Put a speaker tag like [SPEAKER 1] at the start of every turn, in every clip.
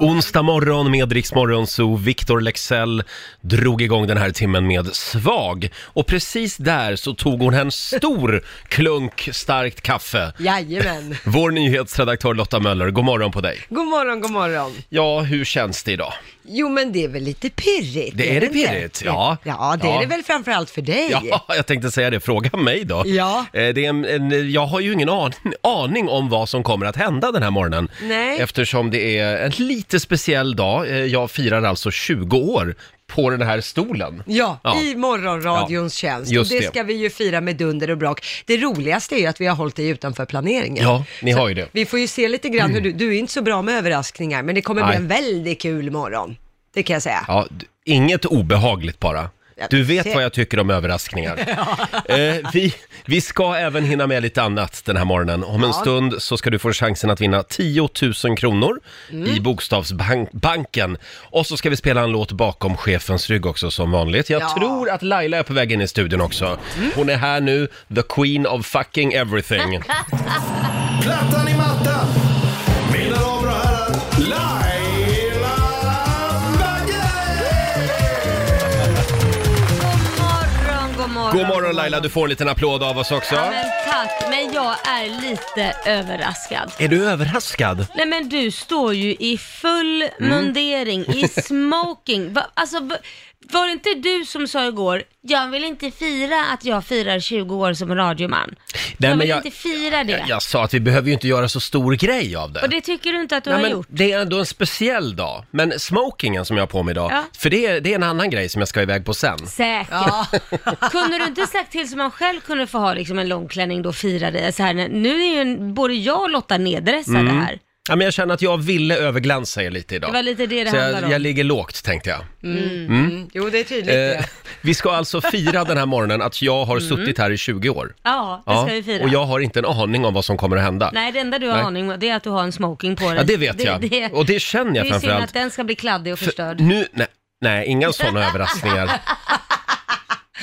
[SPEAKER 1] Onsdag morgon med Rix Morgon, så Victor Lexell drog igång den här timmen med Svag. Och precis där så tog hon en stor klunk starkt kaffe.
[SPEAKER 2] Jajamän.
[SPEAKER 1] Vår nyhetsredaktör Lotta Möller, god morgon på dig.
[SPEAKER 2] God morgon, god morgon.
[SPEAKER 1] Ja, hur känns det idag?
[SPEAKER 2] Jo, men det är väl lite pirrigt?
[SPEAKER 1] Det är det
[SPEAKER 2] inte?
[SPEAKER 1] pirrigt, ja.
[SPEAKER 2] Ja, det
[SPEAKER 1] Ja.
[SPEAKER 2] är det väl framförallt för dig.
[SPEAKER 1] Ja, jag tänkte säga det. Fråga mig då.
[SPEAKER 2] Ja.
[SPEAKER 1] Eh, Det är en, en, jag har ju ingen an, aning om vad som kommer att hända den här morgonen.
[SPEAKER 2] Nej.
[SPEAKER 1] Eftersom det är en lite speciell dag. Eh, Jag firar alltså 20 år på den här stolen.
[SPEAKER 2] Ja,
[SPEAKER 1] Ja.
[SPEAKER 2] i morgonradions tjänst.
[SPEAKER 1] just
[SPEAKER 2] och
[SPEAKER 1] det.
[SPEAKER 2] det ska vi ju fira med dunder och brak. Det roligaste är ju att vi har hållit dig utanför planeringen.
[SPEAKER 1] Ja, ni har ju det. Mm.
[SPEAKER 2] Vi får ju se lite grann hur du, du är inte så bra med överraskningar, men det kommer
[SPEAKER 1] Nej.
[SPEAKER 2] bli en väldigt kul morgon. Det kan jag säga.
[SPEAKER 1] Ja, d- inget obehagligt bara.
[SPEAKER 2] Ja,
[SPEAKER 1] Du vet
[SPEAKER 2] det-
[SPEAKER 1] vad jag tycker om överraskningar. eh, vi, vi ska även hinna med lite annat den här morgonen. Om en
[SPEAKER 2] Ja.
[SPEAKER 1] stund så ska du få chansen att vinna 10 000 kronor i Bokstavsbanken. Och så ska vi spela en låt bakom chefens rygg också som vanligt. Jag
[SPEAKER 2] Ja.
[SPEAKER 1] tror att Laila är på väg in i studion också. Hon är här nu, the queen of fucking everything.
[SPEAKER 3] Plattan i mattan. Mina damer och herrar, Laila Bagge!
[SPEAKER 4] morgon, god morgon.
[SPEAKER 1] God morgon Laila, du får en liten applåd av oss också.
[SPEAKER 4] Ja, men tack, men jag är lite överraskad.
[SPEAKER 1] Är du överraskad?
[SPEAKER 4] Nej men du står ju i full
[SPEAKER 1] Mm.
[SPEAKER 4] mundering, i smoking. Va, alltså, va, var det inte du som sa igår, jag vill inte fira att jag firar 20 år som radioman.
[SPEAKER 1] Nej,
[SPEAKER 4] jag
[SPEAKER 1] men
[SPEAKER 4] vill
[SPEAKER 1] jag-
[SPEAKER 4] inte fira det.
[SPEAKER 1] Jag, jag sa att vi behöver ju inte göra så stor grej av det.
[SPEAKER 4] Och det tycker du inte att du
[SPEAKER 1] Nej,
[SPEAKER 4] har
[SPEAKER 1] men
[SPEAKER 4] gjort?
[SPEAKER 1] Det är ändå en speciell dag. Men smokingen som jag har på mig idag,
[SPEAKER 4] Ja.
[SPEAKER 1] för det är, det är en annan grej som jag ska iväg på sen.
[SPEAKER 4] Säkert. kunde du inte sagt till så man själv kunde få ha liksom en långklänning då och fira det så här? när- Nu är ju en, både jag och Lotta neddressade
[SPEAKER 1] Mm.
[SPEAKER 4] här.
[SPEAKER 1] Ja, men jag känner att jag ville överglänsa er lite idag.
[SPEAKER 4] Det var lite det det
[SPEAKER 1] Så
[SPEAKER 4] handlade
[SPEAKER 1] jag,
[SPEAKER 4] om.
[SPEAKER 1] jag ligger lågt tänkte jag.
[SPEAKER 2] Mm. Jo, det är tydligt
[SPEAKER 1] Eh,
[SPEAKER 2] det.
[SPEAKER 1] vi ska alltså fira den här morgonen att jag har suttit här i 20 år.
[SPEAKER 4] Mm. Ja, det ska vi fira.
[SPEAKER 1] Och jag har inte en aning om vad som kommer att hända.
[SPEAKER 4] Nej, det enda du har
[SPEAKER 1] Nej.
[SPEAKER 4] aning om det är att du har en smoking på dig.
[SPEAKER 1] Ja, det vet jag. Och det känner jag
[SPEAKER 4] Det är synd
[SPEAKER 1] framförallt.
[SPEAKER 4] att den ska bli kladdig och förstörd.
[SPEAKER 1] Nu, nej, nej inga sådana överraskningar.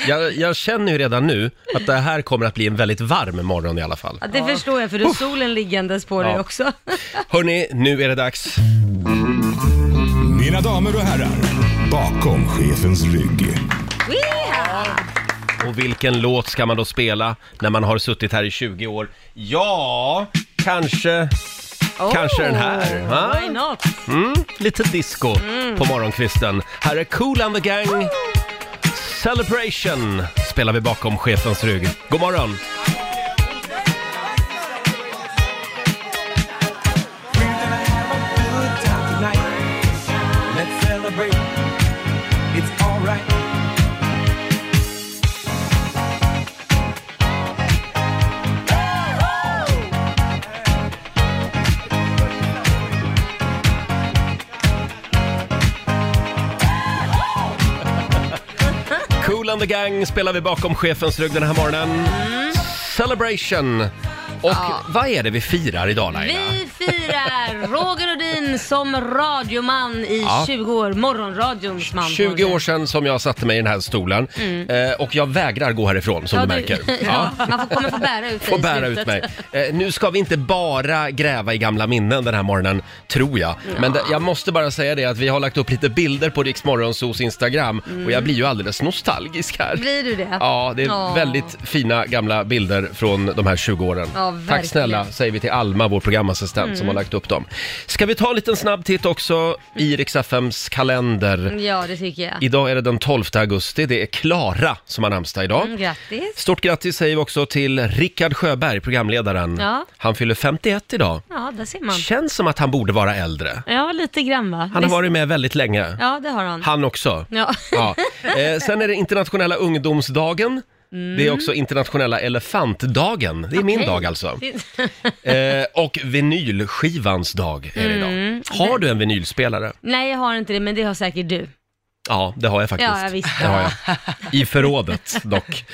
[SPEAKER 1] Jag, jag känner ju redan nu att det här kommer att bli en väldigt varm morgon i alla fall.
[SPEAKER 4] Ja, det förstår jag, för du har solen liggandes på dig
[SPEAKER 1] Ja.
[SPEAKER 4] också.
[SPEAKER 1] Hörni, nu är det dags.
[SPEAKER 3] Mina damer och herrar, bakom chefens rygg.
[SPEAKER 1] Och vilken låt ska man då spela när man har suttit här i 20 år? Ja, kanske, kanske den här. va?
[SPEAKER 4] Oh, Why not?
[SPEAKER 1] Mm, lite disco
[SPEAKER 4] Mm.
[SPEAKER 1] på morgonkvisten. Här är Cool and the Gang. Celebration spelar vi bakom chefens rygg. God morgon! Cool and the Gang spelar vi bakom chefens rygg den här morgonen.
[SPEAKER 4] Mm.
[SPEAKER 1] Celebration! Och vad är det vi firar idag Laila?
[SPEAKER 4] Vi firar Roger Rhodin som radioman i
[SPEAKER 1] Ja.
[SPEAKER 4] 20 år, morgonradions man. Mm.
[SPEAKER 1] 20 år sedan som jag satte mig i den här stolen eh, och jag vägrar gå härifrån som
[SPEAKER 4] Ja,
[SPEAKER 1] du märker.
[SPEAKER 4] ja. Man får, kommer få bära ut dig
[SPEAKER 1] Får
[SPEAKER 4] i
[SPEAKER 1] bära
[SPEAKER 4] slutet.
[SPEAKER 1] ut mig. Eh, nu ska vi inte bara gräva i gamla minnen den här morgonen, tror jag. Men det, jag måste bara säga det att vi har lagt upp lite bilder på Rix Morgonzos Instagram och jag blir ju alldeles nostalgisk här.
[SPEAKER 4] Blir du det?
[SPEAKER 1] Ja, det är
[SPEAKER 4] Ja.
[SPEAKER 1] väldigt fina gamla bilder från de här 20 åren.
[SPEAKER 4] Ja, verkligen. Mm.
[SPEAKER 1] Tack snälla, säger vi till Alma, vår programassistent som har lagt upp dem. Ska vi ta en liten snabb titt också i Rix FMs kalender?
[SPEAKER 4] Mm, Ja, det tycker jag.
[SPEAKER 1] Idag är det den 12 augusti, det är Klara som har namnsdag idag.
[SPEAKER 4] Mm, grattis.
[SPEAKER 1] Stort grattis säger vi också till Rickard Sjöberg, programledaren.
[SPEAKER 4] Ja.
[SPEAKER 1] Han fyller 51 idag.
[SPEAKER 4] Ja, där ser man.
[SPEAKER 1] Mm. Känns som att han borde vara äldre.
[SPEAKER 4] Ja, lite grann va?
[SPEAKER 1] Han har
[SPEAKER 4] Visst-
[SPEAKER 1] varit med väldigt länge.
[SPEAKER 4] Ja, det har han.
[SPEAKER 1] Han också.
[SPEAKER 4] Ja.
[SPEAKER 1] Ja. Eh, sen är det internationella ungdomsdagen. Det är också internationella elefantdagen. Det är min
[SPEAKER 4] Mm. Okej.
[SPEAKER 1] dag alltså. Eh, och vinylskivans dag är det
[SPEAKER 4] Mm.
[SPEAKER 1] idag. Har du en vinylspelare?
[SPEAKER 4] Nej, jag har inte det, men det har säkert du.
[SPEAKER 1] Ja, det har jag faktiskt.
[SPEAKER 4] Ja, jag visste
[SPEAKER 1] det. Har jag.
[SPEAKER 4] det.
[SPEAKER 1] I förrådet dock.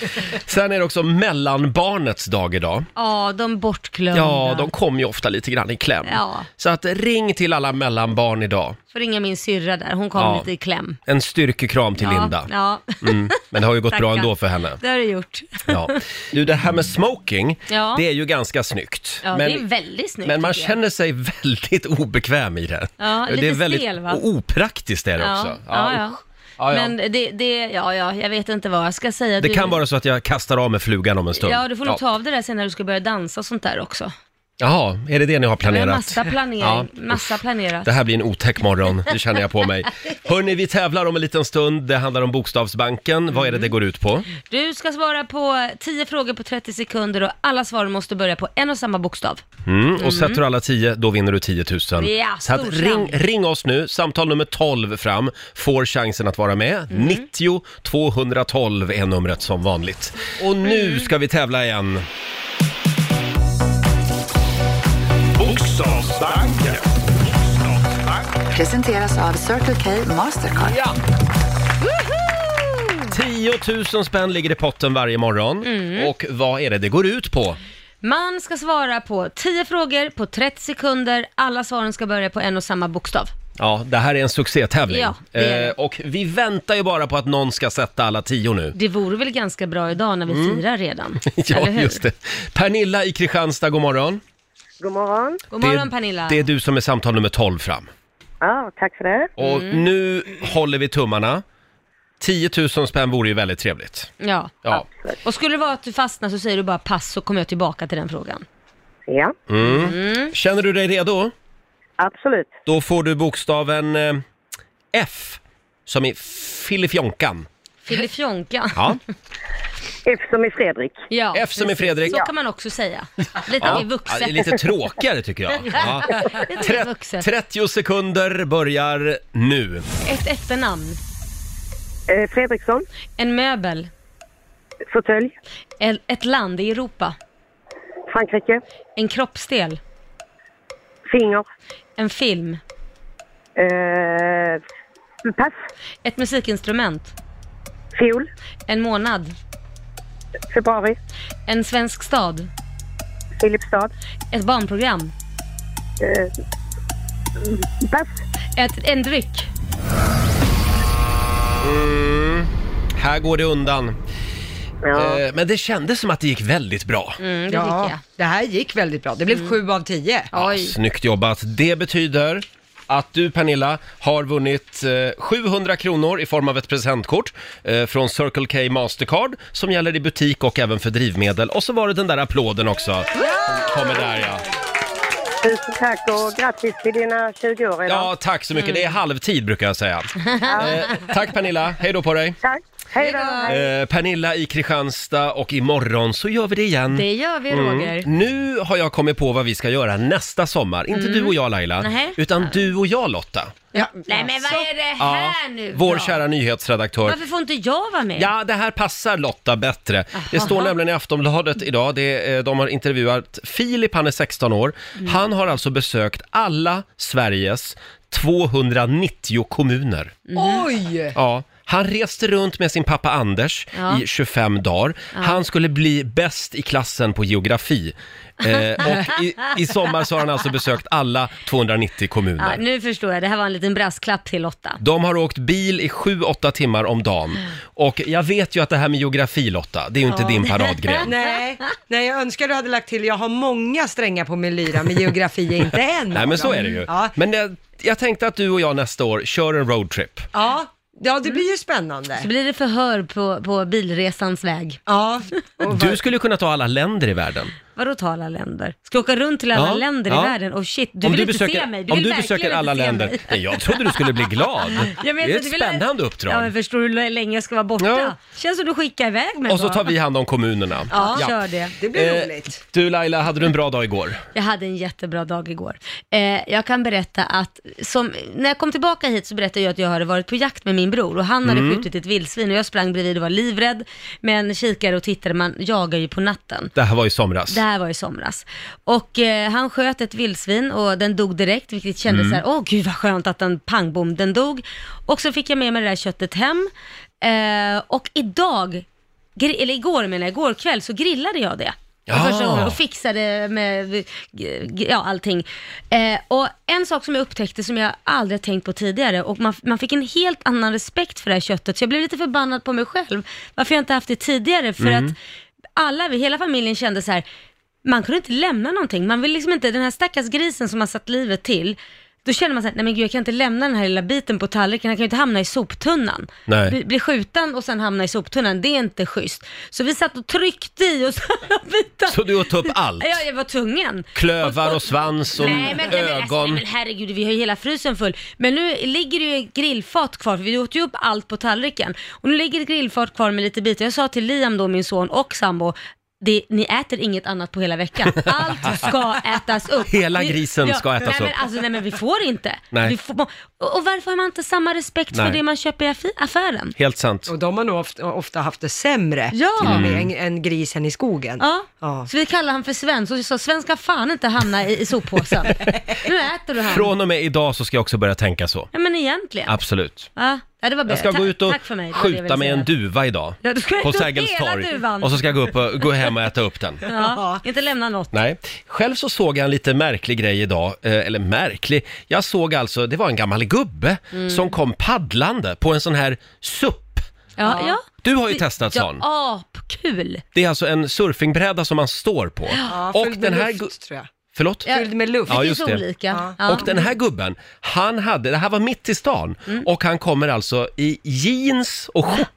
[SPEAKER 1] Sen är det också mellanbarnets dag idag.
[SPEAKER 4] Ja, de bortglömda.
[SPEAKER 1] Ja, de kommer ju ofta lite grann i kläm.
[SPEAKER 4] Ja.
[SPEAKER 1] Så att ring till alla mellanbarn idag.
[SPEAKER 4] får ringa min syrra där, hon kom
[SPEAKER 1] Ja.
[SPEAKER 4] lite i kläm.
[SPEAKER 1] En styrkekram till
[SPEAKER 4] ja,
[SPEAKER 1] Linda.
[SPEAKER 4] Ja.
[SPEAKER 1] Mm. Men det har ju gått bra
[SPEAKER 4] Tackar.
[SPEAKER 1] ändå för henne.
[SPEAKER 4] Det har du gjort.
[SPEAKER 1] Ja. Du, det här med smoking,
[SPEAKER 4] Ja.
[SPEAKER 1] det är ju ganska snyggt.
[SPEAKER 4] Ja,
[SPEAKER 1] men,
[SPEAKER 4] det är väldigt snyggt.
[SPEAKER 1] men man
[SPEAKER 4] tycker jag.
[SPEAKER 1] känner sig väldigt obekväm i det.
[SPEAKER 4] Ja,
[SPEAKER 1] det
[SPEAKER 4] lite
[SPEAKER 1] är väldigt
[SPEAKER 4] stel, va?
[SPEAKER 1] och opraktiskt är det
[SPEAKER 4] ja,
[SPEAKER 1] också.
[SPEAKER 4] Ja,
[SPEAKER 1] usch.
[SPEAKER 4] ja.
[SPEAKER 1] Ja, ja.
[SPEAKER 4] Men det, det, ja, ja, jag vet inte vad jag ska säga.
[SPEAKER 1] det
[SPEAKER 4] Du-
[SPEAKER 1] kan vara så att jag kastar av mig flugan om en stund.
[SPEAKER 4] Ja, du får nog ta av det där sen när du ska börja dansa och sånt där också.
[SPEAKER 1] Jaha, är det det ni har
[SPEAKER 4] Jag har
[SPEAKER 1] planerat?
[SPEAKER 4] Massa planering,
[SPEAKER 1] Ja.
[SPEAKER 4] massa planerat.
[SPEAKER 1] Det här blir en otäck morgon, det känner jag på mig. Hörni, vi tävlar om en liten stund. Det handlar om Bokstavsbanken. Vad är det det går ut på?
[SPEAKER 4] Du ska svara på 10 frågor på 30 sekunder och alla svaren måste börja på en och samma bokstav.
[SPEAKER 1] Mm, och sätter du alla 10, då vinner du 10 000.
[SPEAKER 4] Ja,
[SPEAKER 1] Så att
[SPEAKER 4] stor
[SPEAKER 1] ring,
[SPEAKER 4] chans.
[SPEAKER 1] ring oss nu, samtal nummer 12 fram, får chansen att vara med.
[SPEAKER 4] Mm.
[SPEAKER 1] 90 212 är numret som vanligt. Och
[SPEAKER 4] Mm.
[SPEAKER 1] nu ska vi tävla igen.
[SPEAKER 3] Bokstavsbanken.
[SPEAKER 5] Presenteras av Circle K Mastercard.
[SPEAKER 1] 10 000 spänn ligger i potten varje morgon.
[SPEAKER 4] Mm.
[SPEAKER 1] Och vad är det det går ut på?
[SPEAKER 4] Man ska svara på 10 frågor på 30 sekunder. Alla svaren ska börja på en och samma bokstav.
[SPEAKER 1] Ja, det här är en succétävling.
[SPEAKER 4] Ja, det är det.
[SPEAKER 1] Eh, och vi väntar ju bara på att någon ska sätta alla 10 nu.
[SPEAKER 4] Det vore väl ganska bra idag när vi firar redan?
[SPEAKER 1] Mm. Ja,
[SPEAKER 4] eller hur?
[SPEAKER 1] just det. Pernilla i Kristianstad, god morgon.
[SPEAKER 6] God morgon.
[SPEAKER 4] God morgon
[SPEAKER 1] det,
[SPEAKER 4] Pernilla.
[SPEAKER 1] Det är du som är samtal nummer 12 fram.
[SPEAKER 6] Ja, tack för det.
[SPEAKER 1] Och
[SPEAKER 4] Mm.
[SPEAKER 1] nu håller vi tummarna. 10 000 spänn vore ju väldigt trevligt.
[SPEAKER 4] Ja.
[SPEAKER 1] Ja.
[SPEAKER 4] Och skulle det vara att du fastnar så säger du bara pass så kommer jag tillbaka till den frågan.
[SPEAKER 6] Ja,
[SPEAKER 1] Mm.
[SPEAKER 4] Mm.
[SPEAKER 1] Känner du dig redo?
[SPEAKER 6] absolut.
[SPEAKER 1] Då får du bokstaven eh, F, som i Filifjonkan.
[SPEAKER 4] Filifjonka.
[SPEAKER 1] Ja.
[SPEAKER 6] F
[SPEAKER 7] Typ
[SPEAKER 6] som i Fredrik.
[SPEAKER 4] Ja,
[SPEAKER 1] F som i
[SPEAKER 4] precis.
[SPEAKER 1] Fredrik.
[SPEAKER 4] Så kan man också säga. Lite
[SPEAKER 1] Ja.
[SPEAKER 4] mer
[SPEAKER 1] Ja, det är
[SPEAKER 4] vuxet.
[SPEAKER 1] lite tråkigare tycker jag. Ja.
[SPEAKER 4] Lite mer
[SPEAKER 1] Tre-
[SPEAKER 4] vuxet.
[SPEAKER 1] 30 sekunder börjar nu.
[SPEAKER 4] Ett efternamn.
[SPEAKER 6] Eh, Fredriksson,
[SPEAKER 4] En möbel.
[SPEAKER 6] fåtölj,
[SPEAKER 4] El- Ett land i Europa.
[SPEAKER 6] Frankrike,
[SPEAKER 4] En kroppsdel.
[SPEAKER 6] finger,
[SPEAKER 4] En film.
[SPEAKER 6] eh, pass,
[SPEAKER 4] Ett musikinstrument.
[SPEAKER 6] fiol,
[SPEAKER 4] En månad.
[SPEAKER 6] februari,
[SPEAKER 4] En svensk stad.
[SPEAKER 6] Filipstad,
[SPEAKER 4] Ett barnprogram.
[SPEAKER 6] eh, pass,
[SPEAKER 4] Ett, en dryck.
[SPEAKER 1] Mm. Här går det undan.
[SPEAKER 6] ja,
[SPEAKER 1] Eh, Men det kändes som att det gick väldigt bra.
[SPEAKER 4] Mm, det tycker jag. Mm.
[SPEAKER 2] Ja, det här gick väldigt bra. Det blev sju av tio.
[SPEAKER 4] Oj.
[SPEAKER 1] Snyggt jobbat. Det betyder att du Pernilla har vunnit eh, 700 kronor i form av ett presentkort eh, från Circle K Mastercard som gäller i butik och även för drivmedel. Och så var det den där applåden också. som Kommer där ja.
[SPEAKER 6] tusen tack och grattis till dina 20 år idag.
[SPEAKER 1] Ja, tack så mycket. Det
[SPEAKER 2] Mm.
[SPEAKER 1] är halvtid brukar jag säga. Eh, tack Pernilla, hej då på dig.
[SPEAKER 6] Tack, hej då!
[SPEAKER 1] Eh, Pernilla i Kristianstad och imorgon så gör vi det igen. Mm.
[SPEAKER 4] Det gör vi Roger.
[SPEAKER 1] Nu har jag kommit på vad vi ska göra nästa sommar. Inte du och jag Laila,
[SPEAKER 4] Mm. Nej.
[SPEAKER 1] utan du och jag Lotta.
[SPEAKER 2] Ja.
[SPEAKER 4] Nej men vad är det här nu
[SPEAKER 1] Vår
[SPEAKER 4] då?
[SPEAKER 1] kära nyhetsredaktör.
[SPEAKER 4] Varför får inte jag vara med?
[SPEAKER 1] Ja, det här passar Lotta bättre. Det står nämligen i Aftonbladet idag, det, är- de har intervjuat Filip, han är 16 år.
[SPEAKER 4] Mm.
[SPEAKER 1] Han har alltså besökt alla Sveriges 290 kommuner.
[SPEAKER 4] Mhm.
[SPEAKER 2] Oj!
[SPEAKER 1] Ja. Han reste runt med sin pappa Anders
[SPEAKER 4] Ja.
[SPEAKER 1] i 25 dagar. Han skulle bli bäst i klassen på geografi. Eh, och i, i sommar så har han alltså besökt alla 290
[SPEAKER 4] Ja,
[SPEAKER 1] kommuner.
[SPEAKER 4] nu förstår jag, det här var en liten brasklapp till Lotta.
[SPEAKER 1] De har åkt bil i 7-8 timmar om dagen. Och jag vet ju att det här med geografi Lotta, det är ju inte din paradgren.
[SPEAKER 2] Nej, nej, jag önskar du hade lagt till, jag har många strängar på min lyra, men geografi är inte en
[SPEAKER 1] Nej
[SPEAKER 2] av
[SPEAKER 1] men så
[SPEAKER 2] dem.
[SPEAKER 1] är det ju.
[SPEAKER 2] Ja,
[SPEAKER 1] Men jag, jag tänkte att du och jag nästa år kör en roadtrip.
[SPEAKER 2] ja, ja det blir ju spännande.
[SPEAKER 4] Så blir det förhör på, på bilresans väg.
[SPEAKER 2] Ja, och
[SPEAKER 1] Du skulle kunna ta alla länder i världen.
[SPEAKER 4] Vadå ta alla länder? Ska jag åka runt till alla
[SPEAKER 1] Ja,
[SPEAKER 4] länder
[SPEAKER 1] ja.
[SPEAKER 4] i världen? Oh shit, du vill inte se mig. Du
[SPEAKER 1] om
[SPEAKER 4] vill
[SPEAKER 1] du
[SPEAKER 4] verkligen
[SPEAKER 1] besöker
[SPEAKER 4] inte
[SPEAKER 1] alla
[SPEAKER 4] se
[SPEAKER 1] länder.
[SPEAKER 4] mig.
[SPEAKER 1] Nej, jag trodde du skulle bli glad.
[SPEAKER 4] Jag vet
[SPEAKER 1] det är
[SPEAKER 4] inte,
[SPEAKER 1] ett
[SPEAKER 4] vill jag-
[SPEAKER 1] spännande
[SPEAKER 4] Ja, men
[SPEAKER 1] uppdrag.
[SPEAKER 4] förstår du hur länge jag ska vara borta?
[SPEAKER 1] Ja.
[SPEAKER 4] Känns som du skickar iväg mig
[SPEAKER 1] Och så
[SPEAKER 4] bara.
[SPEAKER 1] tar vi hand om kommunerna.
[SPEAKER 4] Ja,
[SPEAKER 1] Ja.
[SPEAKER 4] kör det.
[SPEAKER 2] det blir
[SPEAKER 1] Eh,
[SPEAKER 2] roligt.
[SPEAKER 1] Du Laila, hade du en bra dag igår?
[SPEAKER 4] Jag hade en jättebra dag igår. Eh, jag kan berätta att, som, när jag kom tillbaka hit så berättade jag att jag hade varit på jakt med min bror och han hade skjutit ett vildsvin och jag sprang bredvid och var livrädd. Men kikade och tittade, man jagar ju på natten.
[SPEAKER 1] Det här var i somras.
[SPEAKER 4] Det här var i somras. Och eh, han sköt ett vildsvin och den dog direkt, vilket kändes så här, åh gud vad skönt att den pang bom, den dog. Och så fick jag med mig det där köttet hem. Eh, och idag, gri- eller igår menar jag, igår kväll så grillade jag det. för första
[SPEAKER 1] Ja.
[SPEAKER 4] gången och fixade med g- g- ja, allting. Eh, och en sak som jag upptäckte som jag aldrig har tänkt på tidigare och man, man fick en helt annan respekt för det här köttet så jag blev lite förbannad på mig själv varför jag inte haft det tidigare för
[SPEAKER 8] Mm.
[SPEAKER 4] att alla, vi, hela familjen kände så här, man kunde inte lämna någonting. Man vill liksom inte, den här stackars grisen som man satt livet till, då känner man så här, nej men gud jag kan inte lämna den här lilla biten på tallriken, han kan ju inte hamna i soptunnan.
[SPEAKER 1] Nej.
[SPEAKER 4] Bli, bli skjuten och sen hamna i soptunnan, det är inte schysst. Så vi satt och tryckte i oss alla bitar.
[SPEAKER 1] Så du åt upp allt?
[SPEAKER 4] Ja, jag var tvungen.
[SPEAKER 1] Klövar och svans och
[SPEAKER 4] Nej men, nej, men, alltså, nej
[SPEAKER 1] ögon.
[SPEAKER 4] men herregud, vi har ju hela frysen full. Men nu ligger det ju ett grillfat kvar, för vi åt ju upp allt på tallriken. Och nu ligger ett grillfat kvar med lite bitar. Jag sa till Liam då, min son och sambo, det, ni äter inget annat på hela veckan. Allt ska ätas upp.
[SPEAKER 1] Hela
[SPEAKER 4] Vi-
[SPEAKER 1] grisen ska ätas
[SPEAKER 4] nej,
[SPEAKER 1] upp.
[SPEAKER 4] Men, alltså, nej men vi får inte.
[SPEAKER 1] Nej.
[SPEAKER 4] Vi får, och, och varför har man inte samma respekt
[SPEAKER 1] Nej.
[SPEAKER 4] för det man köper i affi- affären?
[SPEAKER 1] Helt sant.
[SPEAKER 2] Och de har nog ofta, ofta haft det sämre
[SPEAKER 4] Ja.
[SPEAKER 2] till och med
[SPEAKER 4] Mm.
[SPEAKER 2] än, än grisen i skogen.
[SPEAKER 4] Ja.
[SPEAKER 2] Ja.
[SPEAKER 4] Så vi kallar han för Sven, så vi sa Sven ska fan inte hamna i, i soppåsen. nu äter du han.
[SPEAKER 1] Från och med idag så ska jag också börja tänka så.
[SPEAKER 4] Ja men egentligen.
[SPEAKER 1] Absolut.
[SPEAKER 4] Ja, ja, det var bra.
[SPEAKER 1] Jag ska
[SPEAKER 4] Ta-
[SPEAKER 1] gå ut och
[SPEAKER 4] tack för mig. Det var det jag ville
[SPEAKER 1] skjuta med en
[SPEAKER 4] säga.
[SPEAKER 1] duva idag.
[SPEAKER 4] Ja, du ska
[SPEAKER 1] På
[SPEAKER 4] äta upp
[SPEAKER 1] Sergels
[SPEAKER 4] hela
[SPEAKER 1] torg.
[SPEAKER 4] duvan.
[SPEAKER 1] Och så ska jag gå, upp och, gå hem och äta upp den.
[SPEAKER 4] Ja, inte lämna något.
[SPEAKER 1] Nej, själv så såg jag en lite märklig grej idag, eh, eller märklig, jag såg alltså, det var en gammal gubbe
[SPEAKER 4] Mm.
[SPEAKER 1] som kom paddlande på en sån här SUP.
[SPEAKER 4] Ja, ja.
[SPEAKER 1] Du har ju testat
[SPEAKER 4] ja,
[SPEAKER 1] sån.
[SPEAKER 4] Apkul.
[SPEAKER 1] Det är alltså en surfingbräda som man står på.
[SPEAKER 2] Ja,
[SPEAKER 1] och
[SPEAKER 2] fylld
[SPEAKER 1] den
[SPEAKER 2] med
[SPEAKER 1] här...
[SPEAKER 2] luft,
[SPEAKER 1] gu-
[SPEAKER 2] tror jag.
[SPEAKER 1] Förlåt?
[SPEAKER 2] Fylld med luft.
[SPEAKER 1] Ja, just det.
[SPEAKER 4] olika.
[SPEAKER 1] Och den här gubben, han hade, det här var mitt i stan,
[SPEAKER 2] Mm.
[SPEAKER 1] och han kommer alltså i jeans och skjorta.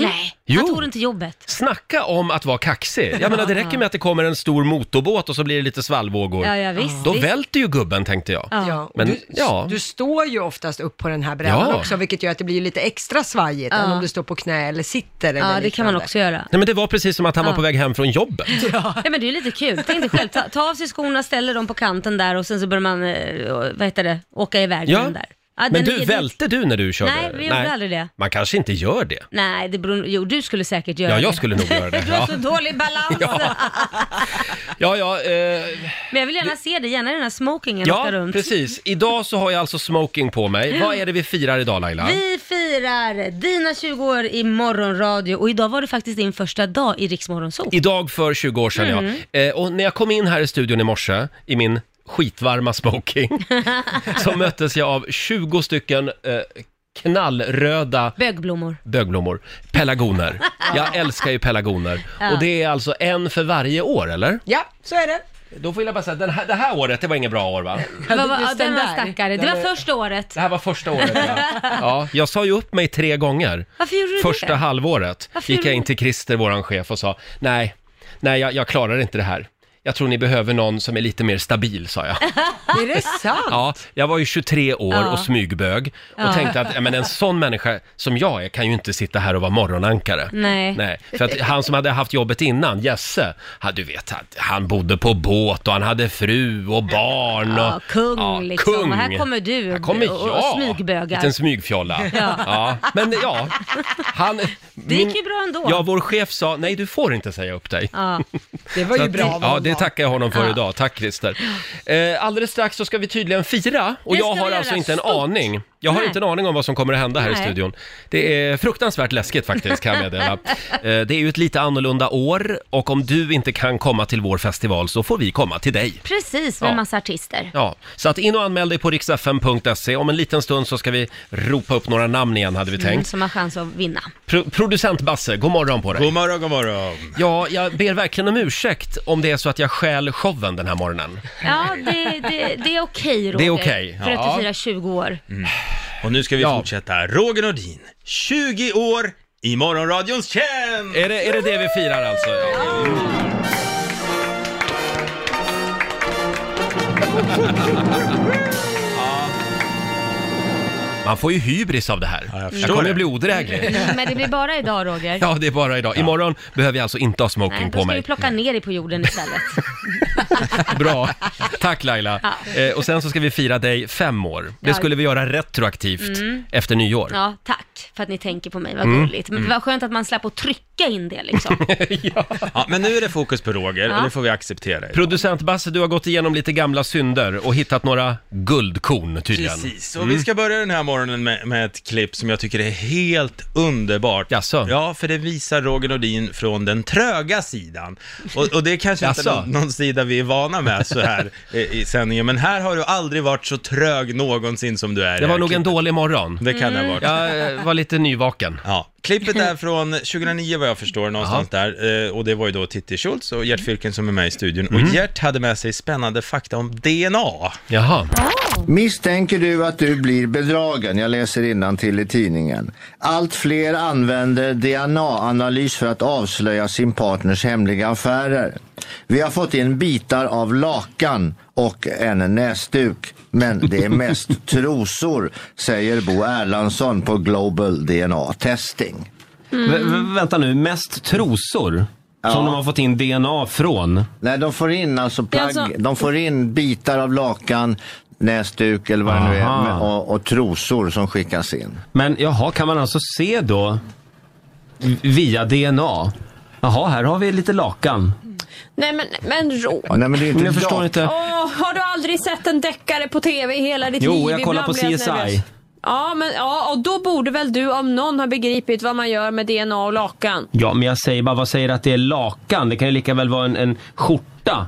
[SPEAKER 4] Nej,
[SPEAKER 1] Jo.
[SPEAKER 4] han tog inte jobbet.
[SPEAKER 1] Snacka om att vara kaxig. Jag menar, det räcker med att det kommer en stor motorbåt och så blir det lite svallvågor.
[SPEAKER 2] Ja, ja, visst,
[SPEAKER 1] Då
[SPEAKER 2] visst.
[SPEAKER 1] välter ju gubben, tänkte jag.
[SPEAKER 2] Ja, och
[SPEAKER 1] Men,
[SPEAKER 2] du,
[SPEAKER 1] ja.
[SPEAKER 2] du står ju oftast upp på den här brädan
[SPEAKER 1] Ja.
[SPEAKER 2] också, vilket gör att det blir lite extra svajigt
[SPEAKER 4] Ja.
[SPEAKER 2] än om du står på knä eller sitter. Eller
[SPEAKER 4] Ja, det kan man
[SPEAKER 2] liknande.
[SPEAKER 4] också göra.
[SPEAKER 1] Nej, men det var precis som att han var
[SPEAKER 4] Ja.
[SPEAKER 1] på väg hem från jobbet.
[SPEAKER 4] Ja. men det är ju lite kul. Tänk dig själv, ta, ta av sig skorna, ställer dem på kanten där och sen så börjar man, eh, vad heter det, åka iväg
[SPEAKER 1] Ja.
[SPEAKER 4] med den där. Ja, den
[SPEAKER 1] men du,
[SPEAKER 4] är-
[SPEAKER 1] välte du när du körde?
[SPEAKER 4] Nej, vi gjorde aldrig det.
[SPEAKER 1] Man kanske inte gör det.
[SPEAKER 4] Nej, det beror, jo du skulle säkert göra
[SPEAKER 1] Ja,
[SPEAKER 4] det.
[SPEAKER 1] jag skulle nog göra det,
[SPEAKER 4] du har
[SPEAKER 1] ja.
[SPEAKER 4] så dålig balans.
[SPEAKER 1] Ja, ja, eh,
[SPEAKER 4] Men jag vill gärna se det, gärna den här smokingen åka
[SPEAKER 1] ja
[SPEAKER 4] runt.
[SPEAKER 1] precis. Idag så har jag alltså smoking på mig. Vad är det vi firar idag Laila?
[SPEAKER 4] Vi firar dina 20 år i morgonradio och idag var det faktiskt din första dag i Rix Morgonzoo.
[SPEAKER 1] Idag för 20 år sedan
[SPEAKER 4] Mm.
[SPEAKER 1] ja. Eh, och när jag kom in här i studion i morse i min skitvarma smoking så möttes jag av 20 stycken eh, knallröda
[SPEAKER 4] Bögblommor.
[SPEAKER 1] bögblommor. Pelargoner. Jag älskar ju pelargoner.
[SPEAKER 2] Ja.
[SPEAKER 1] Och det är alltså en för varje år, eller?
[SPEAKER 2] Ja, så är det.
[SPEAKER 1] Då får jag bara säga, den här, det här året, det var inget bra år va?
[SPEAKER 4] Vad var,
[SPEAKER 2] just
[SPEAKER 4] ja, den
[SPEAKER 2] den
[SPEAKER 4] var
[SPEAKER 2] där.
[SPEAKER 4] stackare. Det
[SPEAKER 2] Den
[SPEAKER 4] var
[SPEAKER 2] är-
[SPEAKER 4] första året.
[SPEAKER 1] Det här var första året ja. ja jag sa ju upp mig tre gånger.
[SPEAKER 4] Varför gjorde du
[SPEAKER 1] Första
[SPEAKER 4] det?
[SPEAKER 1] halvåret
[SPEAKER 4] Varför
[SPEAKER 1] gick
[SPEAKER 4] gjorde
[SPEAKER 1] jag
[SPEAKER 4] du
[SPEAKER 1] in till Christer, våran chef, och sa nej, nej jag, jag klarar inte det här. Jag tror ni behöver någon som är lite mer stabil, sa jag.
[SPEAKER 2] Är det sant?
[SPEAKER 1] Ja, jag var ju 23 år
[SPEAKER 2] Ja.
[SPEAKER 1] och smygbög och
[SPEAKER 4] Ja.
[SPEAKER 1] tänkte att ja, men en sån människa som jag är kan ju inte sitta här och vara morgonankare.
[SPEAKER 4] Nej.
[SPEAKER 1] För att han som hade haft jobbet innan, Jesse, han, du vet, han, han bodde på båt och han hade fru och barn. Och,
[SPEAKER 4] Ja, kung
[SPEAKER 1] Ja,
[SPEAKER 4] liksom.
[SPEAKER 1] kung.
[SPEAKER 4] Och här kommer du
[SPEAKER 1] Här kommer
[SPEAKER 4] och, och
[SPEAKER 1] jag.
[SPEAKER 4] smygbögar.
[SPEAKER 1] Liten smygfjolla.
[SPEAKER 4] Ja.
[SPEAKER 1] Men ja, han...
[SPEAKER 4] Det gick ju bra ändå.
[SPEAKER 1] Ja, vår chef sa nej, du får inte säga upp dig.
[SPEAKER 4] Ja.
[SPEAKER 2] Det var
[SPEAKER 1] Så
[SPEAKER 2] ju
[SPEAKER 1] att-
[SPEAKER 2] bra av
[SPEAKER 1] Ja,
[SPEAKER 2] honom.
[SPEAKER 1] det tackar jag honom för
[SPEAKER 2] Ja.
[SPEAKER 1] idag. Tack Christer. Eh, alldeles strax så ska vi tydligen fira och
[SPEAKER 4] Det
[SPEAKER 1] jag
[SPEAKER 4] ska
[SPEAKER 1] har
[SPEAKER 4] vi
[SPEAKER 1] alltså
[SPEAKER 4] göra.
[SPEAKER 1] inte en
[SPEAKER 4] Stort.
[SPEAKER 1] aning. Jag har
[SPEAKER 4] Nej.
[SPEAKER 1] inte en aning om vad som kommer att hända här i
[SPEAKER 4] Nej.
[SPEAKER 1] studion. Det är fruktansvärt läskigt faktiskt kan jag meddela. eh, det är ju ett lite annorlunda år och om du inte kan komma till vår festival så får vi komma till dig.
[SPEAKER 4] Precis, med
[SPEAKER 1] Ja.
[SPEAKER 4] massa artister.
[SPEAKER 1] Ja, så att in och anmäl dig på riksfm.se. E. Om en liten stund så ska vi ropa upp några namn igen hade vi
[SPEAKER 4] Mm,
[SPEAKER 1] tänkt.
[SPEAKER 4] som har chans att vinna.
[SPEAKER 1] Pro- producent Basse, god morgon på dig.
[SPEAKER 9] God morgon, god morgon.
[SPEAKER 1] Ja, jag ber verkligen om ursäkt om det är så att jag stjäl showen den här morgonen.
[SPEAKER 4] Ja, det, det, det är okej Roger.
[SPEAKER 1] Det är okej,
[SPEAKER 4] För att
[SPEAKER 1] ja.
[SPEAKER 4] du firar 20 år.
[SPEAKER 9] Mm. Och nu ska vi fortsätta. Roger Nordin, 20 år i Morgonradions tjänst!
[SPEAKER 1] Är det, är det det vi firar alltså? Ja. Man får ju hybris av det här. jag,
[SPEAKER 4] förstår
[SPEAKER 1] kommer
[SPEAKER 4] det.
[SPEAKER 1] att bli odräglig.
[SPEAKER 4] Mm, Men det blir bara idag Roger.
[SPEAKER 1] Ja, det är bara idag. Imorgon behöver jag alltså inte ha smoking
[SPEAKER 4] Nej, då
[SPEAKER 1] på
[SPEAKER 4] ska vi
[SPEAKER 1] mig.
[SPEAKER 4] plocka ner dig på jorden istället.
[SPEAKER 1] Bra. Tack Laila.
[SPEAKER 4] Ja.
[SPEAKER 1] Eh, och sen så ska vi fira dig fem år. Det
[SPEAKER 4] Ja.
[SPEAKER 1] skulle vi göra retroaktivt
[SPEAKER 4] Mm.
[SPEAKER 1] efter nyår.
[SPEAKER 4] Ja, tack för att ni tänker på mig, vad
[SPEAKER 1] Mm.
[SPEAKER 4] gulligt. Men det var skönt att man slapp att trycka in det liksom.
[SPEAKER 9] Ja, men nu är det fokus på Roger
[SPEAKER 4] Ja.
[SPEAKER 9] och det får vi acceptera. idag.
[SPEAKER 1] Producent Basse, du har gått igenom lite gamla synder och hittat några guldkorn tydligen.
[SPEAKER 9] Precis, och vi ska börja den här morgonen med, med ett klipp som jag tycker är helt underbart.
[SPEAKER 1] Jaså?
[SPEAKER 9] Ja, för det visar Roger Nordin från den tröga sidan. Och, och det är kanske inte
[SPEAKER 1] Jaså?
[SPEAKER 9] någon, någon sida vi är vana med så här i, i sändningen, men här har du aldrig varit så trög någonsin som du är. i
[SPEAKER 1] Det var
[SPEAKER 9] här
[SPEAKER 1] nog en
[SPEAKER 9] klippet.
[SPEAKER 1] dålig morgon.
[SPEAKER 9] Det kan det ha varit.
[SPEAKER 1] Jag eh, var lite nyvaken.
[SPEAKER 9] Ja, klippet är från 2009 vad jag förstår, någonstans där. Eh, Och det var ju då Titti Schultz och Gert Fylking som är med i studion.
[SPEAKER 1] Mhm.
[SPEAKER 9] Och Gert hade med sig spännande fakta om DNA.
[SPEAKER 1] Jaha.
[SPEAKER 8] Misstänker du att du blir bedragen? Jag läser innan till i tidningen. Allt fler använder DNA-analys för att avslöja sin partners hemliga affärer. Vi har fått in bitar av lakan och en näsduk. Men det är mest trosor, säger Bo Erlandsson på Global DNA Testing.
[SPEAKER 10] Vä-
[SPEAKER 11] Mm.
[SPEAKER 10] vä- vänta nu, mest trosor? Som de har fått in DNA från?
[SPEAKER 8] Nej, de får in alltså plagg,
[SPEAKER 4] alltså-
[SPEAKER 8] de får in bitar av lakan, näsduk eller vad det nu är
[SPEAKER 10] Aha.
[SPEAKER 8] med- och, och trosor som skickas in.
[SPEAKER 10] Men jaha, kan man alltså se då v- via DNA? Jaha, här har vi lite lakan.
[SPEAKER 11] Nej men, men Roger.
[SPEAKER 8] Ja, nej, men det är inte
[SPEAKER 10] Men jag förstår
[SPEAKER 8] lakan.
[SPEAKER 10] inte.
[SPEAKER 11] Åh, har du aldrig sett en deckare på TV i hela ditt
[SPEAKER 10] Jo,
[SPEAKER 11] liv?
[SPEAKER 10] jag kollar
[SPEAKER 11] Ibland
[SPEAKER 10] på
[SPEAKER 11] blir jag
[SPEAKER 10] CSI.
[SPEAKER 11] nervös. Ja, men ja, och då borde väl du om någon ha begripit vad man gör med DNA och lakan.
[SPEAKER 10] Ja, men jag säger bara, vad säger att det är lakan? Det kan ju lika väl vara en, en skjorta.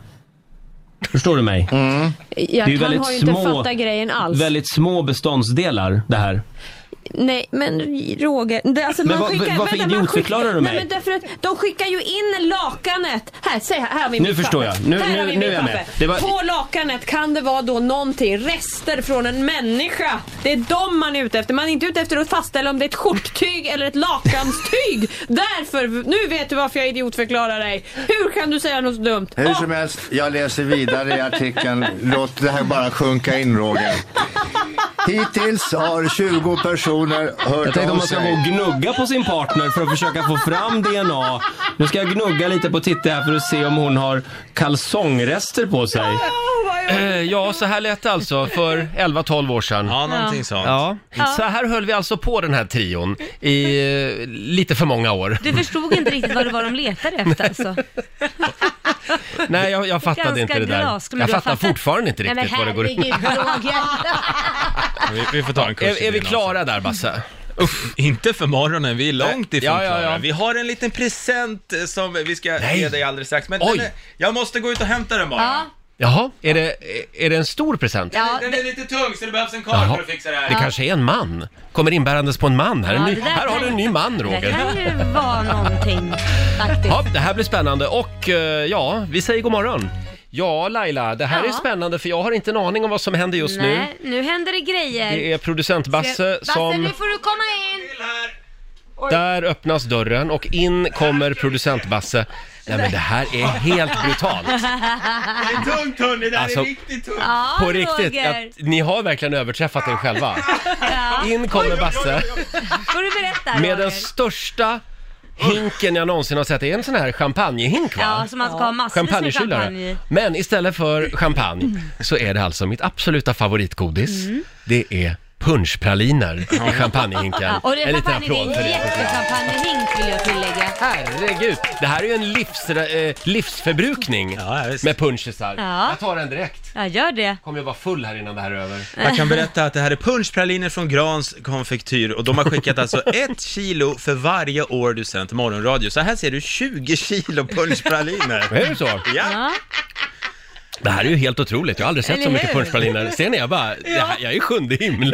[SPEAKER 10] Förstår du mig?
[SPEAKER 11] Jag
[SPEAKER 10] Det är ju
[SPEAKER 11] kan
[SPEAKER 10] väldigt
[SPEAKER 11] har ju
[SPEAKER 10] små-
[SPEAKER 11] inte fattat grejen alls.
[SPEAKER 10] Väldigt små beståndsdelar det här.
[SPEAKER 11] Nej, men Roger. Det, alltså,
[SPEAKER 10] Men
[SPEAKER 11] man
[SPEAKER 10] vad-
[SPEAKER 11] skickar,
[SPEAKER 10] varför
[SPEAKER 11] vänta, man
[SPEAKER 10] idiotförklarar
[SPEAKER 11] skickar-
[SPEAKER 10] du mig?
[SPEAKER 11] Nej, men därför att de skickar ju in lakanet. Här, säg här, här har vi
[SPEAKER 10] Nu
[SPEAKER 11] mitt
[SPEAKER 10] förstår
[SPEAKER 11] papper.
[SPEAKER 10] jag. Nu-
[SPEAKER 11] här
[SPEAKER 10] nu-
[SPEAKER 11] har vi
[SPEAKER 10] nu
[SPEAKER 11] mitt
[SPEAKER 10] är jag med.
[SPEAKER 11] papper.
[SPEAKER 10] Det var-
[SPEAKER 11] På lakanet kan det vara då någonting, rester från en människa. Det är dem man är ute efter. Man är inte ute efter att fastställa om det är ett skjorttyg eller ett lakanstyg. Därför, nu vet du varför jag idiotförklarar dig. Hur kan du säga något så dumt? Ah,
[SPEAKER 8] Hur
[SPEAKER 11] Åh,
[SPEAKER 8] som helst, jag läser vidare i artikeln. Låt det här bara sjunka in, Roger. Hittills har 20 personer
[SPEAKER 10] Jag
[SPEAKER 8] hört
[SPEAKER 10] tänkte om
[SPEAKER 8] av
[SPEAKER 10] man ska gå och
[SPEAKER 8] sig.
[SPEAKER 10] gnugga på sin partner för att försöka få fram DNA. Nu ska jag gnugga lite på Titti här för att se om hon har kalsongrester på sig.
[SPEAKER 11] vad jag-
[SPEAKER 1] Eh, Ja, så här lät det alltså för 11-12 år sedan.
[SPEAKER 9] Ja, någonting sånt.
[SPEAKER 1] Ja, så här höll vi alltså på den här trion i eh, lite för många år.
[SPEAKER 4] Du förstod inte riktigt vad det var de letade efter alltså.
[SPEAKER 1] Nej, jag, jag fattade inte det där.
[SPEAKER 4] glasklar, men
[SPEAKER 1] Jag
[SPEAKER 4] du har
[SPEAKER 1] fattar
[SPEAKER 4] fattat.
[SPEAKER 1] fortfarande inte riktigt vad det går ut
[SPEAKER 4] Nej men herregud Roger.
[SPEAKER 9] Vi, vi får ta en kurs
[SPEAKER 1] är,
[SPEAKER 9] i
[SPEAKER 1] är vi
[SPEAKER 9] DNA.
[SPEAKER 1] klara där, Basse?
[SPEAKER 9] Inte för morgonen, vi är långt ifrån
[SPEAKER 1] Ja, ja, ja.
[SPEAKER 9] klara. Vi har en liten present eh, som vi ska
[SPEAKER 1] Nej.
[SPEAKER 9] ge dig alldeles strax. Men
[SPEAKER 1] Oj.
[SPEAKER 9] den är, jag måste gå ut och hämta den bara.
[SPEAKER 4] Ja,
[SPEAKER 1] Jaha, är det, är det en stor present?
[SPEAKER 4] ja,
[SPEAKER 9] Den
[SPEAKER 4] det-
[SPEAKER 9] är lite tung så det behövs en karl
[SPEAKER 1] Jaha.
[SPEAKER 9] för att fixa det här.
[SPEAKER 1] Det kanske är en man? Kommer inbärandes på en man här. En
[SPEAKER 4] Ja,
[SPEAKER 1] ny,
[SPEAKER 4] det där
[SPEAKER 1] här har
[SPEAKER 4] kan-
[SPEAKER 1] du en ny man,
[SPEAKER 4] det
[SPEAKER 1] Roger.
[SPEAKER 4] kan ju vara någonting faktiskt.
[SPEAKER 1] Ja, det här blir spännande och eh, ja, vi säger god morgon. Ja, Laila, det här
[SPEAKER 4] Ja.
[SPEAKER 1] är spännande för jag har inte en aning om vad som händer just nu.
[SPEAKER 4] Nej, nu händer det grejer.
[SPEAKER 1] Det är producent Basse
[SPEAKER 4] Basse,
[SPEAKER 1] som...
[SPEAKER 4] nu får du komma in!
[SPEAKER 9] Till här.
[SPEAKER 1] Där öppnas dörren och in kommer producent Basse. Nej men det här är helt brutalt.
[SPEAKER 9] Det är tungt hörni, det här
[SPEAKER 1] Alltså-
[SPEAKER 9] är riktigt tungt.
[SPEAKER 4] Ja,
[SPEAKER 1] På riktigt,
[SPEAKER 4] Roger.
[SPEAKER 1] att ni har verkligen överträffat er själva. In kommer Basse
[SPEAKER 4] Får du berätta
[SPEAKER 1] med
[SPEAKER 4] Roger?
[SPEAKER 1] den största hinken jag någonsin har sett. Det är en sån här champagnehink
[SPEAKER 4] Ja,
[SPEAKER 1] va?
[SPEAKER 4] som man ska ha massvis med champagne i. Mm.
[SPEAKER 1] Champagnekylare. Men istället för champagne så är det alltså mitt absoluta favoritgodis. Det är punschpraliner i champagnehinken.
[SPEAKER 4] Ja, och det
[SPEAKER 1] en
[SPEAKER 4] är
[SPEAKER 1] liten
[SPEAKER 4] champagne, det
[SPEAKER 1] applåd för
[SPEAKER 4] är en
[SPEAKER 1] det.
[SPEAKER 4] jättechampagnehink vill jag tillägga.
[SPEAKER 1] Herregud, det här är ju en livs, eh, livsförbrukning
[SPEAKER 9] Ja, visst.
[SPEAKER 1] med punschisar.
[SPEAKER 4] Ja.
[SPEAKER 1] Jag tar den direkt.
[SPEAKER 4] Ja, gör det.
[SPEAKER 1] Kommer jag vara full här innan det här är över.
[SPEAKER 9] Jag kan berätta att det här är punschpraliner från Grans konfektyr och de har skickat alltså ett kilo för varje år du sänt morgonradio. Så här ser du 20 kilo punschpraliner.
[SPEAKER 1] Är det så?
[SPEAKER 9] Ja,
[SPEAKER 1] Det här är ju helt otroligt. Jag har aldrig sett så
[SPEAKER 4] Eller
[SPEAKER 1] mycket
[SPEAKER 4] hur?
[SPEAKER 1] punschpraliner. Ser ni? Jag bara, det här, jag är i sjunde himlen.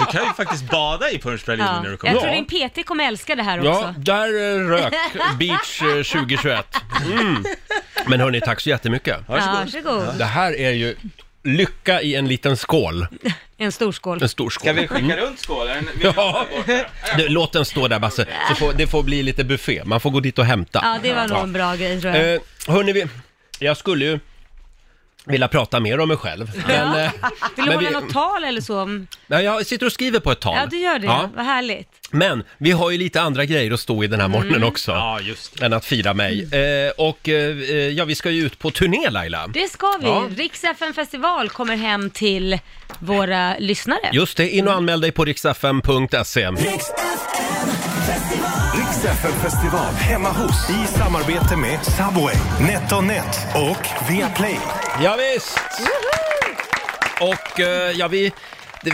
[SPEAKER 9] du kan ju faktiskt bada i punschpraliner
[SPEAKER 4] Ja.
[SPEAKER 9] när du
[SPEAKER 4] Jag
[SPEAKER 9] kommer.
[SPEAKER 4] tror din PT kommer älska det här
[SPEAKER 1] Ja,
[SPEAKER 4] också.
[SPEAKER 1] där eh, rök Beach eh, 2021. Mm. Men hörni, tack så jättemycket.
[SPEAKER 4] Ja, varsågod.
[SPEAKER 1] Det här är ju lycka i en liten skål.
[SPEAKER 4] En stor skål.
[SPEAKER 1] En stor skål. Mm.
[SPEAKER 9] Ska vi skicka runt skålen? Vi-
[SPEAKER 1] Ja. Du, låt den stå där Basse, så får, det får bli lite buffé. Man får gå dit och hämta.
[SPEAKER 4] Ja, det var nog en bra grej tror jag.
[SPEAKER 1] Eh, hörni, vi, jag skulle ju vilja prata mer om mig själv. Men, eh,
[SPEAKER 4] Vill du
[SPEAKER 1] men
[SPEAKER 4] hålla
[SPEAKER 1] vi-
[SPEAKER 4] något tal eller så? om-
[SPEAKER 1] nej, jag sitter och skriver på ett tal.
[SPEAKER 4] Ja, du gör det.
[SPEAKER 1] Ja.
[SPEAKER 4] Vad härligt.
[SPEAKER 1] Men vi har ju lite andra grejer att stå i den här
[SPEAKER 4] Mm.
[SPEAKER 1] morgonen också.
[SPEAKER 9] Ja, just det.
[SPEAKER 1] Än att fira mig. Eh, och eh, eh, ja, vi ska ju ut på turné Laila.
[SPEAKER 4] Det ska vi.
[SPEAKER 1] Ja.
[SPEAKER 4] Rix FM festival kommer hem till våra lyssnare.
[SPEAKER 1] Just det, in och anmäl dig på riksfm.se.
[SPEAKER 3] Riksfn festival hemma hos i samarbete med Subway, NetOnNet och Viaplay.
[SPEAKER 1] Ja, visst! Och eh, ja, vi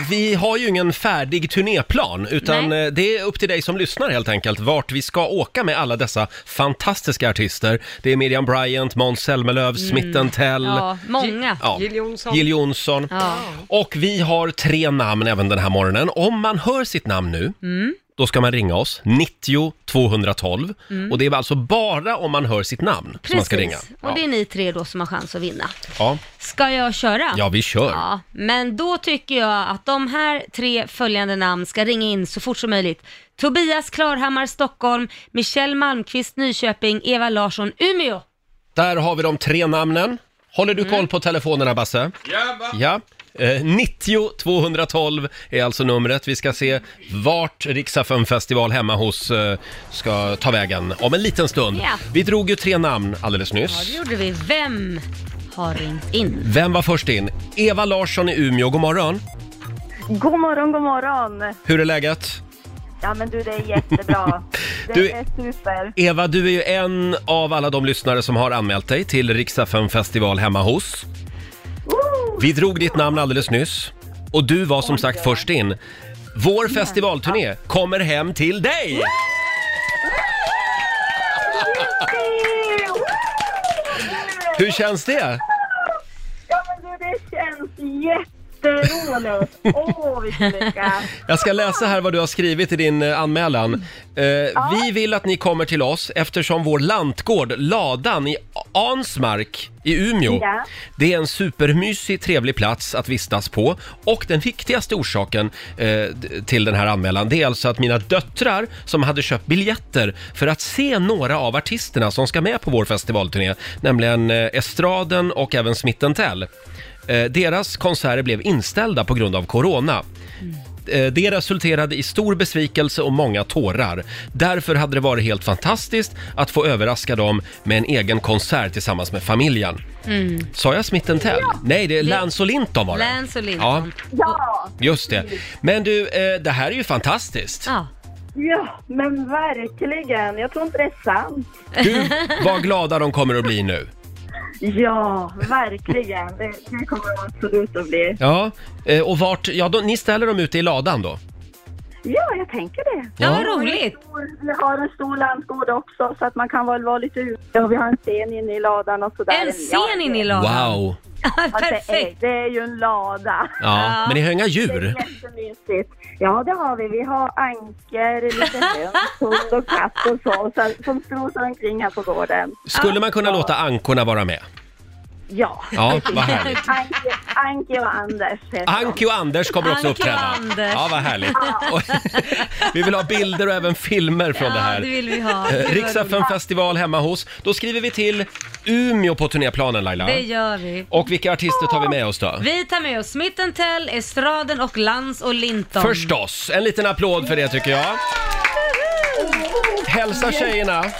[SPEAKER 1] vi har ju ingen färdig turnéplan, utan
[SPEAKER 4] Nej.
[SPEAKER 1] eh, det är upp till dig som lyssnar helt enkelt, vart vi ska åka med alla dessa fantastiska artister. Det är Miriam Bryant, Måns Zelmerlöw, Smith
[SPEAKER 4] Mm.
[SPEAKER 1] Tell.
[SPEAKER 4] Ja, många.
[SPEAKER 1] Ja.
[SPEAKER 4] Jill Johnson.
[SPEAKER 1] Jill Johnson.
[SPEAKER 4] Ja.
[SPEAKER 1] Och vi har tre namn även den här morgonen. Om man hör sitt namn nu,
[SPEAKER 4] Mm.
[SPEAKER 1] då ska man ringa oss, 90 212.
[SPEAKER 4] Mm.
[SPEAKER 1] Och det är alltså bara om man hör sitt namn som man ska ringa.
[SPEAKER 4] Precis, och
[SPEAKER 1] Ja.
[SPEAKER 4] det är ni tre då som har chans att vinna.
[SPEAKER 1] Ja.
[SPEAKER 4] Ska jag köra?
[SPEAKER 1] ja, vi kör.
[SPEAKER 4] Ja, men då tycker jag att de här tre följande namn ska ringa in så fort som möjligt. Tobias Klarhammar, Stockholm, Michelle Malmqvist, Nyköping, Eva Larsson, Umeå.
[SPEAKER 1] Där har vi de tre namnen. Håller
[SPEAKER 4] Mm.
[SPEAKER 1] du koll på telefonerna, Basse? Ja. Eh, 90 212 är alltså numret. Vi ska se vart Riksaffen festival hemma hos eh, ska ta vägen om en liten stund.
[SPEAKER 4] Ja.
[SPEAKER 1] Vi drog ju tre namn alldeles
[SPEAKER 4] Ja,
[SPEAKER 1] nyss.
[SPEAKER 4] det gjorde vi. Vem har ringt in?
[SPEAKER 1] Vem var först in? Eva Larsson i Umeå, god morgon.
[SPEAKER 7] God morgon, god morgon.
[SPEAKER 1] Hur är läget?
[SPEAKER 7] Ja men du, det är jättebra. Det
[SPEAKER 1] Du-
[SPEAKER 7] är super.
[SPEAKER 1] Eva, du är ju en av alla de lyssnare som har anmält dig till Riksaffen festival hemma hos. Vi drog ditt namn alldeles nyss och du var som sagt först in. Vår festivalturné kommer hem till dig! Hur känns det?
[SPEAKER 7] Ja men du, det känns jätteroligt. Åh, vilken lycka.
[SPEAKER 1] Jag ska läsa här vad du har skrivit i din eh, anmälan. Eh, Vi vill att ni kommer till oss eftersom vår lantgård Ladan i Ansmark i Umeå,
[SPEAKER 7] Ja.
[SPEAKER 1] det är en supermysig, trevlig plats att vistas på. Och den viktigaste orsaken eh, d- till den här anmälan, det är alltså att mina döttrar som hade köpt biljetter för att se några av artisterna som ska med på vår festivalturné, nämligen eh, Estraden och även Smitten Tell. Eh, Deras konserter blev inställda på grund av corona. Eh, Det resulterade i stor besvikelse och många tårar. Därför hade det varit helt fantastiskt att få överraska dem med en egen konsert tillsammans med familjen.
[SPEAKER 4] Mm.
[SPEAKER 1] Sa jag Smitten Tell? Nej, det är Lance och Linton var det.
[SPEAKER 4] Lance och
[SPEAKER 1] Ja,
[SPEAKER 4] Linton.
[SPEAKER 7] Ja,
[SPEAKER 1] just det. Men du, eh, det här är ju fantastiskt.
[SPEAKER 7] ja men verkligen. Jag tror inte det är sant.
[SPEAKER 1] Du, vad glada de kommer att bli nu.
[SPEAKER 7] Ja, verkligen. Det, det kommer de absolut att bli.
[SPEAKER 1] Ja, eh, och vart, ja, då, ni ställer dem ute i ladan då?
[SPEAKER 7] Ja, jag tänker det.
[SPEAKER 1] Ja, vad
[SPEAKER 4] roligt.
[SPEAKER 7] Vi har en stor lantgård också så att man kan väl vara lite ute och vi har en scen inne i ladan och sådär.
[SPEAKER 4] En scen inne i ladan?
[SPEAKER 1] Wow!
[SPEAKER 7] Perfekt! Det är ju en lada.
[SPEAKER 1] Ja, men ni har inga djur?
[SPEAKER 7] Jättemysigt. Ja, det har vi. Vi har anker, lite höns, hund och katt och så, så som strosar omkring här på gården.
[SPEAKER 1] Skulle man kunna låta ankorna vara med?
[SPEAKER 7] Ja.
[SPEAKER 1] Ja, vad härligt.
[SPEAKER 7] Anki, Anki och Anders heter
[SPEAKER 1] Anki och Anders kommer också
[SPEAKER 7] Anki och
[SPEAKER 1] uppträda.
[SPEAKER 7] Anders.
[SPEAKER 1] Ja, vad härligt. Och, vi vill ha bilder och även filmer från det här. eh,
[SPEAKER 4] det vill vi ha. Det var
[SPEAKER 1] Riksdagen
[SPEAKER 4] roligt.
[SPEAKER 1] festival hemma hos. Då skriver vi till Umeå på turnéplanen Laila.
[SPEAKER 4] Det gör vi.
[SPEAKER 1] Och vilka artister tar vi med oss då?
[SPEAKER 4] Vi tar med oss Smith Tell, Estraden och Lans och Linton.
[SPEAKER 1] Förstås! En liten applåd för det tycker jag. Hälsa tjejerna.
[SPEAKER 7] de.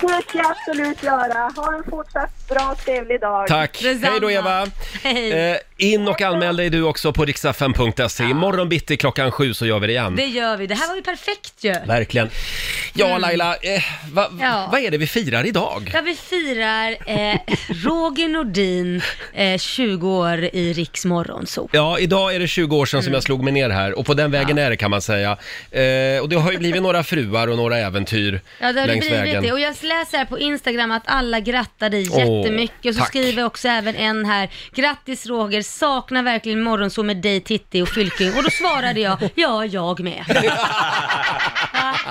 [SPEAKER 7] Det ska jag absolut göra. Ha en fortsatt bra trevlig dag.
[SPEAKER 1] Tack. Hej då Eva. Eh, in och anmäl dig du också på riksdagen.se. Imorgon bitti klockan sju så gör vi det igen.
[SPEAKER 4] Det gör vi. Det här var ju perfekt ju.
[SPEAKER 1] Verkligen. Ja
[SPEAKER 4] Mm.
[SPEAKER 1] Laila, eh, va,
[SPEAKER 4] Ja.
[SPEAKER 1] vad är det vi firar idag?
[SPEAKER 4] Ja, vi firar eh, Roger Nordin, eh, 20 år i Riks Morgonzoo.
[SPEAKER 1] Ja, idag är det 20 år sedan
[SPEAKER 4] Mm.
[SPEAKER 1] som jag slog mig ner här och på den vägen är det kan man säga. Eh, och det har ju blivit några fruar och några äventyr
[SPEAKER 4] Ja, det har det
[SPEAKER 1] längs
[SPEAKER 4] blivit
[SPEAKER 1] vägen.
[SPEAKER 4] det. Och jag läser här på Instagram att alla grattar dig
[SPEAKER 1] Åh,
[SPEAKER 4] jättemycket. Och så
[SPEAKER 1] tack.
[SPEAKER 4] skriver också även en här, grattis Roger, saknar verkligen Morgonzoo med dig Titti och Fylking. Och då svarade jag, ja, jag med. ja,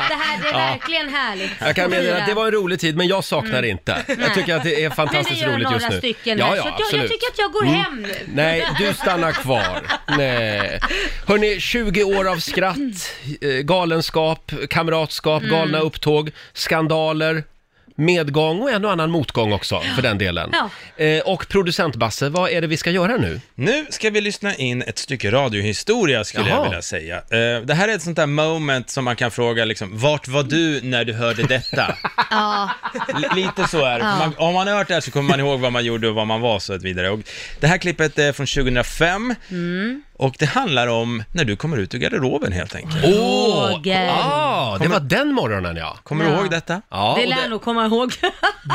[SPEAKER 4] det här det är
[SPEAKER 1] Ja.
[SPEAKER 4] verkligen härligt.
[SPEAKER 1] Jag kan meddela att det var en rolig tid, men jag saknar inte. Jag tycker att det är fantastiskt
[SPEAKER 4] Mm. Men det
[SPEAKER 1] roligt
[SPEAKER 4] gör
[SPEAKER 1] just
[SPEAKER 4] några
[SPEAKER 1] nu.
[SPEAKER 4] stycken
[SPEAKER 1] ja,
[SPEAKER 4] här,
[SPEAKER 1] ja,
[SPEAKER 4] så att jag, jag
[SPEAKER 1] absolut.
[SPEAKER 4] tycker att jag går
[SPEAKER 1] Mm.
[SPEAKER 4] hem nu.
[SPEAKER 1] Nej, du stannar kvar. Nej. Hörni, 20 år av skratt, eh, galenskap, kamratskap,
[SPEAKER 4] Mm.
[SPEAKER 1] galna upptåg, skandaler, medgång och en och annan motgång också för den delen. Eh, Och producent Basse, vad är det vi ska göra nu?
[SPEAKER 9] Nu ska vi lyssna in ett stycke radiohistoria skulle
[SPEAKER 1] Jaha.
[SPEAKER 9] jag vilja säga. Eh, det här är ett sånt där moment som man kan fråga liksom, vart var du när du hörde detta?
[SPEAKER 4] Ja.
[SPEAKER 9] L- lite så är det.
[SPEAKER 4] Ja.
[SPEAKER 9] man, Om man har hört det här så kommer man ihåg vad man gjorde och vad man var så att vidare. Och det här klippet är från 2005.
[SPEAKER 4] Mm.
[SPEAKER 9] Och det handlar om när du kommer ut ur garderoben helt enkelt.
[SPEAKER 4] Åh, Roger.
[SPEAKER 1] ah, det var den morgonen ja.
[SPEAKER 9] Kommer du ihåg detta?
[SPEAKER 1] Ja,
[SPEAKER 4] det
[SPEAKER 1] och
[SPEAKER 4] lär
[SPEAKER 1] det,
[SPEAKER 4] nog komma ihåg.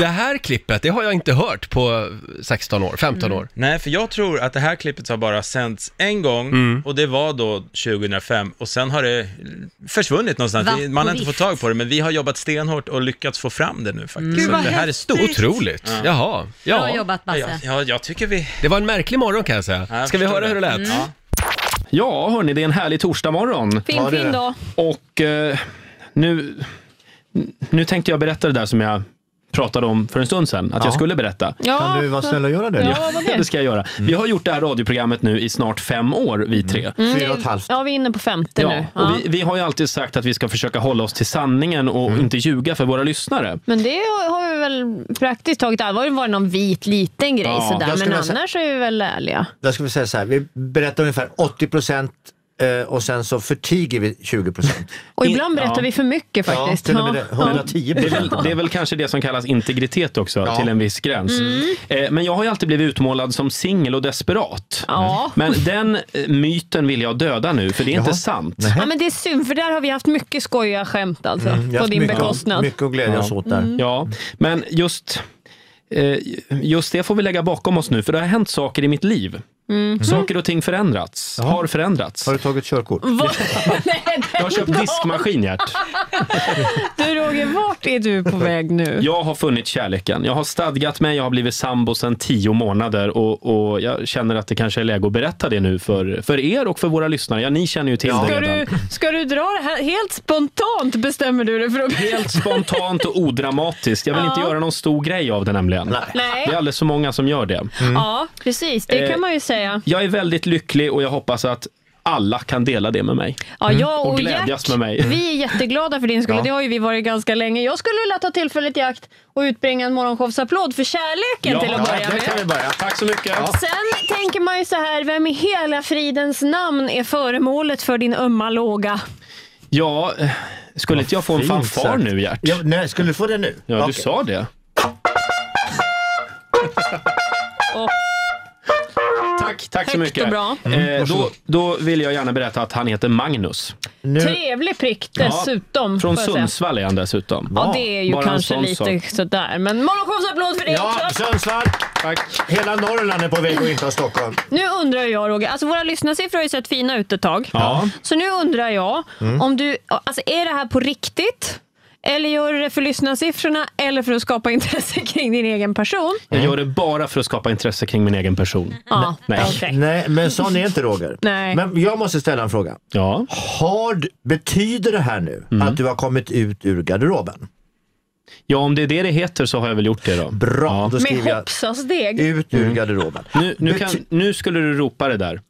[SPEAKER 1] det här klippet, det har jag inte hört på 16 år,
[SPEAKER 4] Mm.
[SPEAKER 1] 15 år.
[SPEAKER 9] Nej, för jag tror att det här klippet har bara sänts en gång
[SPEAKER 1] Mm.
[SPEAKER 9] och det var då 2005 och sen har det försvunnit någonstans.
[SPEAKER 4] Va?
[SPEAKER 9] Vi- Man har
[SPEAKER 4] På
[SPEAKER 9] inte fått tag på det, men vi har jobbat stenhårt och lyckats få fram det nu faktiskt.
[SPEAKER 1] Gud,
[SPEAKER 9] Så
[SPEAKER 1] vad
[SPEAKER 9] det här är stort.
[SPEAKER 1] häftigt. Otroligt. Jaha. Ja. Bra
[SPEAKER 4] jobbat, Basse.
[SPEAKER 9] Ja, ja, jag tycker vi...
[SPEAKER 1] Det var en märklig morgon kan jag säga.
[SPEAKER 9] jag
[SPEAKER 1] Ska vi
[SPEAKER 9] förstår
[SPEAKER 1] höra hur det
[SPEAKER 11] Mm.
[SPEAKER 1] lät?
[SPEAKER 9] Ja.
[SPEAKER 10] Ja, hörni, det är en härlig torsdagmorgon.
[SPEAKER 11] Fin, Ja, det är fin det. dag.
[SPEAKER 10] Och eh, nu, nu tänkte jag berätta det där som jag pratade om för en stund sedan, att jag skulle berätta.
[SPEAKER 11] Ja, Kan du vara snäll och göra det? Mm. Ja, vad det är.
[SPEAKER 10] det ska jag göra. Vi har gjort det här radioprogrammet nu i snart fem år, vi
[SPEAKER 11] Mm.
[SPEAKER 10] tre.
[SPEAKER 11] Ja, vi är inne på femte
[SPEAKER 10] Ja,
[SPEAKER 11] nu.
[SPEAKER 10] och vi, vi har ju alltid sagt att vi ska försöka hålla oss till sanningen och
[SPEAKER 11] Mm.
[SPEAKER 10] inte ljuga för våra lyssnare.
[SPEAKER 11] Men det har vi väl praktiskt taget allvarligt varit någon vit liten grej
[SPEAKER 12] Ja,
[SPEAKER 11] sådär.
[SPEAKER 12] jag skulle
[SPEAKER 11] Men
[SPEAKER 12] vilja säga-
[SPEAKER 11] annars är vi väl ärliga.
[SPEAKER 12] Där ska vi säga så här, vi berättar ungefär 80 procent eh, och sen så förtiger vi 20 procent.
[SPEAKER 11] Och ibland berättar
[SPEAKER 10] Ja.
[SPEAKER 11] vi för mycket
[SPEAKER 12] Ja,
[SPEAKER 11] faktiskt.
[SPEAKER 12] till och med det. 110
[SPEAKER 10] Det är, väl, det är väl kanske det som kallas integritet också, till en viss gräns.
[SPEAKER 11] Mm.
[SPEAKER 10] Eh, men jag har ju alltid blivit utmålad som singel och desperat.
[SPEAKER 11] Ja.
[SPEAKER 10] Men den eh, myten vill jag döda nu, för det är inte sant.
[SPEAKER 11] Ja, men det är synd, för där har vi haft mycket skojiga skämt alltså.
[SPEAKER 12] Mm,
[SPEAKER 11] på din bekostnad.
[SPEAKER 12] att glädjas åt där. Mm.
[SPEAKER 10] Ja, men just, eh, just det får vi lägga bakom oss nu, för det har hänt saker i mitt liv.
[SPEAKER 11] Mm.
[SPEAKER 10] Saker och ting förändrats, har förändrats. Har
[SPEAKER 12] du tagit körkort?
[SPEAKER 11] Vad- Nej,
[SPEAKER 10] Jag har köpt
[SPEAKER 11] den-
[SPEAKER 10] diskmaskin, Gert.
[SPEAKER 11] Du Roger, vart är du på väg nu?
[SPEAKER 10] Jag har funnit kärleken. Jag har stadgat mig, jag har blivit sambo sedan tio månader och, och jag känner att det kanske är läge att berätta det nu för, för er och för våra lyssnare. Ja, ni känner ju till det
[SPEAKER 11] Ska
[SPEAKER 10] redan.
[SPEAKER 11] du, ska du dra det här? Helt spontant bestämmer du dig för att...
[SPEAKER 10] Helt spontant och odramatiskt. Jag vill
[SPEAKER 11] Ja.
[SPEAKER 10] inte göra någon stor grej av det nämligen.
[SPEAKER 11] Nej. Mm.
[SPEAKER 10] Det är alldeles så många som gör det.
[SPEAKER 11] Ja, precis. Det
[SPEAKER 10] Eh,
[SPEAKER 11] kan man ju säga.
[SPEAKER 10] Jag är väldigt lycklig och jag hoppas att alla kan dela det med mig.
[SPEAKER 11] Ja, jag och,
[SPEAKER 10] Mm. och
[SPEAKER 11] Gert,
[SPEAKER 10] glädjas med mig.
[SPEAKER 11] vi är jätteglada för din skull.
[SPEAKER 10] Ja.
[SPEAKER 11] Det har ju vi varit ganska länge. Jag skulle vilja ta tillfället i akt och utbringa en morgonshowsapplåd för kärleken till att börja med.
[SPEAKER 10] vi börja. Tack så mycket.
[SPEAKER 11] Sen tänker man ju så här, vem i hela fridens namn är föremålet för din ömma låga?
[SPEAKER 10] Ja, eh, skulle inte jag få en
[SPEAKER 12] fint
[SPEAKER 10] fanfar
[SPEAKER 12] sagt.
[SPEAKER 10] nu, Gert?
[SPEAKER 12] Ja, nej, skulle du få det nu?
[SPEAKER 10] Ja,
[SPEAKER 12] Okej.
[SPEAKER 10] du sa det. Tack, tack så
[SPEAKER 11] Högt
[SPEAKER 10] mycket.
[SPEAKER 11] och bra.
[SPEAKER 12] Mm,
[SPEAKER 10] Eh, då, då vill jag gärna berätta att han heter Magnus.
[SPEAKER 11] Trevlig prick
[SPEAKER 10] Ja,
[SPEAKER 11] dessutom.
[SPEAKER 10] Från
[SPEAKER 11] får jag säga.
[SPEAKER 10] Sundsvall är han dessutom.
[SPEAKER 11] Ja, det är ju
[SPEAKER 10] Bara en
[SPEAKER 11] kanske
[SPEAKER 10] sån
[SPEAKER 11] lite
[SPEAKER 10] sak.
[SPEAKER 11] sådär. Men morgonshowsapplåd för det också.
[SPEAKER 12] Ja, Sundsvall! Tack. Hela Norrland är på väg att inta Stockholm.
[SPEAKER 11] Nu undrar jag Roger, alltså våra lyssnarsiffror har ju sett fina ut ett tag.
[SPEAKER 12] Ja.
[SPEAKER 11] Så nu undrar jag,
[SPEAKER 12] Mm.
[SPEAKER 11] om du, alltså är det här på riktigt? Eller gör du det för lyssnarsiffrorna eller för att skapa intresse kring din egen person?
[SPEAKER 10] Jag gör det bara för att skapa intresse kring min egen person.
[SPEAKER 11] Mm. Ja,
[SPEAKER 10] Nej.
[SPEAKER 11] okej.
[SPEAKER 12] Nej, men sån är inte Roger.
[SPEAKER 11] Nej.
[SPEAKER 12] Men jag måste ställa en fråga.
[SPEAKER 10] Ja.
[SPEAKER 12] Har, d- betyder det här nu att du har kommit ut ur garderoben?
[SPEAKER 10] Ja, om det är det det heter så har jag väl gjort det då.
[SPEAKER 12] Bra, då
[SPEAKER 11] Med
[SPEAKER 12] skriver jag
[SPEAKER 11] hoppsasteg.
[SPEAKER 12] ut ur garderoben.
[SPEAKER 10] Nu, nu,
[SPEAKER 12] Bety-
[SPEAKER 10] kan, nu skulle du ropa det där.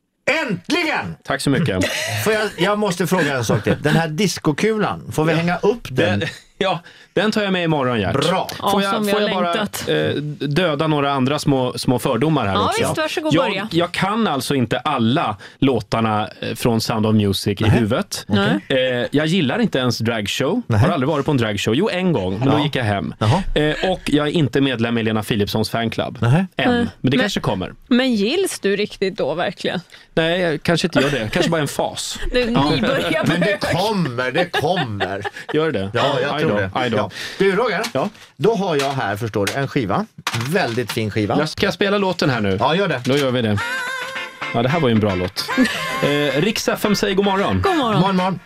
[SPEAKER 12] Äntligen!
[SPEAKER 10] Tack så mycket.
[SPEAKER 12] Får jag, jag måste fråga en sak till. Den här diskokulan, får vi hänga upp den?
[SPEAKER 10] Den, ja, den tar jag med imorgon Gert.
[SPEAKER 12] Bra.
[SPEAKER 10] Får
[SPEAKER 11] Ja, som vi
[SPEAKER 10] jag, får
[SPEAKER 11] har
[SPEAKER 10] jag bara
[SPEAKER 11] längtat.
[SPEAKER 10] eh, döda några andra små, små fördomar här
[SPEAKER 11] Ja,
[SPEAKER 10] också?
[SPEAKER 11] visst, varsågod,
[SPEAKER 10] jag,
[SPEAKER 11] börja.
[SPEAKER 10] jag kan alltså inte alla låtarna eh, från Sound of Music i huvudet.
[SPEAKER 11] Nej.
[SPEAKER 10] Eh, jag gillar inte ens dragshow. Har aldrig varit på en dragshow. Jo, en gång, men
[SPEAKER 12] Ja.
[SPEAKER 10] då gick jag hem. Eh, och jag är inte medlem i Lena Philipssons fanclub. Än,
[SPEAKER 11] Nej.
[SPEAKER 10] men det
[SPEAKER 11] Men-
[SPEAKER 10] kanske kommer.
[SPEAKER 11] Men gills du riktigt då verkligen?
[SPEAKER 10] Nej, jag kanske inte gör det. Kanske bara en fas.
[SPEAKER 11] Du, ni börjar på
[SPEAKER 12] Men det
[SPEAKER 11] hög.
[SPEAKER 12] kommer, det kommer.
[SPEAKER 10] Gör det
[SPEAKER 12] Ja,
[SPEAKER 10] Aj
[SPEAKER 12] jag tror
[SPEAKER 10] då,
[SPEAKER 12] det.
[SPEAKER 10] aj då.
[SPEAKER 12] Ja. Du Roger,
[SPEAKER 10] Ja.
[SPEAKER 12] då har jag här förstår du en skiva. Väldigt fin skiva.
[SPEAKER 10] Jag ska jag spela låten här nu.
[SPEAKER 12] Ja, gör det.
[SPEAKER 10] Då gör vi det. Ja, det här var ju en bra låt. Eh, Rix FM säger god morgon.
[SPEAKER 11] God morgon.
[SPEAKER 12] Morgon, morgon.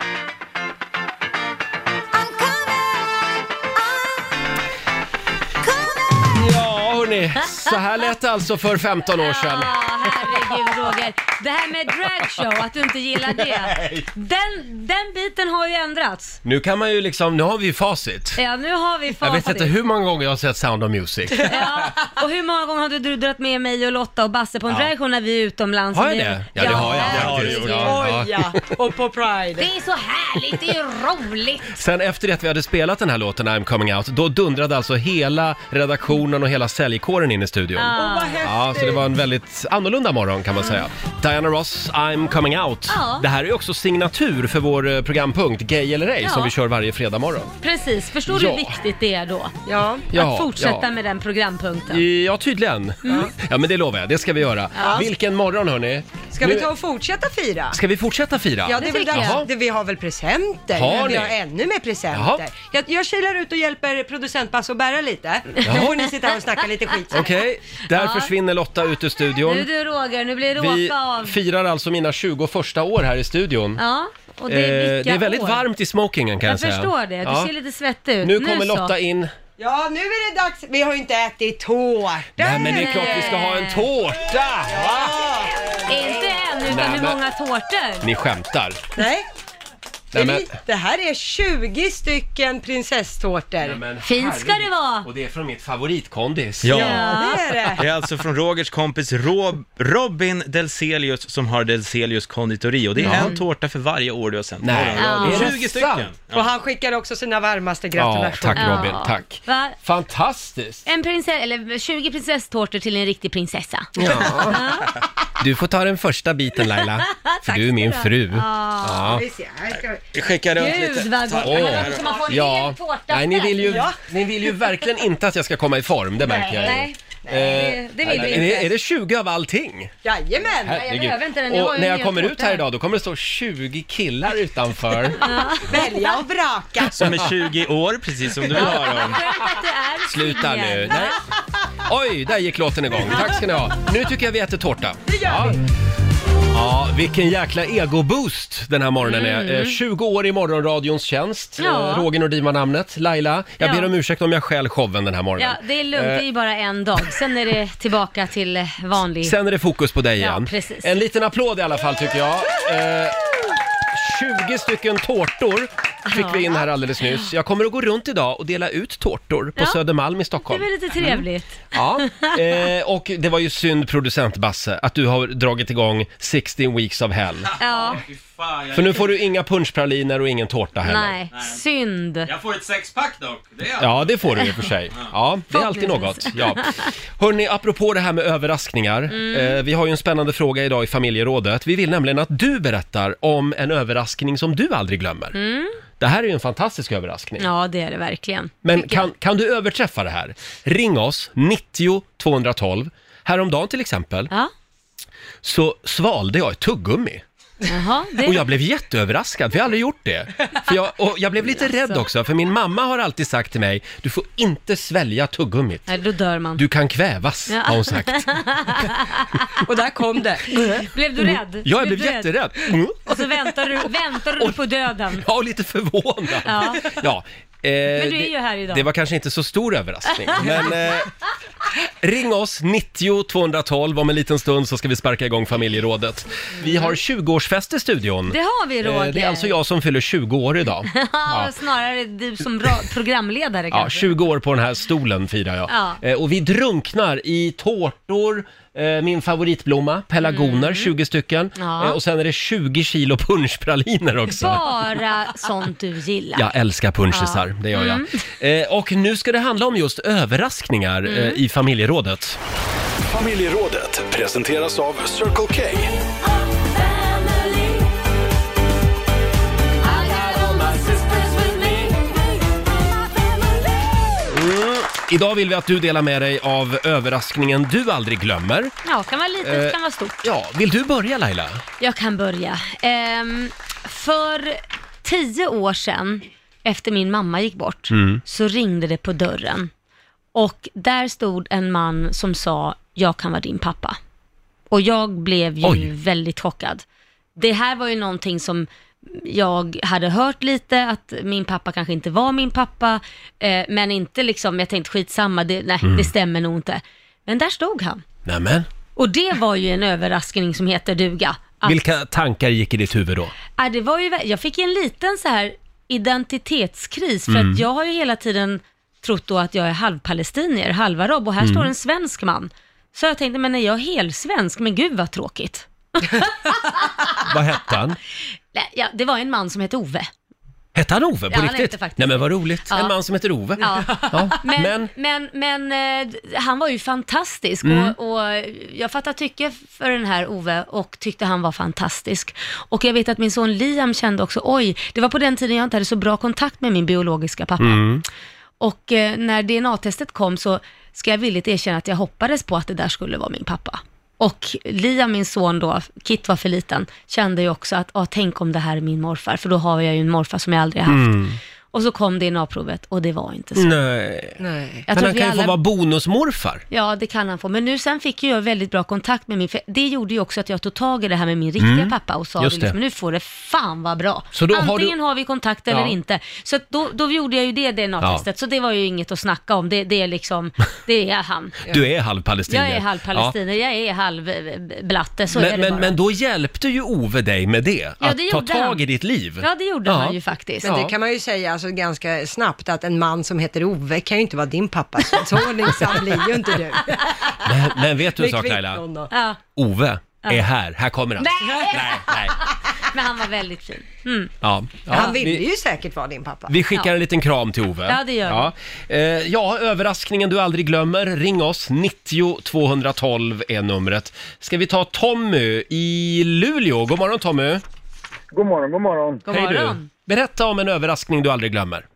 [SPEAKER 1] Ja, hörni. Så här lät det alltså för 15 år sedan.
[SPEAKER 4] Ja, herregud Roger. Det här med dragshow, att du inte gillar det. Den, den biten har ju ändrats.
[SPEAKER 1] Nu kan man ju liksom, nu har vi ju facit.
[SPEAKER 4] Ja, nu har vi
[SPEAKER 1] Jag
[SPEAKER 4] facit.
[SPEAKER 1] vet inte hur många gånger jag har sett Sound of Music.
[SPEAKER 4] Ja, och hur många gånger har du drudrat med mig och Lotta och Basse på en dragshow när vi är utomlands?
[SPEAKER 1] Har jag
[SPEAKER 4] Vi-
[SPEAKER 1] det? Ja, det har jag faktiskt.
[SPEAKER 4] herregud.
[SPEAKER 1] Ja, ja.
[SPEAKER 2] Och på Pride.
[SPEAKER 4] Det är så härligt, det är roligt.
[SPEAKER 1] Sen efter det att vi hade spelat den här låten I'm coming out, då dundrade alltså hela redaktionen och hela säljkåren in i studion.
[SPEAKER 4] Ah.
[SPEAKER 2] Åh, vad häftigt.
[SPEAKER 1] Ja, så det var en väldigt annorlunda morgon. morgon kan man säga. Diana Ross, I'm coming out.
[SPEAKER 4] Ja.
[SPEAKER 1] Det här är ju också signatur för vår eh, programpunkt Gay eller ej
[SPEAKER 4] Ja.
[SPEAKER 1] som vi kör varje fredag morgon.
[SPEAKER 4] Precis, förstår du
[SPEAKER 1] Ja.
[SPEAKER 4] hur viktigt det är då?
[SPEAKER 2] Ja.
[SPEAKER 1] Ja,
[SPEAKER 4] Att fortsätta
[SPEAKER 1] ja.
[SPEAKER 4] med den programpunkten.
[SPEAKER 1] Ja, tydligen.
[SPEAKER 4] Mm.
[SPEAKER 1] Ja, men det lovar jag. Det ska vi göra.
[SPEAKER 2] Ja.
[SPEAKER 1] Vilken morgon hörni.
[SPEAKER 2] Ska
[SPEAKER 1] Nu-
[SPEAKER 2] vi ta och fortsätta fira?
[SPEAKER 1] Ska vi fortsätta fira?
[SPEAKER 2] Ja, det är väl
[SPEAKER 1] Jaha.
[SPEAKER 2] dags. Det- Vi har väl presenter?
[SPEAKER 1] Har
[SPEAKER 2] men
[SPEAKER 1] ni?
[SPEAKER 2] vi har ännu mer
[SPEAKER 1] Jaha.
[SPEAKER 2] presenter. Jag, jag kilar ut och hjälper producent Basse att bära lite.
[SPEAKER 1] Jaha.
[SPEAKER 2] Så får ni sitta här och snacka lite skit.
[SPEAKER 1] Okej, där
[SPEAKER 4] Ja.
[SPEAKER 1] försvinner Lotta ut ur studion.
[SPEAKER 4] Nu du Roger, nu blir det
[SPEAKER 1] Vi
[SPEAKER 4] åka av.
[SPEAKER 1] firar alltså mina 20 första år här i studion.
[SPEAKER 4] Ja, och det
[SPEAKER 1] Eh,
[SPEAKER 4] är vilka
[SPEAKER 1] det är väldigt
[SPEAKER 4] år.
[SPEAKER 1] varmt i smokingen kan jag,
[SPEAKER 4] Jag
[SPEAKER 1] säga.
[SPEAKER 4] förstår det, du
[SPEAKER 1] Ja.
[SPEAKER 4] ser lite svettig ut.
[SPEAKER 1] Nu kommer
[SPEAKER 4] så.
[SPEAKER 1] Lotta in.
[SPEAKER 2] Ja, nu är det dags. Vi har ju inte ätit tårta.
[SPEAKER 1] Nej men det är klart vi ska ha en tårta!
[SPEAKER 4] Inte än, utan
[SPEAKER 1] Nej,
[SPEAKER 4] hur
[SPEAKER 1] men-
[SPEAKER 4] många tårtor?
[SPEAKER 1] Ni skämtar.
[SPEAKER 2] Nej.
[SPEAKER 1] Nej, men,
[SPEAKER 2] Det här är 20 stycken prinsesstårtor.
[SPEAKER 4] Fint ska det vara.
[SPEAKER 1] och det är från mitt favoritkondis.
[SPEAKER 9] Ja.
[SPEAKER 2] Ja, det är det.
[SPEAKER 9] Det är alltså från Rogers kompis Rob, Robin Delselius som har Delselius konditori och det är
[SPEAKER 1] Ja.
[SPEAKER 9] en tårta för varje år du har sänt.
[SPEAKER 1] Nej.
[SPEAKER 9] Ja, det är
[SPEAKER 1] Ja.
[SPEAKER 9] 20 stycken!
[SPEAKER 2] Och han skickar också sina varmaste
[SPEAKER 1] ja,
[SPEAKER 2] gratulationer.
[SPEAKER 1] tack Robin,
[SPEAKER 4] Ja.
[SPEAKER 1] tack.
[SPEAKER 4] Va?
[SPEAKER 1] Fantastiskt!
[SPEAKER 4] En prinsess, eller 20 prinsesstårtor till en riktig prinsessa.
[SPEAKER 1] Du får ta den första biten Laila, för
[SPEAKER 4] Tack
[SPEAKER 1] du är
[SPEAKER 4] ska
[SPEAKER 1] min
[SPEAKER 4] ha.
[SPEAKER 1] fru. Ja.
[SPEAKER 4] Ja.
[SPEAKER 9] Vi skickar runt
[SPEAKER 4] Gud,
[SPEAKER 9] lite.
[SPEAKER 4] vad gott.
[SPEAKER 9] Ta-
[SPEAKER 4] Men också man får en hel tårta
[SPEAKER 1] Nej, ni
[SPEAKER 4] själv.
[SPEAKER 1] vill, ju,
[SPEAKER 4] Ja.
[SPEAKER 1] ni vill ju verkligen inte att jag ska komma i form, det märker jag ju.
[SPEAKER 4] Nej, nej,
[SPEAKER 1] Eh,
[SPEAKER 4] det vill vi
[SPEAKER 1] är det,
[SPEAKER 4] inte.
[SPEAKER 1] är det 20 av allting?
[SPEAKER 2] Jajamän!
[SPEAKER 1] Herregud.
[SPEAKER 4] behöver inte den, jag har
[SPEAKER 1] Och
[SPEAKER 4] ju
[SPEAKER 1] när
[SPEAKER 4] en
[SPEAKER 1] jag
[SPEAKER 4] hel
[SPEAKER 1] kommer ut
[SPEAKER 4] tårta
[SPEAKER 1] här
[SPEAKER 4] här.
[SPEAKER 1] idag då kommer det stå 20 killar utanför.
[SPEAKER 2] Välja och vraka.
[SPEAKER 9] Som är 20 år, precis som du
[SPEAKER 1] Ja.
[SPEAKER 9] har dem.
[SPEAKER 1] Sluta nu. Nej. Oj, där gick låten igång. Tack ska ni ha. Nu tycker jag vi äter tårta. Det gör vi. Ja, vilken jäkla ego-boost den här morgonen är.
[SPEAKER 4] Mm.
[SPEAKER 1] Eh, 20 år i morgonradions tjänst.
[SPEAKER 4] Ja.
[SPEAKER 1] Eh, Roger Nordin var namnet. Laila, jag
[SPEAKER 4] Ja.
[SPEAKER 1] ber om ursäkt om jag stjäl showen den här morgonen.
[SPEAKER 4] Ja, det är lugnt, det är ju bara en dag. Sen är det tillbaka till eh, vanlig...
[SPEAKER 1] Sen är det fokus på dig
[SPEAKER 4] Ja,
[SPEAKER 1] igen.
[SPEAKER 4] precis.
[SPEAKER 1] en liten applåd i alla fall tycker jag. Eh, 20 stycken tårtor fick vi in här alldeles nyss. Jag kommer att gå runt idag och dela ut tårtor på
[SPEAKER 4] Ja.
[SPEAKER 1] Södermalm i
[SPEAKER 4] Det är
[SPEAKER 1] Stockholm.
[SPEAKER 4] väl lite trevligt.
[SPEAKER 1] Ja, eh, och det var ju synd producent Basse att du har dragit igång 16 weeks of hell.
[SPEAKER 4] Ja,
[SPEAKER 1] För nu får du inga punschpraliner och ingen tårta heller.
[SPEAKER 4] nej, synd.
[SPEAKER 9] Jag får ett sexpack dock. Det är
[SPEAKER 1] Ja, det får du i och för sig. Ja, det är alltid något.
[SPEAKER 4] Förhoppningsvis.
[SPEAKER 1] Ja. Hörni, apropå det här med överraskningar.
[SPEAKER 4] Mm.
[SPEAKER 1] Eh, vi har ju en spännande fråga idag i familjerådet. Vi vill nämligen att du berättar om en överraskning som du aldrig glömmer.
[SPEAKER 4] Mm.
[SPEAKER 1] Det här är ju en fantastisk överraskning.
[SPEAKER 4] Ja, det är det verkligen.
[SPEAKER 1] Men kan, kan du överträffa det här? Ring oss, 90 212. Häromdagen till exempel så svalde jag ett tuggummi.
[SPEAKER 4] Jaha, det...
[SPEAKER 1] Och jag blev jätteöverraskad, för jag har aldrig gjort det. För jag, och jag blev lite rädd också, för min mamma har alltid sagt till mig, du får inte svälja tuggummit.
[SPEAKER 4] Nej, då dör man.
[SPEAKER 1] Du kan kvävas,
[SPEAKER 4] Ja.
[SPEAKER 1] har hon sagt.
[SPEAKER 2] Och där kom det.
[SPEAKER 4] Blev du rädd?
[SPEAKER 1] Ja, jag blev
[SPEAKER 4] du rädd?
[SPEAKER 1] jätterädd. Mm.
[SPEAKER 4] Och så väntar du, väntar du på döden.
[SPEAKER 1] Ja, och lite förvånad.
[SPEAKER 4] Ja.
[SPEAKER 1] Ja, eh,
[SPEAKER 4] Men du är
[SPEAKER 1] det-
[SPEAKER 4] ju här idag.
[SPEAKER 1] Det var kanske inte så stor överraskning, men eh, ring oss 90 212 om en liten stund så ska vi sparka igång familjerådet. Vi har 20-årsfest i studion.
[SPEAKER 4] Det har vi,
[SPEAKER 1] Eh,
[SPEAKER 4] Roger.
[SPEAKER 1] Det är alltså jag som fyller 20 år idag.
[SPEAKER 4] Ja, snarare du som ra- programledare
[SPEAKER 1] Ja,
[SPEAKER 4] kanske.
[SPEAKER 1] 20 år på den här stolen firar jag.
[SPEAKER 4] Ja.
[SPEAKER 1] Eh, och vi drunknar i tårtor, eh, min favoritblomma, pelargoner, 20 stycken.
[SPEAKER 4] Mm. Ja.
[SPEAKER 1] Eh, och sen är det 20 kilo punschpraliner också.
[SPEAKER 4] Bara sånt du gillar.
[SPEAKER 1] Jag älskar punschisar,
[SPEAKER 4] Ja.
[SPEAKER 1] det gör jag.
[SPEAKER 4] Mm. Mm.
[SPEAKER 1] Eh, och nu ska det handla om just överraskningar eh, i familjerådet.
[SPEAKER 3] Familjerådet presenteras av Circle K.
[SPEAKER 1] Mm. Idag vill vi att du delar med dig av överraskningen du aldrig glömmer.
[SPEAKER 4] Ja, kan vara litet,
[SPEAKER 1] Eh,
[SPEAKER 4] kan vara stort.
[SPEAKER 1] Ja, vill du börja Laila?
[SPEAKER 4] Jag kan börja. Ehm, för tio år sedan, efter min mamma gick bort,
[SPEAKER 1] Mm.
[SPEAKER 4] så ringde det på dörren. Och där stod en man som sa, jag kan vara din pappa. Och jag blev ju
[SPEAKER 13] Oj.
[SPEAKER 4] väldigt chockad. Det här var ju någonting som jag hade hört lite, att min pappa kanske inte var min pappa, eh, men inte liksom, jag tänkte skitsamma, det, nej,
[SPEAKER 1] Mm.
[SPEAKER 4] det stämmer nog inte. Men där stod han.
[SPEAKER 1] Nämen,
[SPEAKER 4] Och det var ju en överraskning som heter duga. Att-
[SPEAKER 1] vilka tankar gick i ditt huvud då?
[SPEAKER 4] Ja, det var ju, vä- jag fick en liten så här identitetskris, för
[SPEAKER 1] Mm.
[SPEAKER 4] att jag har ju hela tiden trott då att jag är halvpalestinier, halvarab, och här
[SPEAKER 1] Mm.
[SPEAKER 4] står en svensk man. Så jag tänkte, men är jag helsvensk? Men gud vad tråkigt.
[SPEAKER 1] Vad hette han?
[SPEAKER 4] Nej, Ja, det var en man som hette Ove.
[SPEAKER 1] Hette han Ove på
[SPEAKER 4] Ja, han
[SPEAKER 1] riktigt?
[SPEAKER 4] hette faktiskt
[SPEAKER 1] Nej men vad roligt.
[SPEAKER 4] Ja.
[SPEAKER 1] En man som heter Ove.
[SPEAKER 4] Ja. Men,
[SPEAKER 1] men-
[SPEAKER 4] men... Men, eh, d- han var ju fantastisk
[SPEAKER 1] Mm.
[SPEAKER 4] och, och jag fattade tycke för den här Ove och tyckte han var fantastisk. Och jag vet att min son Liam kände också, oj, det var på den tiden jag inte hade så bra kontakt med min biologiska pappa.
[SPEAKER 13] Mm.
[SPEAKER 4] Och eh, när DNA-testet kom så ska jag villigt erkänna att jag hoppades på att det där skulle vara min pappa. Och Liam, min son då, Kit var för liten, kände ju också att, ah, tänk om det här är min morfar, för då har jag ju en morfar som jag aldrig har haft.
[SPEAKER 1] Mm.
[SPEAKER 4] Och så kom DNA-provet och det var inte så.
[SPEAKER 1] Nej.
[SPEAKER 4] Nej. Jag
[SPEAKER 1] Men
[SPEAKER 4] tror
[SPEAKER 1] han
[SPEAKER 4] att vi
[SPEAKER 1] kan ju få
[SPEAKER 4] alla-
[SPEAKER 1] vara bonusmorfar.
[SPEAKER 4] Ja, det kan han få. Men nu sen fick ju jag väldigt bra kontakt med min, för det gjorde ju också att jag tog tag i det här med min riktiga
[SPEAKER 1] Mm.
[SPEAKER 4] pappa och sa
[SPEAKER 1] Just
[SPEAKER 4] det.
[SPEAKER 1] det.
[SPEAKER 4] Liksom, nu får det fan vara bra.
[SPEAKER 1] Så då har
[SPEAKER 4] Antingen
[SPEAKER 1] du-
[SPEAKER 4] har, vi kontakt eller
[SPEAKER 1] Ja.
[SPEAKER 4] inte. Så att då, då gjorde jag ju det DNA-testet,
[SPEAKER 1] Ja.
[SPEAKER 4] så det var ju inget att snacka om. Det, det är liksom, det är han.
[SPEAKER 1] Du är halvpalestinier.
[SPEAKER 4] Jag är halv palestinier, jag är halv eh, blatte, så är
[SPEAKER 1] men,
[SPEAKER 4] det
[SPEAKER 1] men,
[SPEAKER 4] bara.
[SPEAKER 1] men då hjälpte ju Ove dig med det.
[SPEAKER 4] Ja,
[SPEAKER 1] att
[SPEAKER 4] det
[SPEAKER 1] ta
[SPEAKER 4] gjorde
[SPEAKER 1] tag
[SPEAKER 4] han.
[SPEAKER 1] i ditt liv.
[SPEAKER 4] Ja, det gjorde han ju faktiskt.
[SPEAKER 2] Men det
[SPEAKER 4] Ja.
[SPEAKER 2] kan man ju säga alltså, ganska snabbt att en man som heter Ove kan ju inte vara din pappa. Så- Så ordningsam blir ju inte du.
[SPEAKER 1] Men, men vet du en
[SPEAKER 2] Bli
[SPEAKER 1] sak
[SPEAKER 2] kvitt
[SPEAKER 1] Laila?
[SPEAKER 2] någon då.
[SPEAKER 4] Ja.
[SPEAKER 1] Ove
[SPEAKER 4] Ja.
[SPEAKER 1] är här. Här kommer han.
[SPEAKER 4] Nej!
[SPEAKER 1] Nej, nej.
[SPEAKER 4] Men han var väldigt fin. Mm.
[SPEAKER 1] Ja, ja.
[SPEAKER 2] Han ville
[SPEAKER 1] Vi,
[SPEAKER 2] ju säkert vara din pappa.
[SPEAKER 1] vi skickar en liten kram till Ove.
[SPEAKER 2] Ja, det gör
[SPEAKER 1] ja.
[SPEAKER 2] vi.
[SPEAKER 1] Eh, ja, överraskningen du aldrig glömmer. Ring oss. 90 212 är numret. Ska vi ta Tommy i Luleå? God morgon Tommy.
[SPEAKER 14] God morgon, god morgon.
[SPEAKER 1] du. Berätta om en överraskning du aldrig glömmer.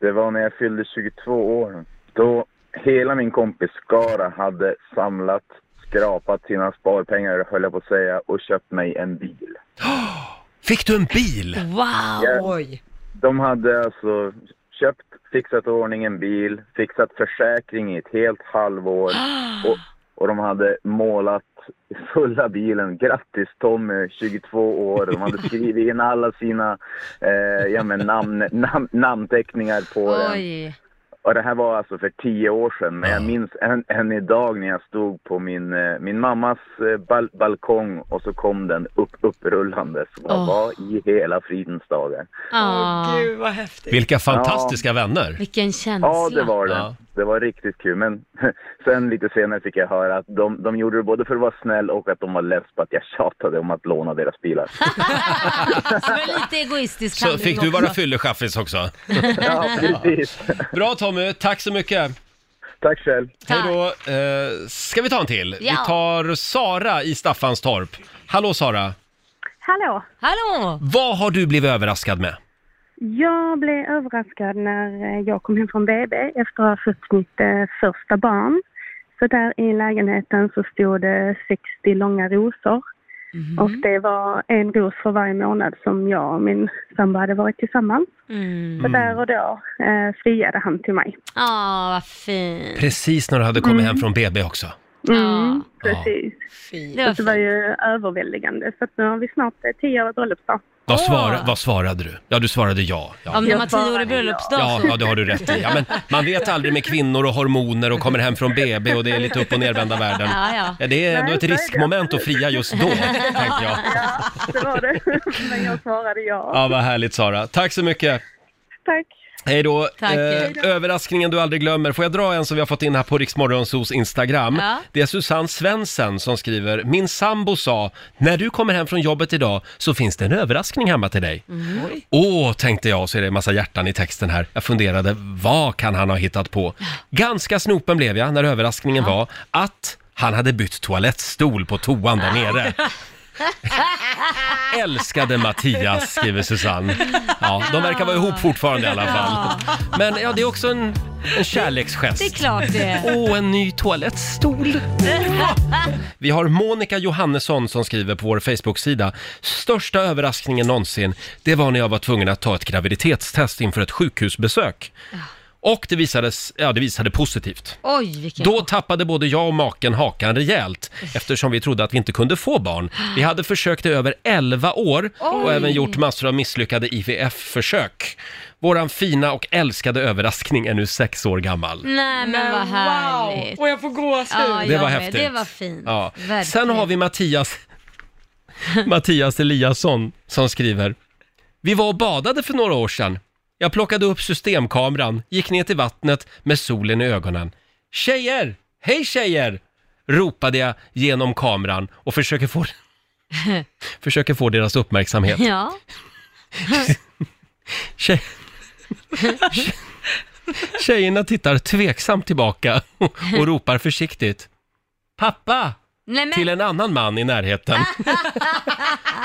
[SPEAKER 14] Det var när jag fyllde 22 år. Då hela min kompisskara hade samlat, skrapat sina sparpengar, höll jag på att säga, och köpt mig en bil.
[SPEAKER 1] Fick du en bil?
[SPEAKER 4] Wow!
[SPEAKER 2] Oj.
[SPEAKER 14] De hade alltså köpt, fixat i ordning en bil, fixat försäkring i ett helt halvår och, och de hade målat fulla bilen. Grattis Tommy, 22 år. De hade skrivit in alla sina eh, ja, men namn, nam, namnteckningar på den.
[SPEAKER 4] Oj.
[SPEAKER 14] Och det här var alltså för tio år sedan, men jag minns än, än idag när jag stod på min, eh, min mammas eh, bal- balkong och så kom den upp, upprullandes. Vad
[SPEAKER 4] Åh.
[SPEAKER 14] var i hela fridens dagar?
[SPEAKER 4] Åh,
[SPEAKER 2] gud vad häftigt.
[SPEAKER 1] Vilka fantastiska
[SPEAKER 14] fantastiska
[SPEAKER 1] vänner.
[SPEAKER 4] Vilken känsla.
[SPEAKER 14] Ja, det var det. Det var riktigt kul, men sen lite senare fick jag höra att de, de gjorde det både för att vara snäll och att de var less på att jag tjatade om att låna deras bilar.
[SPEAKER 4] Så det var lite egoistisk
[SPEAKER 1] Så
[SPEAKER 4] handling
[SPEAKER 1] fick du vara
[SPEAKER 4] också.
[SPEAKER 1] fyllechaffis också?
[SPEAKER 14] Ja, precis.
[SPEAKER 1] Bra Tommy, tack så mycket.
[SPEAKER 14] Tack själv.
[SPEAKER 1] Hej då. Eh, ska vi ta en till? Vi
[SPEAKER 13] Ja.
[SPEAKER 1] tar Sara i Staffanstorp. Hallå Sara!
[SPEAKER 13] Hallå!
[SPEAKER 4] Hallå!
[SPEAKER 1] Vad har du blivit överraskad med?
[SPEAKER 13] Jag blev överraskad när eh, jag kom hem från BB efter att ha fött mitt eh, första barn. Så där i lägenheten så stod det 60 långa rosor. Och det var en ros för varje månad som jag och min sambo hade varit tillsammans. Så där och då eh, friade han till mig.
[SPEAKER 4] Ja, vad fint.
[SPEAKER 1] Precis när du hade kommit hem från BB också.
[SPEAKER 13] Mm, Precis.
[SPEAKER 4] Det var,
[SPEAKER 13] det var ju överväldigande. Så att nu har vi snart eh, tio år bröllopsdag.
[SPEAKER 1] Vad, svara, vad svarade du? Ja, du svarade ja. Ja,
[SPEAKER 4] Om det var tio år i bröllopsdag
[SPEAKER 1] ja,
[SPEAKER 4] så...
[SPEAKER 1] ja det har du rätt i. Ja, men man vet aldrig med kvinnor och hormoner och kommer hem från BB och det är lite upp och nervända världen.
[SPEAKER 13] Ja, ja.
[SPEAKER 1] det är ändå
[SPEAKER 13] Nej,
[SPEAKER 1] ett
[SPEAKER 13] så är det.
[SPEAKER 1] riskmoment att fria just då, tänkte jag.
[SPEAKER 13] Det var det. Men jag svarade ja.
[SPEAKER 1] Ja, vad härligt Sara. Tack så mycket.
[SPEAKER 13] Tack.
[SPEAKER 1] Hej då. Eh,
[SPEAKER 13] Tack. Hej då.
[SPEAKER 1] överraskningen du aldrig glömmer. Får jag dra en som vi har fått in här på Riksmorgonsos Instagram?
[SPEAKER 13] Ja.
[SPEAKER 1] Det är Susanne Svensson som skriver, min sambo sa, när du kommer hem från jobbet idag så finns det en överraskning hemma till
[SPEAKER 13] Mm.
[SPEAKER 1] dig.
[SPEAKER 4] Mm.
[SPEAKER 1] Åh, tänkte jag, så är det en massa hjärtan i texten här. Jag funderade, vad kan han ha hittat på? Ganska snopen blev jag när överraskningen var att han hade bytt toalettstol på toan där nere. Älskade Mattias, skriver Susanne. Ja, de verkar vara ihop fortfarande i alla fall. Men ja, det är också en, en kärleksgest.
[SPEAKER 13] Det är klart det är.
[SPEAKER 1] Åh, en ny toalettstol. Vi har Monica Johannesson som skriver på vår Facebook-sida. Största överraskningen någonsin, det var när jag var tvungen att ta ett graviditetstest inför ett sjukhusbesök. Och det, visades, ja, det visade positivt.
[SPEAKER 4] Oj, vilken...
[SPEAKER 1] Då tappade både jag och maken hakan rejält eftersom vi trodde att vi inte kunde få barn. Vi hade försökt i över 11 år och
[SPEAKER 4] Oj.
[SPEAKER 1] även gjort massor av misslyckade IVF-försök. Våran fina och älskade överraskning är nu sex år gammal.
[SPEAKER 4] Nej, men vad härligt.
[SPEAKER 2] Och jag får gåshud.
[SPEAKER 4] Ja,
[SPEAKER 1] Det
[SPEAKER 4] jag
[SPEAKER 1] var
[SPEAKER 4] med.
[SPEAKER 1] häftigt.
[SPEAKER 4] Det var fint.
[SPEAKER 1] Ja.
[SPEAKER 4] Verkligen.
[SPEAKER 1] Sen har vi Mattias, Mattias Eliasson som skriver. Vi var och badade för några år sedan. Jag plockade upp systemkameran, gick ner till vattnet med solen i ögonen. Tjejer! Hej tjejer! Ropade jag genom kameran och försöker få, försöker få deras uppmärksamhet.
[SPEAKER 4] Ja.
[SPEAKER 1] Tjej... Tjejerna tittar tveksamt tillbaka och ropar försiktigt. Pappa!
[SPEAKER 4] Nej, men,
[SPEAKER 1] Till en annan man i närheten.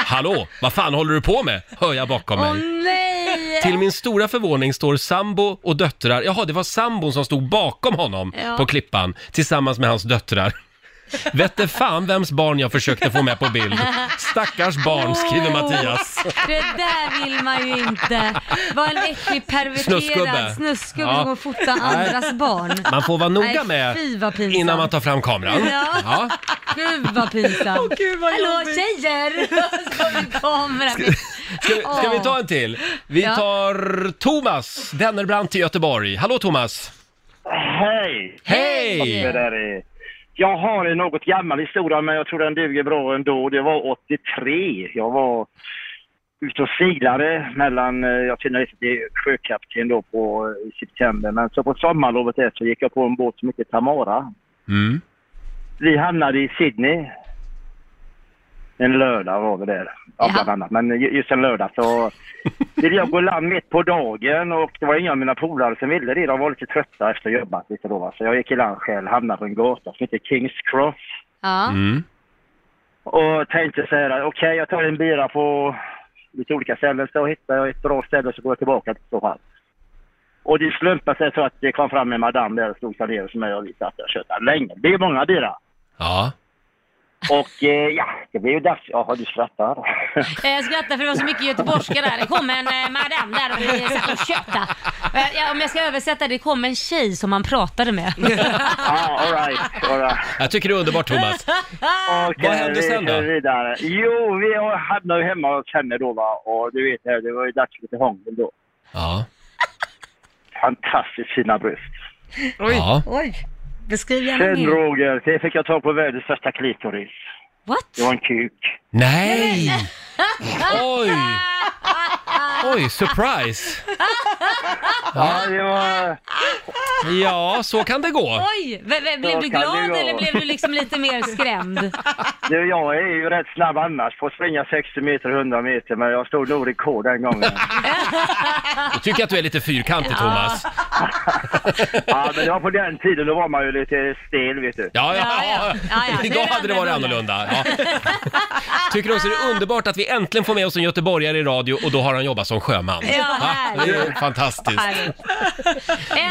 [SPEAKER 1] Hallå, vad fan håller du på med? Hör jag bakom
[SPEAKER 4] Åh
[SPEAKER 1] mig.
[SPEAKER 4] nej!
[SPEAKER 1] Till min stora förvåning står sambo och döttrar, jaha det var sambon som stod bakom honom
[SPEAKER 4] Ja.
[SPEAKER 1] på klippan tillsammans med hans döttrar. Vette fan vems barn jag försökte få med på bild. Stackars barn, skriver Mattias.
[SPEAKER 4] Det där vill man ju inte. Var en äcklig perverterad
[SPEAKER 1] Snuskgubbe.
[SPEAKER 4] snuskgubbe, snuskgubbe
[SPEAKER 1] Ja.
[SPEAKER 4] som går och fotar andras barn.
[SPEAKER 1] Man får vara noga
[SPEAKER 4] Nej,
[SPEAKER 1] med
[SPEAKER 4] fy vad pinsamt.
[SPEAKER 1] innan man tar fram kameran.
[SPEAKER 4] Ja.
[SPEAKER 1] Ja.
[SPEAKER 4] Gud vad pinsamt.
[SPEAKER 11] Åh, gud, vad
[SPEAKER 4] Hallå
[SPEAKER 11] jobbigt.
[SPEAKER 4] tjejer! Så har vi kamera.
[SPEAKER 1] Ska, vi- ska vi ta en till? Vi
[SPEAKER 4] Ja.
[SPEAKER 1] tar Thomas Dennerbrandt i Göteborg. Hallå Thomas!
[SPEAKER 15] Hej!
[SPEAKER 1] Hej!
[SPEAKER 15] Det där är... Jag har en något gammal historia, men jag tror den duger bra ändå. Det var 83. Jag var ute och seglade mellan... eh, Jag tillhörde till sjökapten då på, eh, i september, men så på sommarlovet där så gick jag på en båt som heter Tamara.
[SPEAKER 1] Mm.
[SPEAKER 15] Vi hamnade i Sydney. En lördag var vi där. Ja, bland annat. Men ju- just en lördag så ville jag gå i land mitt på dagen och det var inga av mina polare som ville det. De var lite trötta efter att ha jobbat lite då. va. Så jag gick i land själv, hamnade på en gata som heter Kings Cross.
[SPEAKER 4] Ja.
[SPEAKER 1] Mm.
[SPEAKER 15] Och tänkte så här, okej jag tar en bira på lite olika ställen. Så hittar jag ett bra ställe så går jag tillbaka till så fall. Och det slumpade sig så att det kom fram en madam där och slog sig ner som jag och vi satt där och tjötade länge. Det är många bira.
[SPEAKER 1] Ja.
[SPEAKER 15] Och eh, ja, det blev ju dags. Jaha, du skrattar.
[SPEAKER 4] Eh, Jag skrattar för det var så mycket göteborgska där. Det kom en eh, madam där och vi satt och tjötade. Eh, ja, Om jag ska översätta, det kom en tjej som man pratade med.
[SPEAKER 15] Ja, all right, all right.
[SPEAKER 1] Jag tycker det är underbart Thomas.
[SPEAKER 15] Och,
[SPEAKER 1] Vad
[SPEAKER 15] eh,
[SPEAKER 1] hände
[SPEAKER 15] vi
[SPEAKER 1] sen då?
[SPEAKER 15] kör Vidare. Jo, vi hamnade ju hemma hos henne då va. Och du vet, det var ju dags för lite hångel då.
[SPEAKER 1] Ja.
[SPEAKER 15] Fantastiskt fina bröst.
[SPEAKER 4] Oj,
[SPEAKER 1] Ja.
[SPEAKER 4] oj. Beskriv gärna
[SPEAKER 15] Sen
[SPEAKER 4] mer.
[SPEAKER 15] Roger, det fick jag tag på världens största klitoris.
[SPEAKER 4] What?
[SPEAKER 15] Det var en kuk.
[SPEAKER 1] Nej! Oj! Oj, surprise!
[SPEAKER 15] Ja, det var...
[SPEAKER 1] Ja, så kan det gå.
[SPEAKER 4] Oj! v- v- Blev
[SPEAKER 15] Så
[SPEAKER 4] du
[SPEAKER 15] kan det
[SPEAKER 4] glad
[SPEAKER 15] gå.
[SPEAKER 4] eller blev du liksom lite mer skrämd?
[SPEAKER 15] Du, jag är ju rätt snabb annars på att springa 60 meter, 100 meter. Men jag slog nog rekord den gången.
[SPEAKER 1] Jag tycker att du är lite fyrkantig Thomas.
[SPEAKER 15] ja, men det var på den tiden, då var man ju lite stel vet du.
[SPEAKER 1] Ja, ja, ja. Idag hade det varit annorlunda. Ja. Tycker också det är underbart att vi äntligen får med oss en göteborgare i radio och då har han jobbat som sjöman.
[SPEAKER 4] Ja,
[SPEAKER 1] Va? det är
[SPEAKER 4] härligt.
[SPEAKER 1] fantastiskt.
[SPEAKER 4] Härligt.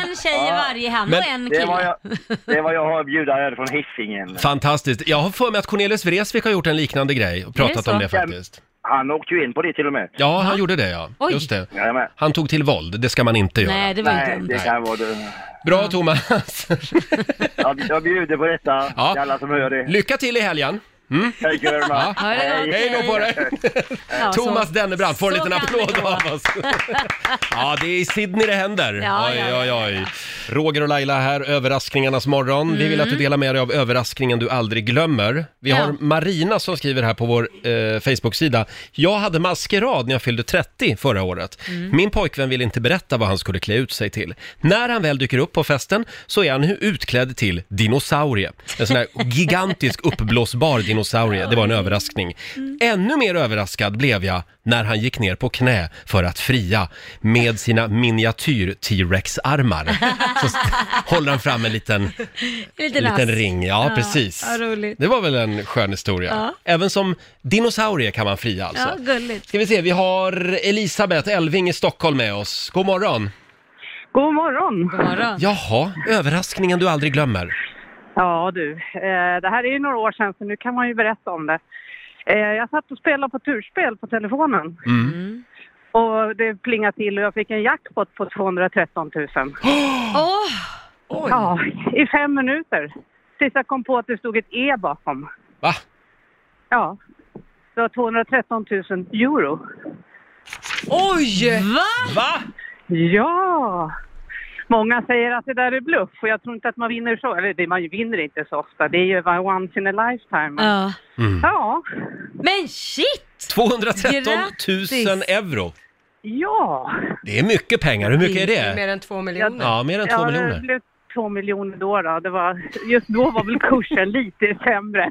[SPEAKER 4] En tjej i
[SPEAKER 15] Ja.
[SPEAKER 4] varje hand
[SPEAKER 1] Men-
[SPEAKER 4] och en
[SPEAKER 15] Det var,
[SPEAKER 4] kille.
[SPEAKER 15] jag, det var jag har att bjuda er från Hisingen.
[SPEAKER 1] Fantastiskt. Jag har för mig att Cornelis Vreeswijk har gjort en liknande grej och pratat om det faktiskt.
[SPEAKER 15] Han åkte ju in på det till och med.
[SPEAKER 1] Ja, han gjorde det ja.
[SPEAKER 15] Oj.
[SPEAKER 1] Just det.
[SPEAKER 15] Jajamän.
[SPEAKER 1] Han tog till våld, det ska man inte göra.
[SPEAKER 4] Nej, det var ju
[SPEAKER 15] Nej,
[SPEAKER 4] dumt.
[SPEAKER 15] det kan vara det.
[SPEAKER 1] Bra Thomas!
[SPEAKER 15] Jag, jag bjuder på detta, till alla som hör det.
[SPEAKER 1] Lycka till i helgen! Mm.
[SPEAKER 15] Thank you very much.
[SPEAKER 1] Ja.
[SPEAKER 15] Ha det
[SPEAKER 1] Hej.
[SPEAKER 15] gott,
[SPEAKER 1] Hej då på dig!
[SPEAKER 4] Ja, så-
[SPEAKER 1] Thomas Dennebrand får en
[SPEAKER 4] så
[SPEAKER 1] liten
[SPEAKER 4] kan
[SPEAKER 1] applåd
[SPEAKER 4] det gå.
[SPEAKER 1] av oss. Ja, det är i Sydney det händer.
[SPEAKER 4] Ja,
[SPEAKER 1] oj,
[SPEAKER 4] ja, ja,
[SPEAKER 1] oj, oj. Roger och Laila här, överraskningarnas morgon. Vi vill att du delar med dig av överraskningen du aldrig glömmer. Vi
[SPEAKER 4] Ja.
[SPEAKER 1] har Marina som skriver här på vår eh, Facebook-sida. Jag hade maskerad när jag fyllde 30 förra året. Min pojkvän vill inte berätta vad han skulle klä ut sig till. När han väl dyker upp på festen så är han hu- utklädd till dinosaurie. En sån här gigantisk uppblåsbar dinosaurie. Det var en överraskning. Ännu mer överraskad blev jag när han gick ner på knä för att fria med sina miniatyr T-Rex-armar. Så st- håller han fram en liten,
[SPEAKER 4] En
[SPEAKER 1] en
[SPEAKER 4] liten,
[SPEAKER 1] liten
[SPEAKER 4] ask.
[SPEAKER 1] ring. Ja, precis.
[SPEAKER 4] Ja, roligt.
[SPEAKER 1] Det var väl en skön historia.
[SPEAKER 4] Ja.
[SPEAKER 1] Även som dinosaurie kan man fria alltså.
[SPEAKER 4] Ja, gulligt.
[SPEAKER 1] Ska vi se, vi har Elisabeth Elving i Stockholm med oss. God morgon!
[SPEAKER 16] God morgon! God
[SPEAKER 4] morgon.
[SPEAKER 1] Jaha, överraskningen du aldrig glömmer.
[SPEAKER 16] Ja du, eh, det här är ju några år sedan så nu kan man ju berätta om det. Eh, Jag satt och spelade på turspel på telefonen
[SPEAKER 2] mm.
[SPEAKER 1] Mm.
[SPEAKER 16] och det plingade till och jag fick en jackpot på 213 000.
[SPEAKER 4] Åh!
[SPEAKER 16] Ja, i fem minuter. Tills jag kom på att det stod ett E bakom.
[SPEAKER 1] Va?
[SPEAKER 16] Ja, det var 213 000 euro.
[SPEAKER 2] Oj!
[SPEAKER 4] Va?
[SPEAKER 1] Va?
[SPEAKER 16] Ja! Många säger att det där är bluff och jag tror inte att man vinner så. Eller det, man vinner inte så ofta. Det är ju bara once in a lifetime. Men-
[SPEAKER 4] Ja.
[SPEAKER 1] Mm.
[SPEAKER 16] Ja.
[SPEAKER 4] Men shit!
[SPEAKER 1] 213
[SPEAKER 4] Grattis.
[SPEAKER 1] 000 euro!
[SPEAKER 16] Ja.
[SPEAKER 1] Det är mycket pengar, hur mycket är
[SPEAKER 2] Mer
[SPEAKER 1] det?
[SPEAKER 2] än två miljoner.
[SPEAKER 1] Ja, mer än två
[SPEAKER 16] ja,
[SPEAKER 1] miljoner.
[SPEAKER 16] Det blev två miljoner då. då. Det var, just då var väl kursen lite sämre.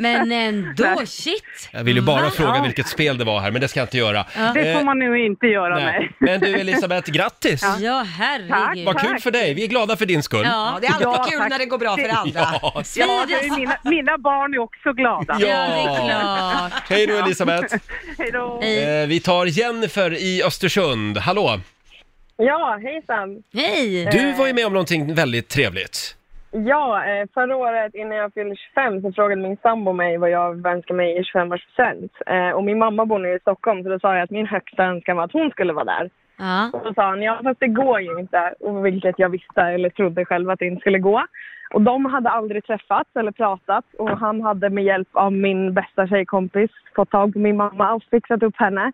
[SPEAKER 4] Men
[SPEAKER 2] eh,
[SPEAKER 4] ändå, shit!
[SPEAKER 1] Jag vill ju bara
[SPEAKER 4] Va?
[SPEAKER 1] fråga vilket spel det var här, men det ska jag inte göra.
[SPEAKER 16] Det får
[SPEAKER 1] Eh,
[SPEAKER 16] man nu inte göra, nej.
[SPEAKER 1] nej. Men du Elisabeth, grattis!
[SPEAKER 4] Ja, herregud.
[SPEAKER 1] Vad kul för dig, vi är glada för din skull.
[SPEAKER 4] Ja,
[SPEAKER 2] det är alltid
[SPEAKER 16] Ja,
[SPEAKER 2] kul
[SPEAKER 16] tack.
[SPEAKER 2] när det går bra för andra.
[SPEAKER 1] Ja.
[SPEAKER 16] Ja, det är mina, mina barn är också glada.
[SPEAKER 1] Ja, det är klart. Hej då, Elisabeth.
[SPEAKER 16] Hej då.
[SPEAKER 1] Eh, vi tar Jennifer i Östersund, hallå!
[SPEAKER 17] Ja, hejsan. Eh,
[SPEAKER 4] Hej!
[SPEAKER 1] Du var ju med om någonting väldigt trevligt.
[SPEAKER 17] Ja, eh, förra året innan jag fyllde 25 så frågade min sambo mig vad jag önskade mig i 25-årspresent. Eh, Och min mamma bor nu i Stockholm så då sa jag att min högsta önskan var att hon skulle vara där.
[SPEAKER 4] Ja.
[SPEAKER 17] Och då sa han, ja fast det går ju inte. Och vilket jag visste eller trodde själv att det inte skulle gå. Och de hade aldrig träffats eller pratat och han hade med hjälp av min bästa tjejkompis fått tag på min mamma och fixat upp henne.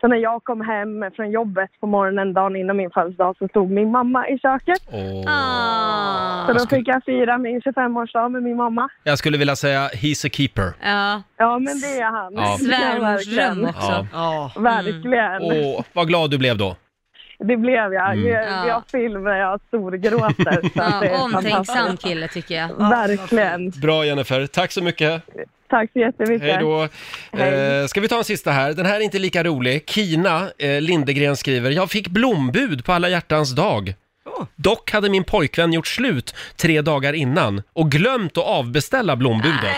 [SPEAKER 17] Så när jag kom hem från jobbet på morgonen dagen innan min födelsedag så stod min mamma i köket. Så då fick jag fira min 25-årsdag med min mamma.
[SPEAKER 1] Jag skulle vilja säga he's a keeper.
[SPEAKER 4] Ja,
[SPEAKER 17] ja men det är han.
[SPEAKER 1] Ja.
[SPEAKER 17] Svärmorsdröm
[SPEAKER 1] också.
[SPEAKER 2] Ja.
[SPEAKER 4] Mm.
[SPEAKER 17] Verkligen.
[SPEAKER 1] Åh, vad glad du blev då.
[SPEAKER 17] Det blev jag.
[SPEAKER 1] Mm.
[SPEAKER 17] Jag, jag filmar, jag storgråter. Så att det är
[SPEAKER 4] Ja, omtänksam
[SPEAKER 17] fantastiskt.
[SPEAKER 4] kille tycker jag.
[SPEAKER 17] Verkligen.
[SPEAKER 1] Bra Jennifer, tack så mycket.
[SPEAKER 17] Tack så jättemycket.
[SPEAKER 1] Hej då. Eh, ska vi ta en sista här? Den här är inte lika rolig. Kina eh, Lindegren skriver, jag fick blombud på alla hjärtans dag. Dock hade min pojkvän gjort slut tre dagar innan och glömt att avbeställa blombudet.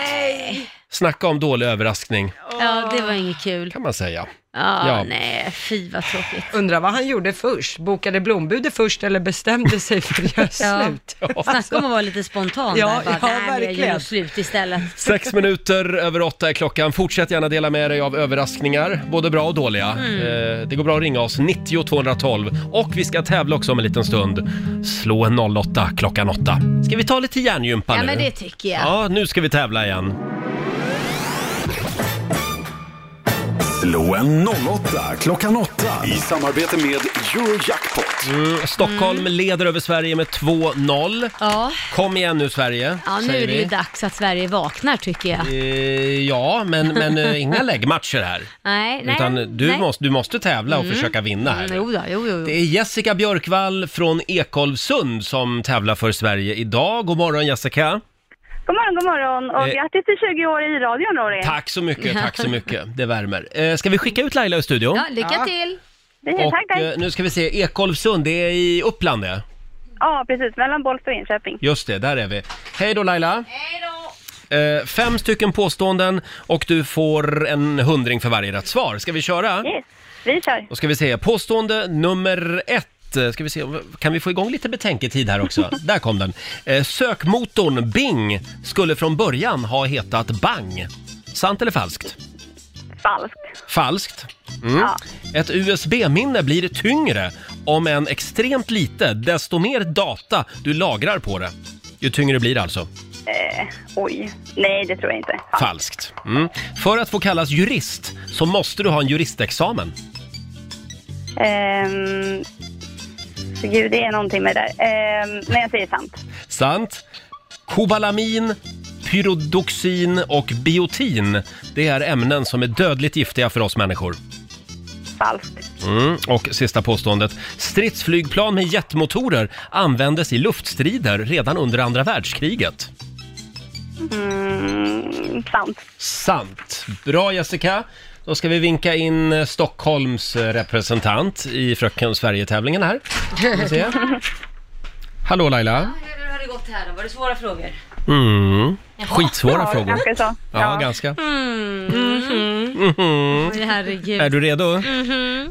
[SPEAKER 1] Snacka om dålig överraskning,
[SPEAKER 4] Ja, det var inget kul.
[SPEAKER 1] kan man säga.
[SPEAKER 4] Ja,
[SPEAKER 1] Ja.
[SPEAKER 4] nej, fy vad tråkigt.
[SPEAKER 2] Undrar vad han gjorde först. Bokade blombudet först eller bestämde sig för att göra
[SPEAKER 4] Ja.
[SPEAKER 2] slut?
[SPEAKER 4] Snacka om att vara lite spontan
[SPEAKER 2] Ja,
[SPEAKER 4] där. Bara,
[SPEAKER 2] ja,
[SPEAKER 4] nej, men jag
[SPEAKER 2] verkligen.
[SPEAKER 4] gör slut istället.
[SPEAKER 1] Sex minuter över åtta är klockan. Fortsätt gärna dela med dig av överraskningar, både bra och dåliga.
[SPEAKER 4] Mm.
[SPEAKER 1] Eh, det går bra att ringa oss, 90 212. Och vi ska tävla också om en liten stund. Slå en 08 klockan 8. Ska vi ta lite hjärngympa
[SPEAKER 4] Ja,
[SPEAKER 1] nu?
[SPEAKER 4] men det tycker jag.
[SPEAKER 1] Ja, nu ska vi tävla igen.
[SPEAKER 3] Slå en 08 klockan 8 i samarbete med Eurojackpot.
[SPEAKER 1] Mm, Stockholm leder över Sverige med 2-0.
[SPEAKER 4] Ja.
[SPEAKER 1] Kom igen nu Sverige,
[SPEAKER 4] Ja, nu
[SPEAKER 1] säger
[SPEAKER 4] är det ju
[SPEAKER 1] vi.
[SPEAKER 4] dags att Sverige vaknar tycker jag.
[SPEAKER 1] Eh, ja, men, men eh, inga läggmatcher här.
[SPEAKER 4] Nej, nej.
[SPEAKER 1] Utan du,
[SPEAKER 4] nej.
[SPEAKER 1] Måste, du måste tävla och
[SPEAKER 4] Mm.
[SPEAKER 1] försöka vinna här.
[SPEAKER 4] Mm, Jo, då, jo, jo, jo.
[SPEAKER 1] Det är Jessica Björkvall från Ekolvsund som tävlar för Sverige idag. God morgon Jessica!
[SPEAKER 18] God morgon, god morgon och
[SPEAKER 1] Eh.
[SPEAKER 18] grattis till 20 år i radion Rory.
[SPEAKER 1] Tack så mycket, tack så mycket. Det värmer. Eh, ska vi skicka ut Laila ur studion?
[SPEAKER 18] Ja, lycka Ja.
[SPEAKER 4] till.
[SPEAKER 18] Det- tack, tack.
[SPEAKER 1] Och, eh, nu ska vi se, Ekolvsund, det är i Uppland det.
[SPEAKER 18] Ja, precis. Mellan Bollsta och Enköping.
[SPEAKER 1] Just det, där är vi. Hej då Laila! Hej då! Eh, fem stycken påståenden och du får en hundring för varje rätt svar. Ska vi köra?
[SPEAKER 18] Yes, vi kör.
[SPEAKER 1] Då ska vi se, påstående nummer ett. Eh, Ska vi se, kan vi få igång lite betänketid här också? Där kom den. Eh, sökmotorn Bing skulle från början ha hetat Bang. Sant eller falskt?
[SPEAKER 18] Falskt.
[SPEAKER 1] Falskt. Mm. Ett USB-minne blir tyngre om än extremt lite, desto mer data du lagrar på det. Ju tyngre blir det alltså.
[SPEAKER 18] Eh, oj. Nej, det tror jag inte.
[SPEAKER 1] Falskt. Mm. För att få kallas jurist så måste du ha en juristexamen.
[SPEAKER 18] Ehm, så gud, det är någonting med det där. Ehm, men jag säger sant.
[SPEAKER 1] Sant. Kobalamin, pyridoxin och biotin, det är ämnen som är dödligt giftiga för oss människor.
[SPEAKER 18] Falskt.
[SPEAKER 1] Mm. Och sista påståendet. Stridsflygplan med jetmotorer användes i luftstrider redan under andra världskriget.
[SPEAKER 18] Mm, sant.
[SPEAKER 1] Sant. Bra Jessica. Då ska vi vinka in eh, Stockholms eh, representant i Fröken Sverige-tävlingen här. Ska vi se.
[SPEAKER 18] Mm.
[SPEAKER 1] Hallå Laila.
[SPEAKER 4] Hur har det gått här då? Var det svåra frågor?
[SPEAKER 1] Mm. Skitsvåra
[SPEAKER 4] Ja,
[SPEAKER 1] frågor.
[SPEAKER 4] ganska så.
[SPEAKER 1] Ja,
[SPEAKER 4] Ja.
[SPEAKER 1] ganska.
[SPEAKER 4] Mm.
[SPEAKER 1] Mhm.
[SPEAKER 4] Oj, Herregud.
[SPEAKER 1] Är du redo?
[SPEAKER 4] Mhm.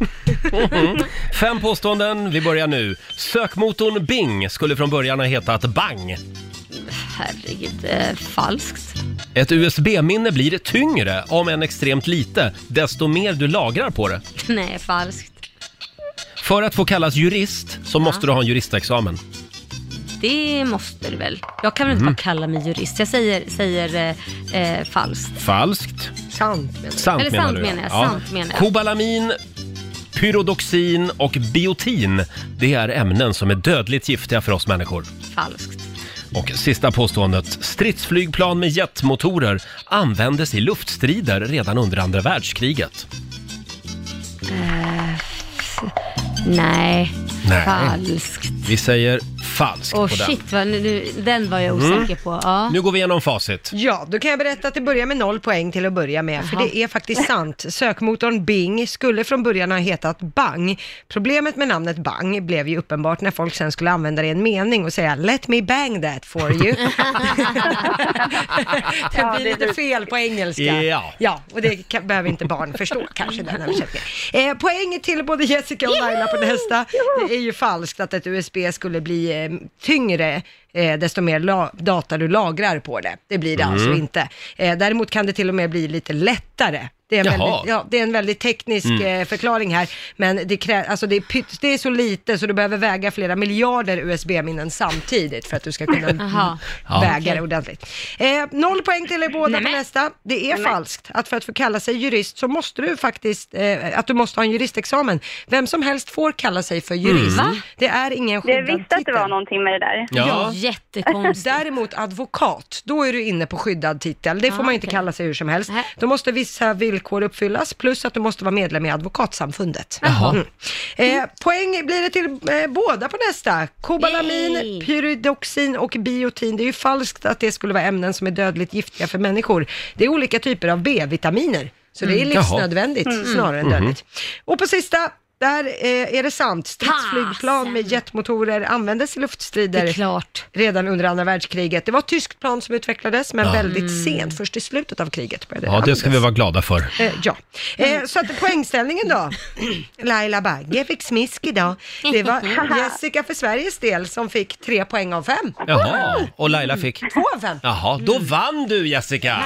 [SPEAKER 1] Mhm. Fem påståenden, vi börjar nu. Sökmotorn Bing skulle från början ha hetat Bang.
[SPEAKER 4] Herregud, eh, falskt.
[SPEAKER 1] Ett USB-minne blir tyngre, om än extremt lite, desto mer du lagrar på det.
[SPEAKER 4] Nej, falskt.
[SPEAKER 1] För att få kallas jurist så måste du ha en juristexamen.
[SPEAKER 4] Det måste du väl? Jag kan väl inte
[SPEAKER 1] Mm.
[SPEAKER 4] bara kalla mig jurist? Jag säger, säger eh, eh, falskt.
[SPEAKER 1] Falskt.
[SPEAKER 4] Sant menar jag.
[SPEAKER 1] Sant
[SPEAKER 4] Eller
[SPEAKER 1] menar
[SPEAKER 4] sant
[SPEAKER 1] du,
[SPEAKER 4] menar jag.
[SPEAKER 1] Ja.
[SPEAKER 4] Sant menar jag.
[SPEAKER 1] Kobalamin, pyridoxin och biotin, det är ämnen som är dödligt giftiga för oss människor.
[SPEAKER 4] Falskt.
[SPEAKER 1] Och sista påståendet. Stridsflygplan med jetmotorer användes i luftstrider redan under andra världskriget.
[SPEAKER 4] Eh, f- nej.
[SPEAKER 1] Nej.
[SPEAKER 4] Falskt.
[SPEAKER 1] Vi säger falskt
[SPEAKER 4] Åh
[SPEAKER 1] på den.
[SPEAKER 4] shit, vad, nu, nu, den var jag osäker
[SPEAKER 1] Mm.
[SPEAKER 4] på. Ja.
[SPEAKER 1] Nu går vi igenom facit.
[SPEAKER 2] Ja, då kan jag berätta att det börjar med noll poäng till att börja med, för det är faktiskt sant. Sökmotorn Bing skulle från början ha hetat Bang. Problemet med namnet Bang blev ju uppenbart när folk sen skulle använda det i en mening och säga “Let me bang that for you”. det blir lite fel på engelska.
[SPEAKER 1] Ja.
[SPEAKER 2] ja och det kan, behöver inte barn förstå kanske, den översättningen. Eh, poäng till både Jessica och Laila på nästa. Det är ju falskt att ett USB skulle bli eh, tyngre eh, desto mer la- data du lagrar på det. Det blir det
[SPEAKER 4] Mm.
[SPEAKER 2] alltså inte. Eh, däremot kan det till och med bli lite lättare. Det är, en
[SPEAKER 4] Jaha.
[SPEAKER 2] väldigt, ja, det är en väldigt teknisk
[SPEAKER 4] Mm.
[SPEAKER 2] eh, förklaring här, men det, krä- alltså det, är pytt- det är så lite så du behöver väga flera miljarder USB-minnen samtidigt för att du ska kunna
[SPEAKER 4] Jaha.
[SPEAKER 1] Ja.
[SPEAKER 2] väga det
[SPEAKER 1] Okej.
[SPEAKER 2] ordentligt. Eh, noll poäng till er båda på nästa. Det är falskt att för att få kalla sig jurist så måste du faktiskt, eh, att du måste ha en juristexamen. Vem som helst får kalla sig för jurist.
[SPEAKER 18] Mm. Va?
[SPEAKER 2] Det är ingen
[SPEAKER 18] Jag
[SPEAKER 2] skyddad
[SPEAKER 18] visste att det var någonting med det där.
[SPEAKER 4] jättekonstigt.
[SPEAKER 2] Däremot advokat, då är du inne på skyddad titel. Det får
[SPEAKER 18] Ah,
[SPEAKER 2] man ju inte
[SPEAKER 18] okej.
[SPEAKER 2] kalla sig hur som helst. Då måste vissa villkor uppfyllas, plus att du måste vara medlem i Advokatsamfundet. Mm. Eh, poäng blir det till eh, båda på nästa. Kobalamin, pyridoxin och biotin. Det är ju falskt att det skulle vara ämnen som är dödligt giftiga för människor. Det är olika typer av B-vitaminer. Så det är
[SPEAKER 4] Mm. Jaha.
[SPEAKER 2] livsnödvändigt
[SPEAKER 4] Mm.
[SPEAKER 2] snarare än
[SPEAKER 7] Mm-hmm.
[SPEAKER 1] Mhm.
[SPEAKER 4] Mm.
[SPEAKER 2] dödligt. Och på sista, där eh, är det sant. Stridsflygplan med jetmotorer användes i luftstrider
[SPEAKER 4] Det är klart.
[SPEAKER 2] redan under andra världskriget. Det var ett tyskt plan som utvecklades, men
[SPEAKER 1] Ja.
[SPEAKER 2] väldigt
[SPEAKER 4] Mm.
[SPEAKER 2] sent. Först i slutet av kriget började
[SPEAKER 1] Ja, det ska vi
[SPEAKER 2] användas.
[SPEAKER 1] vara glada för.
[SPEAKER 2] Eh, ja, eh, så att poängställningen då. Laila Bagge fick smisk idag. Det var Jessica för Sveriges del som fick tre poäng av fem.
[SPEAKER 1] Jaha, och Laila fick?
[SPEAKER 2] Två av fem.
[SPEAKER 1] Jaha, då vann du Jessica!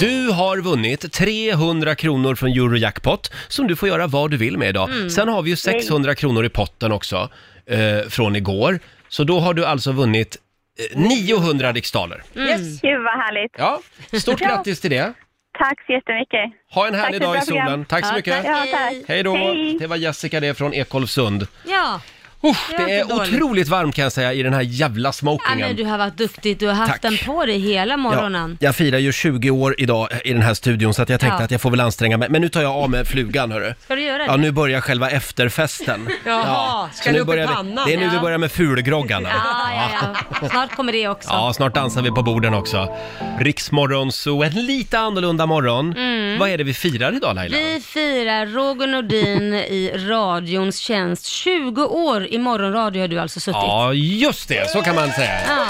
[SPEAKER 1] Du har vunnit 300 kronor från Eurojackpot som du får göra vad du vill med idag.
[SPEAKER 9] Mm.
[SPEAKER 1] Sen har vi ju 600 kronor i potten också eh, från igår. Så då har du alltså vunnit eh, 900 riksdaler.
[SPEAKER 18] Yes. Gud vad härligt.
[SPEAKER 1] Ja, Stort grattis till det!
[SPEAKER 18] Tack så jättemycket.
[SPEAKER 1] Ha en härlig
[SPEAKER 18] Tack för
[SPEAKER 1] dag i
[SPEAKER 18] ett bra program.
[SPEAKER 1] solen. Tack så
[SPEAKER 18] Ja,
[SPEAKER 1] mycket.
[SPEAKER 18] Ja, tack.
[SPEAKER 1] Hej då!
[SPEAKER 18] Hej.
[SPEAKER 1] Det var Jessica det från Ekolvsund.
[SPEAKER 4] Ja.
[SPEAKER 1] Det är otroligt varmt kan jag säga i den här jävla
[SPEAKER 4] Ja, men
[SPEAKER 1] smokingen.
[SPEAKER 4] du har varit duktig, du har haft den på dig hela morgonen.
[SPEAKER 1] Jag firar ju 20 år idag eh, i den här studion så att jag tänkte
[SPEAKER 4] Ja.
[SPEAKER 1] att jag får väl anstränga mig. Men nu tar jag av mig flugan hörru.
[SPEAKER 4] Ska du göra det?
[SPEAKER 1] Ja, nu börjar själva efterfesten.
[SPEAKER 4] Jaha,
[SPEAKER 1] Ja,
[SPEAKER 4] ska
[SPEAKER 1] så
[SPEAKER 4] du
[SPEAKER 1] nu
[SPEAKER 4] upp i
[SPEAKER 1] börjar vi-
[SPEAKER 4] pannan?
[SPEAKER 1] Det är nu vi
[SPEAKER 4] Ja.
[SPEAKER 1] börjar med fulgroggarna.
[SPEAKER 4] Ja, ja, ja. Snart kommer det också.
[SPEAKER 1] Ja, snart dansar vi på borden också. Riksmorgon, så en lite annorlunda morgon.
[SPEAKER 4] Mm.
[SPEAKER 1] Vad är det vi firar idag Laila?
[SPEAKER 4] Vi firar Roger Nordin i radions tjänst. 20 år i morgonradio har du alltså suttit.
[SPEAKER 1] Ja, just det, så kan man säga.
[SPEAKER 4] Ja.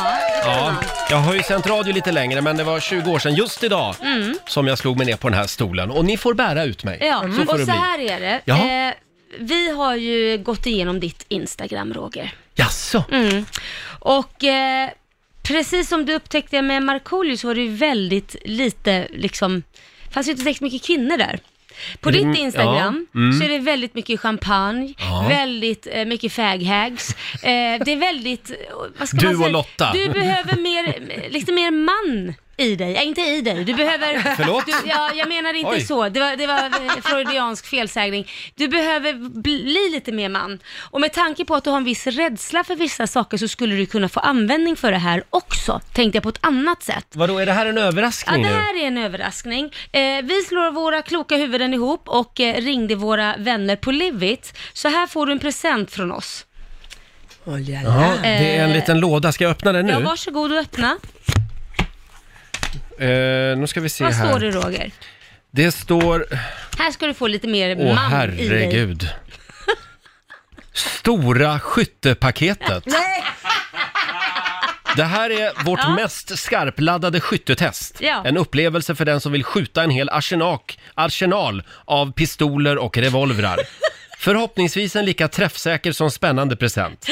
[SPEAKER 1] Ja, jag har ju sänt radio lite längre men det var 20 år sedan just idag
[SPEAKER 4] Mm.
[SPEAKER 1] som jag slog mig ner på den här stolen. Och ni får bära ut mig.
[SPEAKER 4] Ja,
[SPEAKER 1] Så får
[SPEAKER 4] och
[SPEAKER 1] det
[SPEAKER 4] så
[SPEAKER 1] bli.
[SPEAKER 4] här är det.
[SPEAKER 1] Jaha.
[SPEAKER 4] Eh, vi har ju gått igenom ditt Instagram, Roger.
[SPEAKER 1] Jaså?
[SPEAKER 4] Mm. Och eh, precis som du upptäckte med Markoolio så var det ju väldigt lite, liksom, fanns ju inte så mycket kvinnor där. På
[SPEAKER 19] Är det
[SPEAKER 4] ditt
[SPEAKER 19] m-
[SPEAKER 4] Instagram
[SPEAKER 19] ja, mm.
[SPEAKER 4] så är det väldigt mycket champagne,
[SPEAKER 19] Ja.
[SPEAKER 4] väldigt eh, mycket faghags. Eh, det är väldigt, eh, vad ska
[SPEAKER 1] Du
[SPEAKER 4] man säga?
[SPEAKER 1] och Lotta.
[SPEAKER 4] Du behöver mer, eh, lite mer man i dig. Äh, inte i dig, du behöver...
[SPEAKER 1] Förlåt?
[SPEAKER 4] Du, ja, jag menar inte
[SPEAKER 1] Oj.
[SPEAKER 4] så. Det var, det var eh, freudiansk felsägning. Du behöver bli lite mer man. Och med tanke på att du har en viss rädsla för vissa saker så skulle du kunna få användning för det här också, tänkte jag på ett annat sätt.
[SPEAKER 1] Vadå, är det här en
[SPEAKER 4] Ja,
[SPEAKER 1] överraskning
[SPEAKER 4] det
[SPEAKER 1] nu?
[SPEAKER 4] här är en överraskning. Eh, vi slår våra kloka huvuden ihop och eh, ringde våra vänner på Livit. Så här får du en present från oss.
[SPEAKER 1] Ja, det är en
[SPEAKER 4] Eh,
[SPEAKER 1] liten låda. Ska jag öppna den nu?
[SPEAKER 4] Ja, varsågod och öppna.
[SPEAKER 1] Eh, nu ska vi se
[SPEAKER 4] Vad
[SPEAKER 1] här.
[SPEAKER 4] står det Roger?
[SPEAKER 1] Det står...
[SPEAKER 4] Här ska du få lite mer
[SPEAKER 1] Åh,
[SPEAKER 4] man i dig.
[SPEAKER 1] herregud. Stora skyttepaketet.
[SPEAKER 4] Nej!
[SPEAKER 1] Det här är vårt
[SPEAKER 4] Ja.
[SPEAKER 1] mest skarpladdade skyttetest.
[SPEAKER 4] Ja.
[SPEAKER 1] En upplevelse för den som vill skjuta en hel arsenak, arsenal av pistoler och revolvrar. Förhoppningsvis en lika träffsäker som spännande present.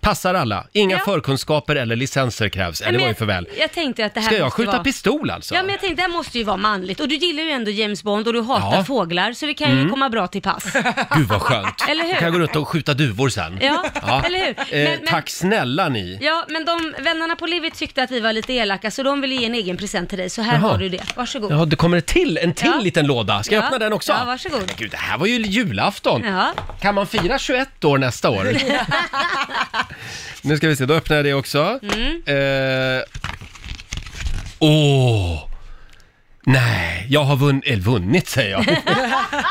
[SPEAKER 1] Passar alla. Inga
[SPEAKER 4] Ja.
[SPEAKER 1] förkunskaper eller licenser krävs. Äh,
[SPEAKER 4] Nej,
[SPEAKER 1] det
[SPEAKER 4] men
[SPEAKER 1] var ju
[SPEAKER 4] jag-
[SPEAKER 1] för väl.
[SPEAKER 4] Jag tänkte att det här
[SPEAKER 1] Ska jag
[SPEAKER 4] måste
[SPEAKER 1] skjuta
[SPEAKER 4] vara...
[SPEAKER 1] pistol alltså?
[SPEAKER 4] Ja, men jag tänkte det här måste ju vara manligt. Och du gillar ju ändå James Bond och du hatar
[SPEAKER 1] Ja.
[SPEAKER 4] fåglar, så det kan ju
[SPEAKER 1] Mm.
[SPEAKER 4] komma bra till pass.
[SPEAKER 1] Gud vad skönt.
[SPEAKER 4] Eller hur?
[SPEAKER 1] Då kan jag gå runt och skjuta duvor sen.
[SPEAKER 4] Ja, eller hur?
[SPEAKER 1] Eh,
[SPEAKER 4] Men- men-
[SPEAKER 1] Tack snälla ni.
[SPEAKER 4] Ja, men de vännerna på Livit tyckte att vi var lite elaka, så de ville ge en egen present till dig. Så här
[SPEAKER 1] Jaha.
[SPEAKER 4] har du det. Varsågod.
[SPEAKER 1] Ja, det kommer ett till, en till
[SPEAKER 4] Ja.
[SPEAKER 1] liten låda. Ska jag
[SPEAKER 4] Ja.
[SPEAKER 1] öppna den också?
[SPEAKER 4] Ja, varsågod.
[SPEAKER 1] Men gud, det här var ju julafton.
[SPEAKER 4] Ja.
[SPEAKER 1] Kan man fira 21 år nästa år? nu ska vi se, då öppnar jag det också.
[SPEAKER 4] Mm.
[SPEAKER 1] Eh, Åh! Nej, jag har vunn, eller vunnit säger jag.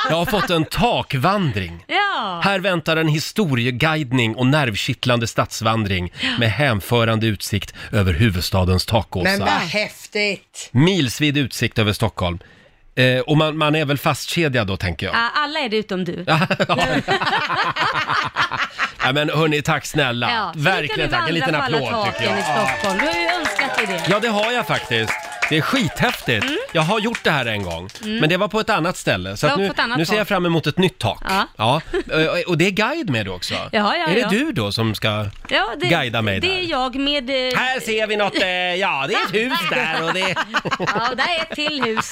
[SPEAKER 1] Jag har fått en takvandring.
[SPEAKER 4] Ja.
[SPEAKER 1] Här väntar en historieguidning och nervkittlande stadsvandring med hänförande utsikt över huvudstadens
[SPEAKER 2] Men vad
[SPEAKER 1] takåsar.
[SPEAKER 2] häftigt!
[SPEAKER 1] Milsvid utsikt över Stockholm. Eh, och man, man är väl fastkedjad då tänker jag.
[SPEAKER 4] Ah, Alla är det utom du.
[SPEAKER 1] Nej, men hörni, tack snälla.
[SPEAKER 4] Ja, så nu kan
[SPEAKER 1] Verkligen
[SPEAKER 4] du
[SPEAKER 1] tack. En
[SPEAKER 4] vandra
[SPEAKER 1] liten
[SPEAKER 4] på alla
[SPEAKER 1] applåd tycker
[SPEAKER 4] taken
[SPEAKER 1] jag.
[SPEAKER 4] i Stockholm. Du har ju önskat dig det.
[SPEAKER 1] Ja, det har jag faktiskt. Det är skithäftigt. Jag har gjort det här en gång,
[SPEAKER 4] Mm.
[SPEAKER 1] men det var på ett annat ställe. Så
[SPEAKER 4] Det
[SPEAKER 1] att
[SPEAKER 4] var
[SPEAKER 1] nu,
[SPEAKER 4] på ett annat
[SPEAKER 1] nu ser jag
[SPEAKER 4] tak.
[SPEAKER 1] fram emot ett nytt tak.
[SPEAKER 4] Ja.
[SPEAKER 1] Ja. eh, Och det är guide med då också.
[SPEAKER 4] ja,
[SPEAKER 1] är det
[SPEAKER 4] ja.
[SPEAKER 1] du då som ska
[SPEAKER 4] Ja, det,
[SPEAKER 1] guida mig
[SPEAKER 4] det
[SPEAKER 1] där?
[SPEAKER 4] är jag med... eh,
[SPEAKER 1] Här ser vi något, eh, ja det är ett hus där och det...
[SPEAKER 4] Ja, och där är ett till hus.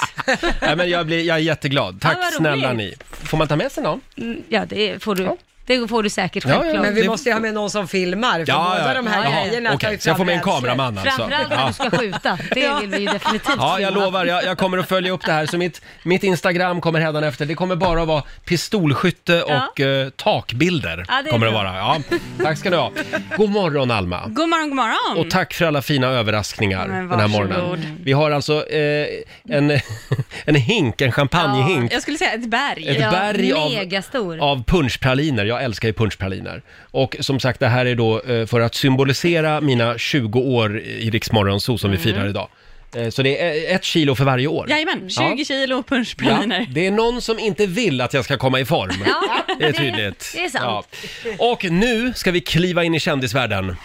[SPEAKER 1] Nej, men jag, blir, jag är jätteglad. Tack
[SPEAKER 4] Ja, vad
[SPEAKER 1] snälla ni.
[SPEAKER 4] roligt.
[SPEAKER 1] Får man ta med sig någon?
[SPEAKER 4] Mm, Ja, det får du. Det får du säkert
[SPEAKER 1] Ja, ja,
[SPEAKER 4] självklart.
[SPEAKER 1] men vi Det- måste
[SPEAKER 2] ju ha med någon som filmar,
[SPEAKER 1] för Ja, ja. båda de här Jaha, grejerna tar okej, ju så jag fram får med en rädslor. kameraman alltså.
[SPEAKER 4] Framförallt när
[SPEAKER 1] Ja.
[SPEAKER 4] du ska skjuta. Det vill vi ju definitivt
[SPEAKER 1] Ja, jag
[SPEAKER 4] filma.
[SPEAKER 1] lovar. Jag, jag kommer att följa upp det här. Så mitt, mitt Instagram kommer hädanefter. Det kommer bara att vara pistolskytte
[SPEAKER 4] Ja.
[SPEAKER 1] och eh, takbilder.
[SPEAKER 4] Ja, det är
[SPEAKER 1] kommer det
[SPEAKER 4] bra.
[SPEAKER 1] vara. Ja. Tack ska du ha. God morgon, Alma.
[SPEAKER 19] God morgon, god morgon.
[SPEAKER 1] Och tack för alla fina överraskningar
[SPEAKER 19] Men
[SPEAKER 1] den här
[SPEAKER 19] varsågod.
[SPEAKER 1] morgonen. Vi har alltså eh, en, en hink, en champagnehink
[SPEAKER 19] Jag skulle säga ett berg.
[SPEAKER 1] Ett berg av-
[SPEAKER 19] Megastor.
[SPEAKER 1] av punschpraliner. Jag älskar ju punschpraliner. Och som sagt, det här är då eh, för att symbolisera mina 20 år i Riksmorgon så som vi firar idag. Eh, Så det är eh, ett kilo för varje år.
[SPEAKER 19] Mm. Jajamän, 20
[SPEAKER 1] Ja.
[SPEAKER 19] kilo
[SPEAKER 1] Ja,
[SPEAKER 19] punschpraliner.
[SPEAKER 1] det är någon som inte vill att jag ska komma i form.
[SPEAKER 19] Ja,
[SPEAKER 1] det är
[SPEAKER 19] det-
[SPEAKER 1] tydligt.
[SPEAKER 19] det är sant.
[SPEAKER 1] Och nu ska vi kliva in i kändisvärlden.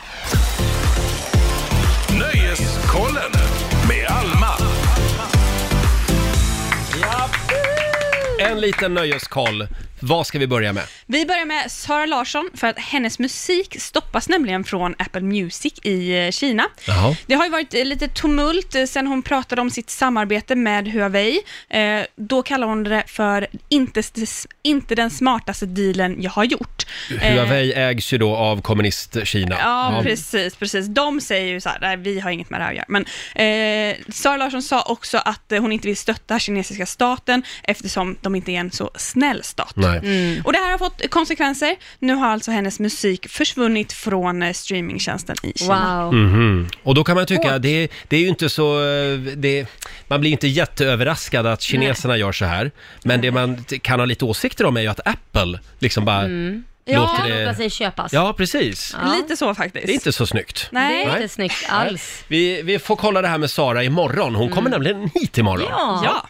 [SPEAKER 3] Nöjeskollen med Alma.
[SPEAKER 1] En liten nöjeskoll. Vad ska vi börja med?
[SPEAKER 19] Vi börjar med Sara Larsson för att hennes musik stoppas nämligen från Apple Music i eh, Kina.
[SPEAKER 1] Jaha.
[SPEAKER 19] Det har ju varit eh, lite tumult eh, sen hon pratade om sitt samarbete med Huawei. Eh, då kallar hon det för inte, s- inte den smartaste dealen jag har gjort. Eh,
[SPEAKER 1] Huawei ägs ju då av kommunist-Kina.
[SPEAKER 19] Ja, precis, precis. De säger ju så här, nej, vi har inget med det här att göra. Men eh, Sara Larsson sa också att eh, hon inte vill stötta kinesiska staten eftersom de inte är en så snäll stat. Mm.
[SPEAKER 1] Nej.
[SPEAKER 19] Och det här har fått konsekvenser. Nu har alltså hennes musik försvunnit från eh, streamingtjänsten i Kina.
[SPEAKER 1] Mhm. Och då kan man tycka, det, det är ju inte så, eh, det, man blir inte jätteöverraskad att kineserna gör så här. Men det man t- kan ha lite åsikter om är ju att Apple liksom bara
[SPEAKER 4] Mm.
[SPEAKER 1] låter
[SPEAKER 4] Ja, han låter sig
[SPEAKER 1] det...
[SPEAKER 4] köpas.
[SPEAKER 1] Ja, precis.
[SPEAKER 19] Lite så faktiskt.
[SPEAKER 1] Det är inte så snyggt.
[SPEAKER 4] Nej. Det är inte snyggt alls.
[SPEAKER 1] Vi, vi får kolla det här med Sara imorgon. Hon kommer nämligen hit imorgon.
[SPEAKER 19] Mm. Ja.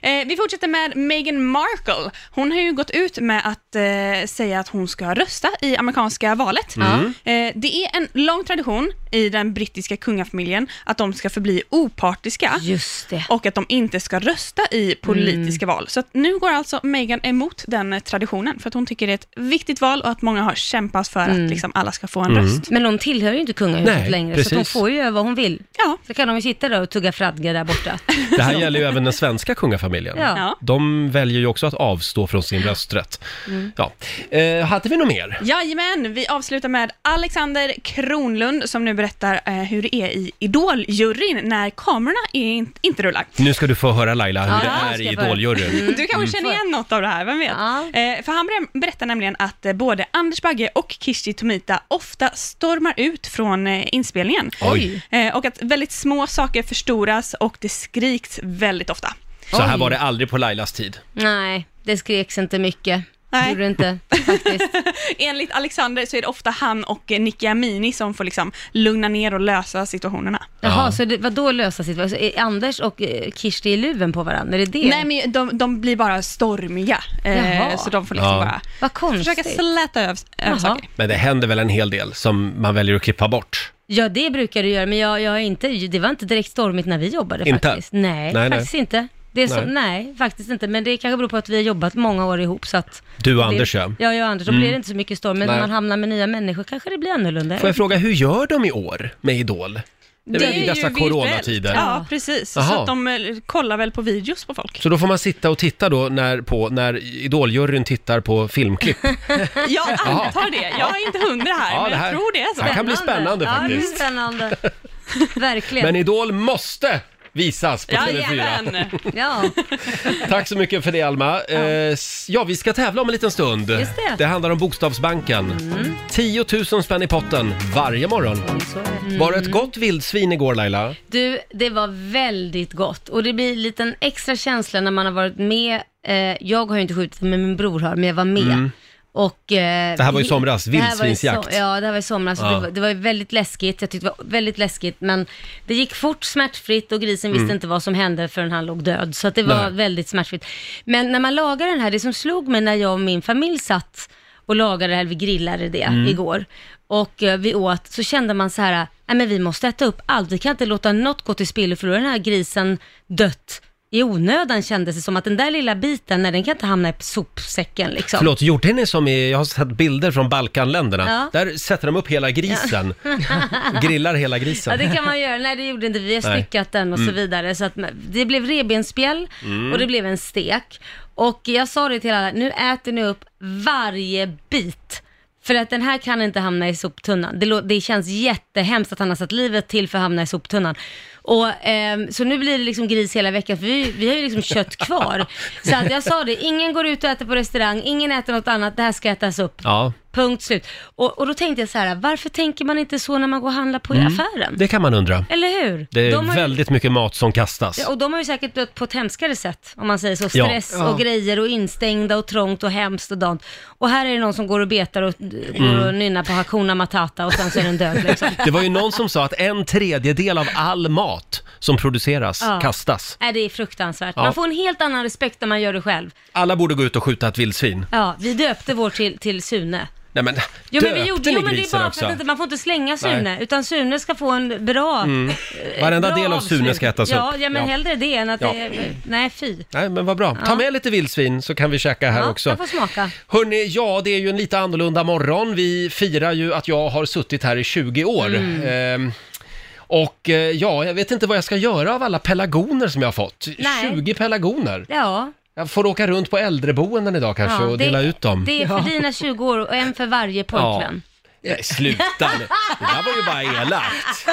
[SPEAKER 19] Eh, vi fortsätter med Meghan Markle. Hon har ju gått ut med att eh, säga att hon ska rösta i amerikanska valet.
[SPEAKER 4] Mm.
[SPEAKER 19] Eh, det är en lång tradition i den brittiska kungafamiljen att de ska förbli opartiska och att de inte ska rösta i politiska
[SPEAKER 4] Mm.
[SPEAKER 19] val. Så att nu går alltså Meghan emot den eh, traditionen för att hon tycker det är ett viktigt val och att många har kämpat för
[SPEAKER 4] Mm.
[SPEAKER 19] att liksom, alla ska få en
[SPEAKER 4] Mm.
[SPEAKER 19] röst.
[SPEAKER 4] Men hon tillhör ju inte kungahuset
[SPEAKER 1] Nej,
[SPEAKER 4] längre, så
[SPEAKER 1] precis.
[SPEAKER 4] att hon får ju göra vad hon vill.
[SPEAKER 19] Ja.
[SPEAKER 4] Så kan de ju sitta där och tugga fradga där borta.
[SPEAKER 1] Det här gäller ju även den svenska kungafamiljen.
[SPEAKER 4] Ja.
[SPEAKER 1] De väljer ju också att avstå från sin rösträtt.
[SPEAKER 19] Mm.
[SPEAKER 1] Ja. Eh, hade vi något mer?
[SPEAKER 19] Jajamän, vi avslutar med Alexander Kronlund som nu berättar eh, hur det är i Idol-juryn när kamerorna är in, inte rullar.
[SPEAKER 1] Nu ska du få höra Laila hur
[SPEAKER 19] Ja,
[SPEAKER 1] det
[SPEAKER 19] jag
[SPEAKER 1] är
[SPEAKER 19] ska
[SPEAKER 1] i Mm.
[SPEAKER 19] få höra. Mm.
[SPEAKER 1] Idoljuryn.
[SPEAKER 19] Du kanske känner igen något av det här, vem vet? Eh, för han ber- berättar nämligen att eh, både Anders Bagge och Kirsti Tomita ofta stormar ut från eh, inspelningen.
[SPEAKER 1] Oj.
[SPEAKER 19] Eh, och att väldigt små saker förstoras och det skriks väldigt ofta.
[SPEAKER 1] Så här var det aldrig på Lailas tid.
[SPEAKER 4] Nej, det skreks inte mycket.
[SPEAKER 19] Nej.
[SPEAKER 4] Gjorde det inte.
[SPEAKER 19] Enligt Alexander så är det ofta han och eh, Nicky Amini som får liksom lugna ner och lösa situationerna.
[SPEAKER 4] Jaha, så det, vadå lösa situationen? Är Anders och eh, Kirsti i luven på varandra? Är det det?
[SPEAKER 19] Nej, men de, de blir bara stormiga. Eh,
[SPEAKER 4] Jaha.
[SPEAKER 19] så de får liksom
[SPEAKER 1] Ja.
[SPEAKER 19] bara
[SPEAKER 4] Vad konstigt.
[SPEAKER 19] försöka släta över, över saker.
[SPEAKER 1] Men det händer väl en hel del som man väljer att klippa bort.
[SPEAKER 4] Ja, det brukar du göra, men jag, jag är inte, det var inte direkt stormigt när vi jobbade
[SPEAKER 1] Inte?
[SPEAKER 4] faktiskt. Nej,
[SPEAKER 1] Nej,
[SPEAKER 4] faktiskt
[SPEAKER 1] nej.
[SPEAKER 4] inte. Det är så,
[SPEAKER 1] Nej.
[SPEAKER 4] nej. faktiskt inte, men det kanske beror på att vi har jobbat många år ihop så att...
[SPEAKER 1] Du och
[SPEAKER 4] det-
[SPEAKER 1] Anders, ja.
[SPEAKER 4] ja. jag och Anders, då
[SPEAKER 1] Mm.
[SPEAKER 4] blir det inte så mycket storm, men
[SPEAKER 1] Nej.
[SPEAKER 4] när man hamnar med nya människor kanske det blir annorlunda.
[SPEAKER 1] Får jag fråga, hur gör de i år med Idol? Det är I dessa
[SPEAKER 19] virtuellt.
[SPEAKER 1] coronatider.
[SPEAKER 19] Ja, precis.
[SPEAKER 1] Jaha.
[SPEAKER 19] Så att de eh, kollar väl på videos på folk.
[SPEAKER 1] Så då får man sitta och titta då när, på, när Idoljuryn tittar på filmklipp.
[SPEAKER 19] Jag
[SPEAKER 1] Jaha.
[SPEAKER 19] antar det. Jag är inte hundra här,
[SPEAKER 1] Ja,
[SPEAKER 19] men
[SPEAKER 1] det här-
[SPEAKER 19] jag tror det är så.
[SPEAKER 1] det här kan bli spännande
[SPEAKER 4] Ja, det är
[SPEAKER 1] faktiskt.
[SPEAKER 4] spännande. Verkligen.
[SPEAKER 1] Men Idol måste visas på TV4.
[SPEAKER 4] Ja.
[SPEAKER 1] Tack så mycket för det Alma. Eh, s- Ja, vi ska tävla om en liten stund.
[SPEAKER 4] Just det.
[SPEAKER 1] handlar om Bokstavsbanken. 10 000 spänn i potten varje morgon.
[SPEAKER 4] Mm.
[SPEAKER 1] Var det ett gott vildsvin igår Laila?
[SPEAKER 4] Du, det var väldigt gott och det blir en liten extra känsla när man har varit med. Eh, jag har ju inte skjutit men min bror har, men jag var med.
[SPEAKER 1] Mm.
[SPEAKER 4] Och, eh,
[SPEAKER 1] Det här var i somras,
[SPEAKER 4] det här var i
[SPEAKER 1] vildsvinsjakt.
[SPEAKER 4] so- ja, det här var i somras.
[SPEAKER 1] Ja.
[SPEAKER 4] Det, var, det var ju väldigt läskigt. Jag tyckte det var väldigt läskigt, men det gick fort, smärtfritt och grisen visste
[SPEAKER 1] Mm.
[SPEAKER 4] inte vad som hände förrän han låg död. Så att det var
[SPEAKER 1] Nej.
[SPEAKER 4] väldigt smärtfritt. Men när man lagar den här, det som slog mig när jag och min familj satt och lagade det här, vi grillade det
[SPEAKER 20] Mm.
[SPEAKER 4] igår och eh, vi åt, så kände man så här, nej men vi måste äta upp allt, vi kan inte låta något gå till spillo för då har den här grisen dött i onödan kändes det som att den där lilla biten, nej den kan inte hamna i sopsäcken liksom.
[SPEAKER 1] Förlåt, gjorde ni som i, jag har sett bilder från Balkanländerna.
[SPEAKER 4] Ja.
[SPEAKER 1] Där sätter de upp hela grisen. Grillar hela grisen.
[SPEAKER 4] Ja, det kan man göra. Nej, det gjorde inte vi. Vi har
[SPEAKER 1] Nej.
[SPEAKER 4] styckat den och så
[SPEAKER 1] Mm.
[SPEAKER 4] vidare. Så att det blev revbensspjäll
[SPEAKER 1] Mm.
[SPEAKER 4] och det blev en stek. Och jag sa det till alla, nu äter ni upp varje bit. För att den här kan inte hamna i soptunnan. Det, lå- det känns jättehemskt att han har satt livet till för att hamna i soptunnan. Och, ehm, så nu blir det liksom gris hela veckan, för vi, vi har ju liksom kött kvar. Så att jag sa det, ingen går ut och äter på restaurang, ingen äter något annat, det här ska ätas upp.
[SPEAKER 1] Ja.
[SPEAKER 4] Punkt slut. Och, och då tänkte jag så här, varför tänker man inte så när man går och handlar på i
[SPEAKER 1] Mm.
[SPEAKER 4] affären?
[SPEAKER 1] Det kan man undra.
[SPEAKER 4] Eller hur?
[SPEAKER 1] Det är
[SPEAKER 4] De har ju-
[SPEAKER 1] väldigt mycket mat som kastas.
[SPEAKER 4] Ja, och de har ju säkert dött på ett hemskare sätt, om man säger så.
[SPEAKER 1] Ja.
[SPEAKER 4] Stress
[SPEAKER 1] Ja.
[SPEAKER 4] och grejer och instängda och trångt och hemskt och dant. Och här är det någon som går och betar och, går
[SPEAKER 1] Mm.
[SPEAKER 4] och nynnar på Hakuna Matata och sen så är den död liksom.
[SPEAKER 1] Det var ju någon som sa att en tredjedel av all mat som produceras
[SPEAKER 4] Ja.
[SPEAKER 1] kastas.
[SPEAKER 4] Nej, det är fruktansvärt.
[SPEAKER 1] Ja.
[SPEAKER 4] Man får en helt annan respekt när man gör det själv.
[SPEAKER 1] Alla borde gå ut och skjuta ett vildsvin.
[SPEAKER 4] Ja, vi döpte vår till, till Sune.
[SPEAKER 1] Nej men,
[SPEAKER 4] Jo men, vi
[SPEAKER 1] döpte
[SPEAKER 4] gjorde,
[SPEAKER 1] ni
[SPEAKER 4] jo, men det är
[SPEAKER 1] grisen
[SPEAKER 4] bara
[SPEAKER 1] också?
[SPEAKER 4] för att inte, man får inte slänga Sune,
[SPEAKER 1] Nej.
[SPEAKER 4] utan Sune ska få en bra...
[SPEAKER 1] Mm.
[SPEAKER 4] eh,
[SPEAKER 1] Varenda del av
[SPEAKER 4] avslut.
[SPEAKER 1] Sune ska ätas
[SPEAKER 4] ja,
[SPEAKER 1] upp.
[SPEAKER 4] Ja, men
[SPEAKER 1] Ja.
[SPEAKER 4] hellre det än att
[SPEAKER 1] Ja.
[SPEAKER 4] det... Nej, fy.
[SPEAKER 1] Nej men vad bra. Ta
[SPEAKER 4] Ja.
[SPEAKER 1] med lite vildsvin så kan vi käka här
[SPEAKER 4] ja,
[SPEAKER 1] också.
[SPEAKER 4] Jag får smaka.
[SPEAKER 1] Hörni, ja det är ju en lite annorlunda morgon. Vi firar ju att jag har suttit här i 20 år.
[SPEAKER 4] Mm.
[SPEAKER 1] Ehm, och eh, ja, jag vet inte vad jag ska göra av alla pelargoner som jag har fått.
[SPEAKER 4] Nej.
[SPEAKER 1] 20 pelargoner.
[SPEAKER 4] Ja.
[SPEAKER 1] Jag får åka runt på äldreboenden idag kanske
[SPEAKER 4] Ja,
[SPEAKER 1] och
[SPEAKER 4] det-
[SPEAKER 1] dela ut dem.
[SPEAKER 4] Det är för dina 20 år och en för varje pojkvän.
[SPEAKER 1] Nej, sluta nu. Det där var ju bara elakt.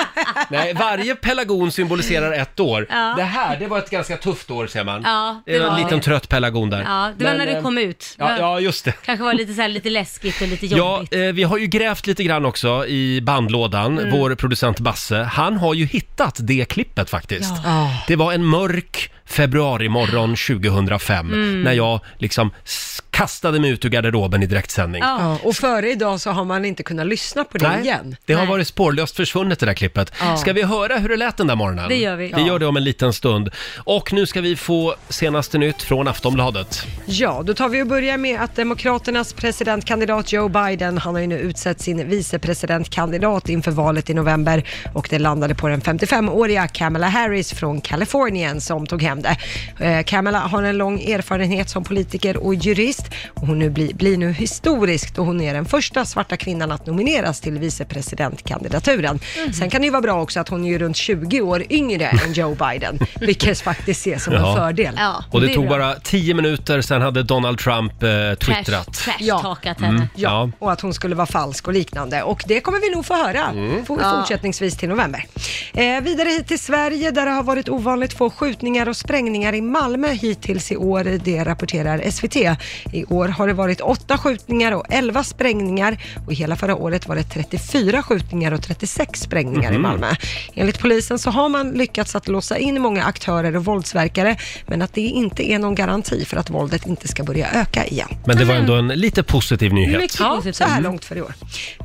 [SPEAKER 1] Nej, varje pelargon symboliserar ett år.
[SPEAKER 4] Ja.
[SPEAKER 1] Det här, det var ett ganska tufft år ser man.
[SPEAKER 4] Ja,
[SPEAKER 1] det var en liten trött pelargon där.
[SPEAKER 4] Ja, det var
[SPEAKER 1] Men,
[SPEAKER 4] när du
[SPEAKER 1] eh,
[SPEAKER 4] kom ut. Det
[SPEAKER 1] Ja,
[SPEAKER 4] var,
[SPEAKER 1] ja, just det.
[SPEAKER 4] kanske var lite, så här, lite läskigt och lite
[SPEAKER 1] Ja,
[SPEAKER 4] jobbigt.
[SPEAKER 1] eh, vi har ju grävt lite grann också i bandlådan.
[SPEAKER 4] Mm.
[SPEAKER 1] Vår producent Basse, han har ju hittat det klippet faktiskt.
[SPEAKER 4] Ja. Ah.
[SPEAKER 1] Det var en mörk februarimorgon 2005
[SPEAKER 2] Mm.
[SPEAKER 1] när jag liksom s- kastade mig ut ur garderoben i direktsändning.
[SPEAKER 2] Ja, och före idag så har man inte kunnat lyssna på det
[SPEAKER 1] Nej,
[SPEAKER 2] igen.
[SPEAKER 1] Det har varit spårlöst försvunnet det där klippet.
[SPEAKER 2] Ja.
[SPEAKER 1] Ska vi höra hur det lät den där morgonen?
[SPEAKER 2] Det gör vi.
[SPEAKER 1] Vi
[SPEAKER 2] Ja.
[SPEAKER 1] gör det om en liten stund. Och nu ska vi få senaste nytt från Aftonbladet.
[SPEAKER 2] Ja, då tar vi och börjar med att Demokraternas presidentkandidat Joe Biden, han har ju nu utsett sin vicepresidentkandidat inför valet i november och det landade på den 55-åriga Kamala Harris från Kalifornien som tog hem det. Eh, Kamala har en lång erfarenhet som politiker och jurist och hon nu blir, blir nu historisk då hon är den första svarta kvinnan att nomineras till vicepresidentkandidaturen.
[SPEAKER 1] Mhm.
[SPEAKER 2] Sen kan det ju vara bra också att hon är ju runt 20 år yngre än Joe Biden, vilket faktiskt ses som en
[SPEAKER 1] Ja.
[SPEAKER 2] fördel.
[SPEAKER 1] Och det, tog bara 10 minuter, sen hade Donald Trump eh, twittrat.
[SPEAKER 2] Trash-talkat
[SPEAKER 1] henne. Mm,
[SPEAKER 2] Ja.
[SPEAKER 1] ja.
[SPEAKER 2] och att hon skulle vara falsk och liknande. Och det kommer vi nog få höra
[SPEAKER 1] Mm.
[SPEAKER 2] for-
[SPEAKER 1] Ja.
[SPEAKER 2] fortsättningsvis till november. Eh, vidare hit till Sverige där det har varit ovanligt få skjutningar och sprängningar i Malmö hittills i år. Det rapporterar SVT. I år har det varit åtta skjutningar och elva sprängningar och hela förra året var det 34 skjutningar och 36 sprängningar i
[SPEAKER 20] Mhm.
[SPEAKER 2] Malmö. Enligt polisen så har man lyckats att låsa in många aktörer och våldsverkare men att det inte är någon garanti för att våldet inte ska börja öka igen.
[SPEAKER 1] Men det var ändå en lite positiv nyhet.
[SPEAKER 2] Ja, så här långt för i år.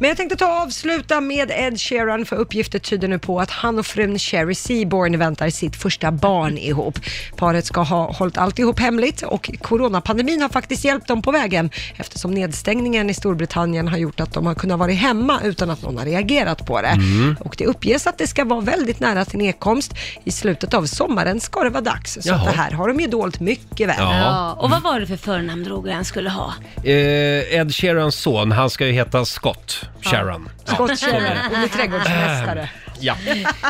[SPEAKER 2] Men jag tänkte ta och avsluta med Ed Sheeran för uppgifter tyder nu på att han och frun Sherry Seaborn väntar sitt första barn ihop. Paret ska ha hållit alltihop hemligt och coronapandemin har faktiskt hjälpt dem på vägen eftersom nedstängningen i Storbritannien har gjort att de har kunnat vara hemma utan att någon har reagerat på det.
[SPEAKER 20] Mm.
[SPEAKER 2] Och det uppges att det ska vara väldigt nära sin nedkomst. I slutet av sommaren ska det vara dags. Så att
[SPEAKER 4] Jaha.
[SPEAKER 2] det här har de ju dolt mycket väl.
[SPEAKER 1] Ja.
[SPEAKER 4] Ja, och vad var det för förnamn Roger han skulle ha?
[SPEAKER 1] Eh, Ed Sheerans son, han ska ju heta Scott Sharon.
[SPEAKER 2] Scott
[SPEAKER 1] så är
[SPEAKER 2] Sheeran,
[SPEAKER 1] det.
[SPEAKER 2] och blir trädgårdsmästare.
[SPEAKER 1] Ja.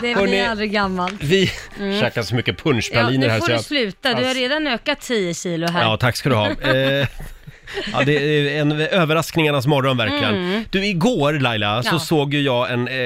[SPEAKER 4] Det
[SPEAKER 1] Hörrni,
[SPEAKER 4] blir aldrig gammalt.
[SPEAKER 1] Vi
[SPEAKER 4] Mm.
[SPEAKER 1] käkar så mycket
[SPEAKER 4] Ja,
[SPEAKER 1] punschpraliner
[SPEAKER 4] nu
[SPEAKER 1] här
[SPEAKER 4] får
[SPEAKER 1] så Alltså.
[SPEAKER 4] du
[SPEAKER 1] jag-
[SPEAKER 4] sluta. Du har redan ökat 10 kilo här.
[SPEAKER 1] Ja, tack ska du ha. Eh, Ja, det är en överraskningarnas morgon verkligen.
[SPEAKER 20] Mm.
[SPEAKER 1] Du, igår Laila så
[SPEAKER 20] Ja.
[SPEAKER 1] såg ju jag en eh,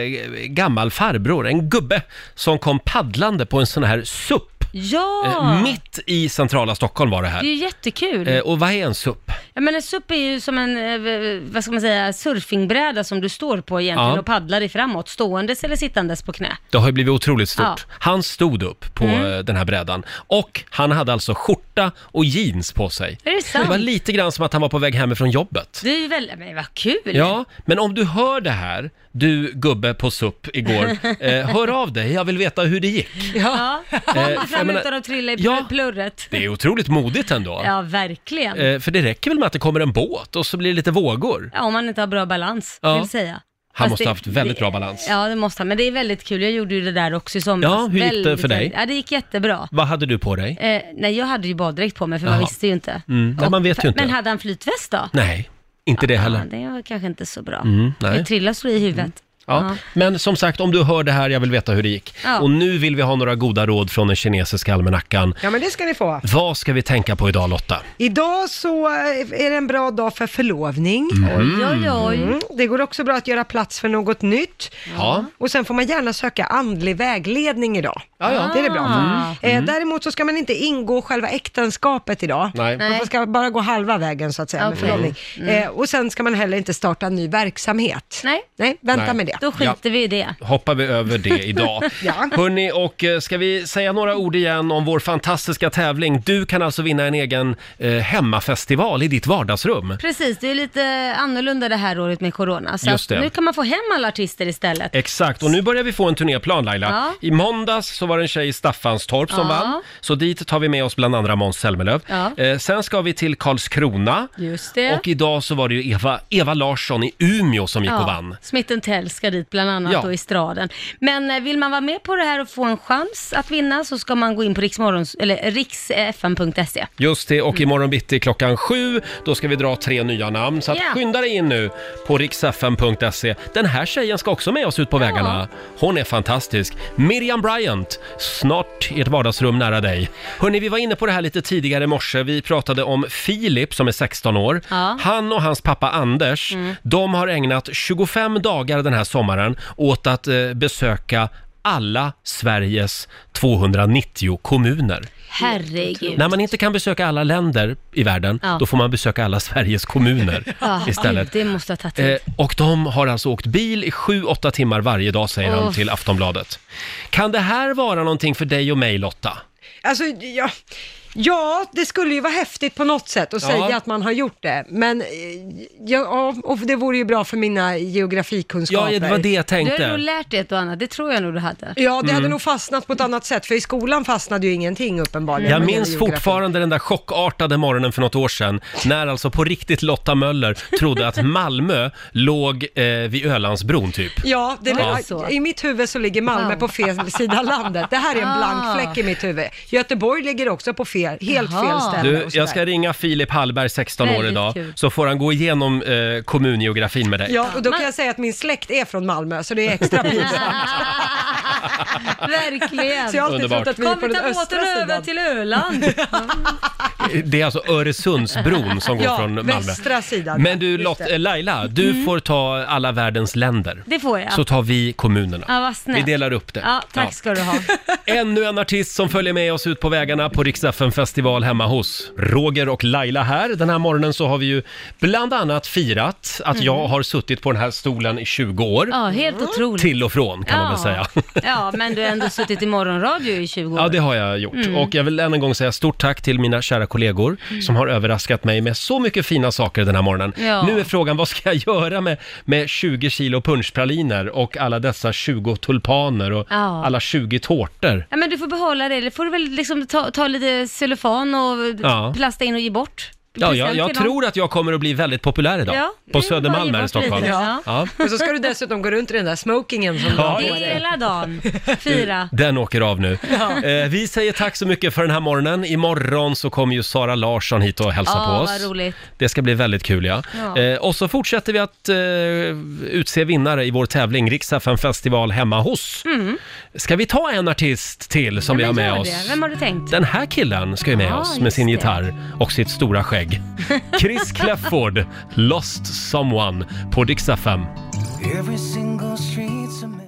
[SPEAKER 1] gammal farbror, en gubbe, som kom paddlande på en sån här SUP.
[SPEAKER 4] Ja!
[SPEAKER 1] Eh, mitt i centrala Stockholm var det
[SPEAKER 4] Det
[SPEAKER 1] här.
[SPEAKER 4] är ju jättekul.
[SPEAKER 1] Eh, och vad är en SUP?
[SPEAKER 4] Ja men en SUP är ju som en, eh, v- vad ska man säga, surfingbräda som du står på egentligen
[SPEAKER 1] Ja.
[SPEAKER 4] och paddlar i framåt, ståendes eller sittandes på knä.
[SPEAKER 1] Det har ju blivit otroligt stort.
[SPEAKER 4] Ja.
[SPEAKER 1] Han stod upp på
[SPEAKER 4] Mm.
[SPEAKER 1] eh, den här brädan och han hade alltså skjorta och jeans på sig.
[SPEAKER 4] Är det sant?
[SPEAKER 1] det var lite grann som att han var på väg hemifrån jobbet.
[SPEAKER 4] Det är ju väl, men vad kul!
[SPEAKER 1] Ja, men om du hör det här, du gubbe på SUP igår, eh, hör av dig, jag vill veta hur det gick.
[SPEAKER 4] Ja, kom
[SPEAKER 1] Eh,
[SPEAKER 4] du
[SPEAKER 1] jag
[SPEAKER 4] fram
[SPEAKER 1] menar-
[SPEAKER 4] utan att trilla i
[SPEAKER 1] Ja.
[SPEAKER 4] plurret.
[SPEAKER 1] Det är otroligt modigt ändå.
[SPEAKER 4] Ja, verkligen.
[SPEAKER 1] Eh, för det räcker väl med att det kommer en båt och så blir det lite vågor.
[SPEAKER 4] Ja, om man inte har bra balans,
[SPEAKER 1] Ja.
[SPEAKER 4] vill säga.
[SPEAKER 1] Han
[SPEAKER 4] Fast
[SPEAKER 1] måste
[SPEAKER 4] det-
[SPEAKER 1] ha haft väldigt
[SPEAKER 4] det-
[SPEAKER 1] bra balans.
[SPEAKER 4] Ja, det måste han. Men det är väldigt kul. Jag gjorde ju det där också i somras.
[SPEAKER 1] Ja, hur gick det för
[SPEAKER 4] Väldigt,
[SPEAKER 1] dig?
[SPEAKER 4] väldigt- Ja, det gick jättebra.
[SPEAKER 1] Vad hade du på dig?
[SPEAKER 4] Eh, nej, jag hade ju baddräkt på mig för man
[SPEAKER 1] Jaha.
[SPEAKER 4] visste ju inte.
[SPEAKER 1] Mm. Nej,
[SPEAKER 4] Och-
[SPEAKER 1] man vet ju inte.
[SPEAKER 4] Men hade han flytväst då?
[SPEAKER 1] Nej, inte det
[SPEAKER 4] Ja,
[SPEAKER 1] heller.
[SPEAKER 4] det var kanske inte så bra.
[SPEAKER 1] Mm, nej. Mm.
[SPEAKER 4] Det trillar så i huvudet.
[SPEAKER 1] Ja. Men som sagt, om du hör det här, jag vill veta hur det gick.
[SPEAKER 4] Ja.
[SPEAKER 1] Och nu vill vi ha några goda råd från den kinesiska almanackan.
[SPEAKER 2] Ja, men det ska ni få.
[SPEAKER 1] Vad ska vi tänka på idag Lotta?
[SPEAKER 2] Idag så eh, är det en bra dag för förlovning.
[SPEAKER 1] Mm. Oj, oj, oj.
[SPEAKER 2] Mm. Det går också bra att göra plats för något nytt.
[SPEAKER 1] Ja.
[SPEAKER 2] Och sen får man gärna söka andlig vägledning idag.
[SPEAKER 1] Ja, ja.
[SPEAKER 2] Det är det bra för.
[SPEAKER 1] Mm. Mm.
[SPEAKER 2] Eh, däremot så ska man inte ingå själva äktenskapet idag.
[SPEAKER 1] Nej. Nej.
[SPEAKER 2] Man ska bara gå halva vägen så att säga med
[SPEAKER 1] Okej.
[SPEAKER 2] förlovning.
[SPEAKER 1] Mm.
[SPEAKER 2] Eh, och sen ska man heller inte starta en ny verksamhet.
[SPEAKER 4] Nej,
[SPEAKER 2] Nej vänta
[SPEAKER 1] Nej.
[SPEAKER 2] med det.
[SPEAKER 1] Då skiter Ja.
[SPEAKER 4] vi i det.
[SPEAKER 1] Hoppar vi över det idag.
[SPEAKER 2] Ja.
[SPEAKER 1] Hörni, och eh, ska vi säga några ord igen om vår fantastiska tävling? Du kan alltså vinna en egen eh, hemmafestival i ditt vardagsrum.
[SPEAKER 4] Precis, det är lite annorlunda det här året med corona. Så
[SPEAKER 1] Just
[SPEAKER 4] att
[SPEAKER 1] det.
[SPEAKER 4] nu kan man få hem alla artister istället.
[SPEAKER 1] Exakt, och nu börjar vi få en turnéplan Laila.
[SPEAKER 4] Ja.
[SPEAKER 1] I måndags så var det en tjej i Staffanstorp som
[SPEAKER 4] Ja.
[SPEAKER 1] vann, så dit tar vi med oss bland andra Måns Zelmerlöw.
[SPEAKER 4] Ja.
[SPEAKER 1] Eh, sen ska vi till Karlskrona
[SPEAKER 4] Just det.
[SPEAKER 1] och idag så var det ju Eva, Eva Larsson i Umeå som gick och vann.
[SPEAKER 4] Smith Tell ska dit bland annat
[SPEAKER 1] Ja.
[SPEAKER 4] och Estraden. Men eh, vill man vara med på det här och få en chans att vinna så ska man gå in på riksmorgons, eller riksfn.se.
[SPEAKER 1] Just det,
[SPEAKER 20] Mm.
[SPEAKER 1] och imorgon bitti klockan sju, då ska vi dra tre nya namn. Så att
[SPEAKER 4] Ja.
[SPEAKER 1] skynda dig in nu på riksfm.se. Den här tjejen ska också med oss ut på vägarna. Hon är fantastisk. Miriam Bryant, snart i ett vardagsrum nära dig. Hörni, vi var inne på det här lite tidigare i morse. Vi pratade om Filip som är 16 år.
[SPEAKER 20] Ja.
[SPEAKER 1] Han och hans pappa Anders,
[SPEAKER 20] Mm.
[SPEAKER 1] de har ägnat 25 dagar den här sommaren åt att eh, besöka alla Sveriges 290 kommuner.
[SPEAKER 4] Herregud.
[SPEAKER 1] När man inte kan besöka alla länder i världen,
[SPEAKER 4] Ja.
[SPEAKER 1] då får man besöka alla Sveriges kommuner
[SPEAKER 4] Ja,
[SPEAKER 1] istället.
[SPEAKER 4] Gud, det måste ha tagit tid.
[SPEAKER 1] Eh, och de har alltså åkt bil i 7-8 timmar varje dag, säger
[SPEAKER 4] Åh.
[SPEAKER 1] de till Aftonbladet. Kan det här vara någonting för dig och mig, Lotta?
[SPEAKER 2] Alltså, ja, ja, det skulle ju vara häftigt på något sätt att
[SPEAKER 1] Ja.
[SPEAKER 2] säga att man har gjort det, men eh, ja, och det vore ju bra för mina geografikunskaper.
[SPEAKER 1] Ja, det var det jag tänkte.
[SPEAKER 4] Du har nog lärt dig ett och annat, det tror jag nog du hade.
[SPEAKER 2] Ja, det hade
[SPEAKER 1] Mm.
[SPEAKER 2] nog fastnat på ett annat sätt, för i skolan fastnade ju ingenting uppenbarligen.
[SPEAKER 1] Jag
[SPEAKER 2] vad gäller
[SPEAKER 1] minns
[SPEAKER 2] geografi.
[SPEAKER 1] fortfarande den där chockartade morgonen för något år sedan när alltså på riktigt Lotta Möller trodde att Malmö låg eh, vid Ölandsbron typ.
[SPEAKER 2] Ja, det
[SPEAKER 1] Var det
[SPEAKER 2] ja.
[SPEAKER 1] så?
[SPEAKER 2] i mitt huvud så ligger Malmö
[SPEAKER 4] Wow.
[SPEAKER 2] på fel sida av landet. Det här är en blank
[SPEAKER 4] Ah.
[SPEAKER 2] fläck i mitt huvud. Göteborg ligger också på fel, helt fel ställe.
[SPEAKER 1] Du,
[SPEAKER 2] och sådär.
[SPEAKER 1] jag ska ringa Filip Hallberg, 16 år
[SPEAKER 2] Väldigt
[SPEAKER 1] idag,
[SPEAKER 2] kul.
[SPEAKER 1] så får han gå igenom eh, kommungeografin med dig.
[SPEAKER 2] Ja, och då kan jag säga att min släkt är från Malmö, så det är extra pinsamt.
[SPEAKER 4] Verkligen.
[SPEAKER 2] Så jag har alltid
[SPEAKER 1] Underbart.
[SPEAKER 2] trott att vi är
[SPEAKER 4] Kom
[SPEAKER 2] på
[SPEAKER 4] vi
[SPEAKER 2] den
[SPEAKER 4] tar båten
[SPEAKER 2] östra
[SPEAKER 4] över
[SPEAKER 2] sidan.
[SPEAKER 4] till Öland.
[SPEAKER 1] Det är alltså Öresundsbron som går
[SPEAKER 4] Ja,
[SPEAKER 1] från Malmö.
[SPEAKER 4] västra sidan.
[SPEAKER 1] Men du
[SPEAKER 4] Just
[SPEAKER 1] Lot-
[SPEAKER 4] det.
[SPEAKER 1] eh, Laila, du
[SPEAKER 4] Mm.
[SPEAKER 1] får ta alla världens länder.
[SPEAKER 4] Det får jag.
[SPEAKER 1] Så tar vi kommunerna.
[SPEAKER 4] Ja, vad snällt.
[SPEAKER 1] Vi delar upp det.
[SPEAKER 4] Ja, tack ska du ha.
[SPEAKER 1] Ännu en artist som följer med oss ut på vägarna på Riksdagen festival hemma hos. Roger och Laila här. Den här morgonen så har vi ju bland annat firat att
[SPEAKER 4] Mm.
[SPEAKER 1] jag har suttit på den här stolen i 20 år.
[SPEAKER 4] Ja, helt otroligt.
[SPEAKER 1] Till och från kan man väl säga.
[SPEAKER 4] Ja, men du har ändå suttit i morgonradio i 20 år.
[SPEAKER 1] Ja, det har jag gjort.
[SPEAKER 4] Mm.
[SPEAKER 1] Och jag vill än en gång säga stort tack till mina kära kollegor som har överraskat mig med så mycket fina saker den här morgonen.
[SPEAKER 20] Ja.
[SPEAKER 1] Nu är frågan, vad ska jag göra med, med 20 kilo punschpraliner och alla dessa 20 tulpaner och
[SPEAKER 4] Ja.
[SPEAKER 1] alla 20 tårtor?
[SPEAKER 4] Ja, men du får behålla det, eller får du väl liksom ta, ta lite cellofan och
[SPEAKER 1] Ja.
[SPEAKER 4] plasta in och ge bort.
[SPEAKER 1] Ja, jag,
[SPEAKER 4] Present
[SPEAKER 1] jag
[SPEAKER 4] till någon.
[SPEAKER 1] tror att jag kommer att bli väldigt populär idag.
[SPEAKER 4] Ja,
[SPEAKER 1] på
[SPEAKER 4] bara
[SPEAKER 1] Södermalm
[SPEAKER 4] ge
[SPEAKER 1] här i
[SPEAKER 4] bort
[SPEAKER 1] Stockholm.
[SPEAKER 4] lite.
[SPEAKER 1] Ja.
[SPEAKER 4] Ja.
[SPEAKER 2] Och så ska du dessutom gå runt i den där smokingen som du
[SPEAKER 1] Ja.
[SPEAKER 2] har på dig.
[SPEAKER 4] Hela dagen. Fira.
[SPEAKER 1] Den åker av nu.
[SPEAKER 4] Ja.
[SPEAKER 1] Eh, vi säger tack så mycket för den här morgonen. Imorgon så kommer ju Sara Larsson hit och hälsa
[SPEAKER 4] Ja,
[SPEAKER 1] på oss.
[SPEAKER 4] vad roligt.
[SPEAKER 1] Det ska bli väldigt kul ja.
[SPEAKER 4] Ja.
[SPEAKER 1] Eh, och så fortsätter vi att eh, utse vinnare i vår tävling Riksdagen festival hemma hos.
[SPEAKER 4] Mm.
[SPEAKER 1] Ska vi ta en artist till som vi har
[SPEAKER 4] Men
[SPEAKER 1] med
[SPEAKER 4] gör
[SPEAKER 1] oss?
[SPEAKER 4] det. Vem har du tänkt?
[SPEAKER 1] Den här killen ska ju med
[SPEAKER 4] Ja,
[SPEAKER 1] oss med
[SPEAKER 4] just
[SPEAKER 1] sin
[SPEAKER 4] det.
[SPEAKER 1] gitarr och sitt stora skägg. väg. Chris Clefford, Lost Someone på Dix FM. Mm.
[SPEAKER 4] Every single street's a